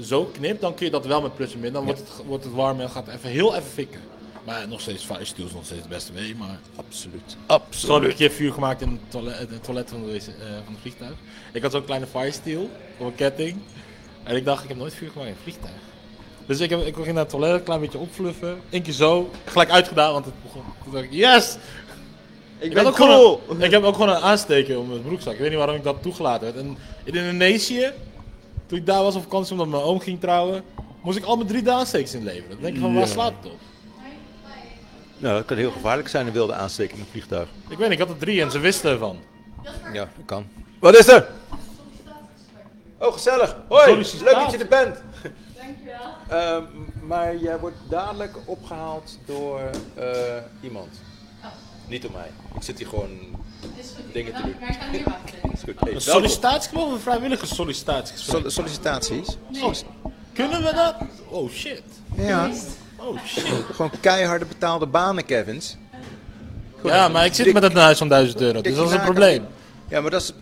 zo knipt, dan kun je dat wel met plus en min. Dan wordt, het, wordt het warm en gaat het even heel even fikken. Maar nog steeds Firesteel is nog steeds het beste mee, maar absoluut. Zo heb ik een keer vuur gemaakt in het toilet, eh, het toilet van, de, wc, eh, van het vliegtuig. Ik had zo'n kleine firesteel op een ketting. En ik dacht, ik heb nooit vuur gemaakt in het vliegtuig. Dus ik, heb, ik ging naar het toilet, een klein beetje opfluffen. Eén keer zo, gelijk uitgedaan, want het begon. Toen dacht ik, yes! Ik, ben had ook cool! gewoon een- ik heb ook gewoon een aansteker om mijn broekzak. Ik weet niet waarom ik dat toegelaten werd. En in Indonesië, toen ik daar was op vakantie omdat mijn oom ging trouwen, moest ik al mijn drie aanstekers inleveren. Dan denk ik van, waar Ja. slaat het op? Nou, dat kan heel gevaarlijk zijn, een wilde aansteking in een vliegtuig. Ik weet niet, ik had er drie en ze wisten ervan. Ja, dat kan. Wat is er? Oh, gezellig. Hoi, Sollicitatie. leuk dat je er bent. Dankjewel. Ehm, maar jij wordt dadelijk opgehaald door eh, iemand. Niet door mij. Ik zit hier gewoon dingen te doen. Is goed. Hey, Een welkom. sollicitatiegesprek of een vrijwillige sollicitatiegesprek? Sol- sollicitaties? Oh, kunnen we dat? Oh shit. Ja. Oh shit. Gewoon keiharde betaalde banen, Kevins. Ja, maar ik zit met een huis van 1000 euro, dus Dikke dat is een naken. probleem. Ja, maar dat is...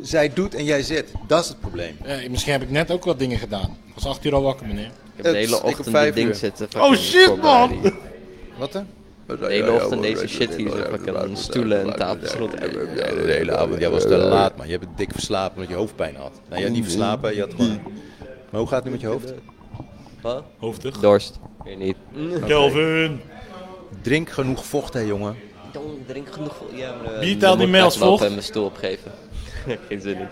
Zij doet en jij zit. Dat is het probleem. Eh, misschien heb ik net ook wat dingen gedaan. Ik was 8 uur al wakker, meneer. Ik heb de hele ochtend dit ding zitten. fucking voorbereiden. Wat hè? De hele ochtend deze shit hier. zo fucking Stoelen en tafels rond. De hele avond. Jij was te laat, man. Je hebt het dik verslapen omdat je hoofdpijn had. Nou, je had niet verslapen. Je had gewoon... Maar hoe gaat het nu met je hoofd? Wat? Hoofdig. Hm? Dorst. Weet niet. Oké. Drink genoeg vocht, hè, jongen. Jongen, ik drink genoeg. vo- Ja, maar, eh, Wie telt dan die moet mee ik als uitlopen vocht? en mijn stoel opgeven. Geen zin in.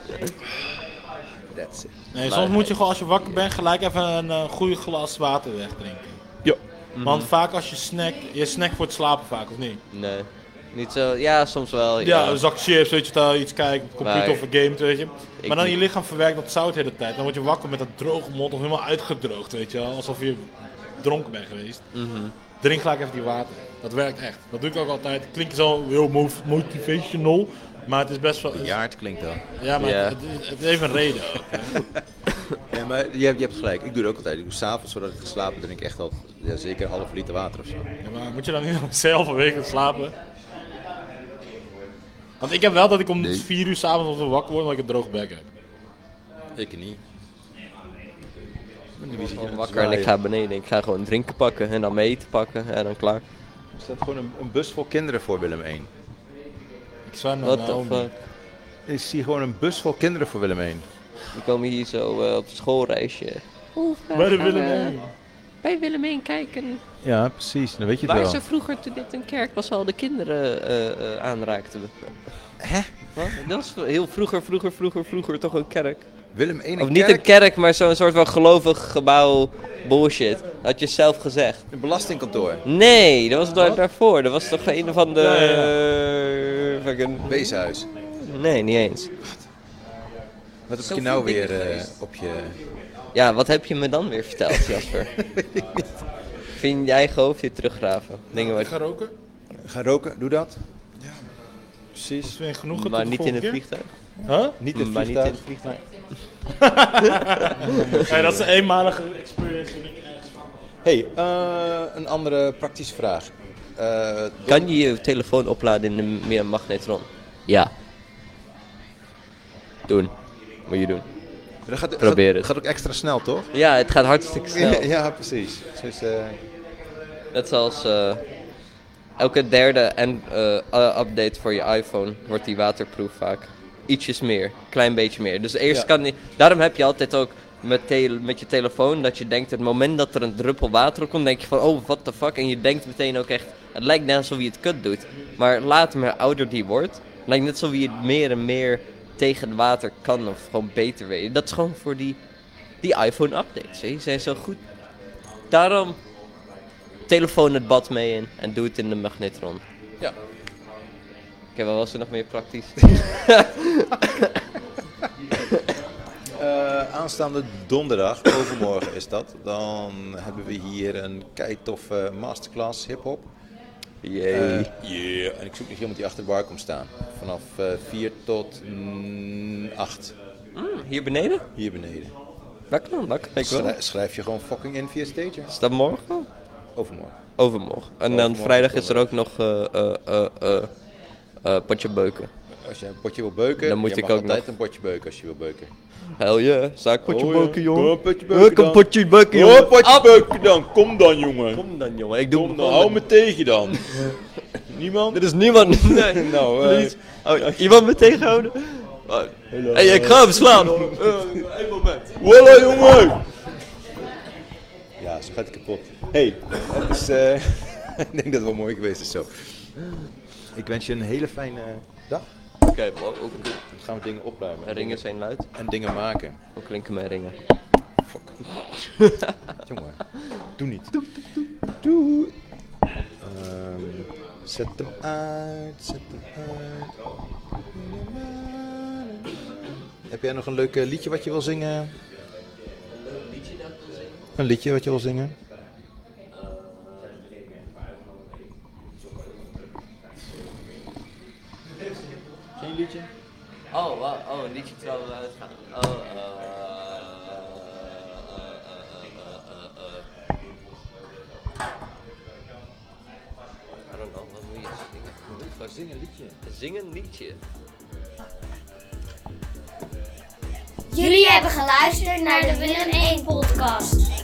That's it. Nee, soms moet je gewoon als je wakker bent gelijk even een eh, goede glas water wegdrinken. Ja. Want vaak als je snack, je snack voor het slapen vaak, of niet? Nee. Niet zo, ja, dus- soms wel. Ja, een zak chips, weet je, daar iets kijken, op computer Maar- of een game, weet je. Ik Maar dan niet. je lichaam verwerkt dat zout de hele tijd. Dan word je wakker met dat droge mond of helemaal uitgedroogd, weet je wel. Alsof je dronken bent geweest. Mhm. Drink gelijk even die water. Dat werkt echt. Dat doe ik ook altijd. Klinkt zo heel mov- motivational, maar het is best wel... Bejaard klinkt dat. Ja, maar Ja. Het, het- het heeft een reden ook. Ja, maar je hebt, je hebt gelijk. Ik doe het ook altijd. Ik doe s'avonds, voordat ik ga slapen, drink ik echt al ja, zeker een half liter water of zo. Ja, maar moet je dan niet om zelf een week gaan slapen? Want ik heb wel dat ik om Nee. 4 uur s'avonds of zo wakker word omdat ik een droog bek heb. Ik niet. Ik word gewoon wakker en ik ga beneden. Ik ga gewoon drinken pakken en dan mee eten pakken en dan klaar. Er staat gewoon een, een bus vol kinderen voor Willem 1. Ik zou naar What the Naomi. fuck? Ik zie gewoon een bus vol kinderen voor Willem 1. Die komen hier zo eh, op schoolreisje. Bij de Willem heen. eh, Wij willen heen kijken. Ja, precies. Dan weet je het Waar wel. ze vroeger toen dit een kerk was al de kinderen eh, eh, aanraakten. Hè? Dat was heel vroeger, vroeger, vroeger, vroeger toch een kerk. Willem 1 Of niet een kerk, maar zo'n soort van gelovig gebouw bullshit. Dat had je zelf gezegd. Een belastingkantoor. Nee, dat was daar, daarvoor. Dat was toch een van de... Ja, fucking... Weeshuis. Nee, niet eens. Wat heb Zoveel je nou dingen weer eh, geweest. op je... Ja, wat heb je me dan weer verteld, Jasper? Vind je eigen hoofdje teruggraven. Dingen wat... Ik ga roken. Ga roken, doe dat. Precies. Dat vind ik genoeg. Maar tot de niet in het volgende vliegtuig. keer. Huh? Niet in het Maar niet in vliegtuig. het vliegtuig. Nee, dat is een eenmalige experience. die ik ergens van- hey, eh, een andere praktische vraag. Eh, Kan je je telefoon opladen in een meer magnetron? Ja. Doen. Moet je doen. dat gaat, Probeer gaat- het. gaat ook extra snel, toch? Ja, het gaat hartstikke snel. ja, precies. Dus, eh, Net zoals eh, elke derde en, eh, uh, update voor je iPhone wordt die waterproof vaak. Ietsjes meer, klein beetje meer. Dus eerst Ja. kan die, daarom heb je altijd ook met, tele- met je telefoon dat je denkt, het moment dat er een druppel water op komt, denk je van, oh, what the fuck. En je denkt meteen ook echt, het lijkt net alsof je het kut doet. Maar later, maar ouder die wordt, lijkt net alsof je het meer en meer tegen het water kan of gewoon beter weet. Dat is gewoon voor die, die iPhone updates. hè. Die zijn zo goed. Daarom telefoon het bad mee in en doe het in de magnetron. Ja. Oké, wat was er nog meer praktisch? Eh, aanstaande donderdag, overmorgen is dat, dan hebben we hier een keitoffe masterclass hip-hop. Jee. Eh, yeah. En ik zoek nog iemand die achter de bar komt staan. Vanaf 4 tot mm, 8. hier beneden? Hier beneden. Dat kan, dat kan ik wel. Schrij- schrijf je gewoon fucking in via Stager. Is dat morgen? Overmorgen. Overmorgen. En dan Overmorgen, vrijdag is er ook nog eh eh eh eh eh, potje beuken. Als je een potje wil beuken, Dan moet je ik mag ook altijd nog. een potje beuken als je wil beuken. Hel je, zaak potje Oh, ja. beuken, jongen. Ja, potje beuken Ik een dan. potje beuken, Ja, jongen. potje Ab- beuken dan. Kom dan, jongen. Kom dan, jongen. Ik doe Kom dan. Hou me tegen dan. Niemand? Er is niemand. Nee. Nou, eh, Please. Oh, iemand me tegenhouden? Oh. hey, ik ga hem slaan. Eén moment. Walla jongen! Ja, ze gaat kapot. hey, het is, eh, ik denk dat het wel mooi geweest is zo. Ik wens je een hele fijne dag. Oké, bro. Ook goed. Dan gaan we dingen opruimen. Ringen zijn luid. En dingen maken. Hoe klinken mijn ringen? Jongen, doe niet. Doe, doe, doe. Ehm, zet hem uit, zet hem uit. Heb jij nog een leuk eh, liedje wat je wil zingen? Een liedje wat je wil zingen? Geen liedje? Oh, wauw. Oh, een liedje terwijl we uitgaan. Oh, eh, eh, eh, eh, eh, eh, eh, eh. I don't know, wat moet je zingen? Zing een liedje. Zing een liedje. Jullie hebben geluisterd naar de Willem 1 podcast.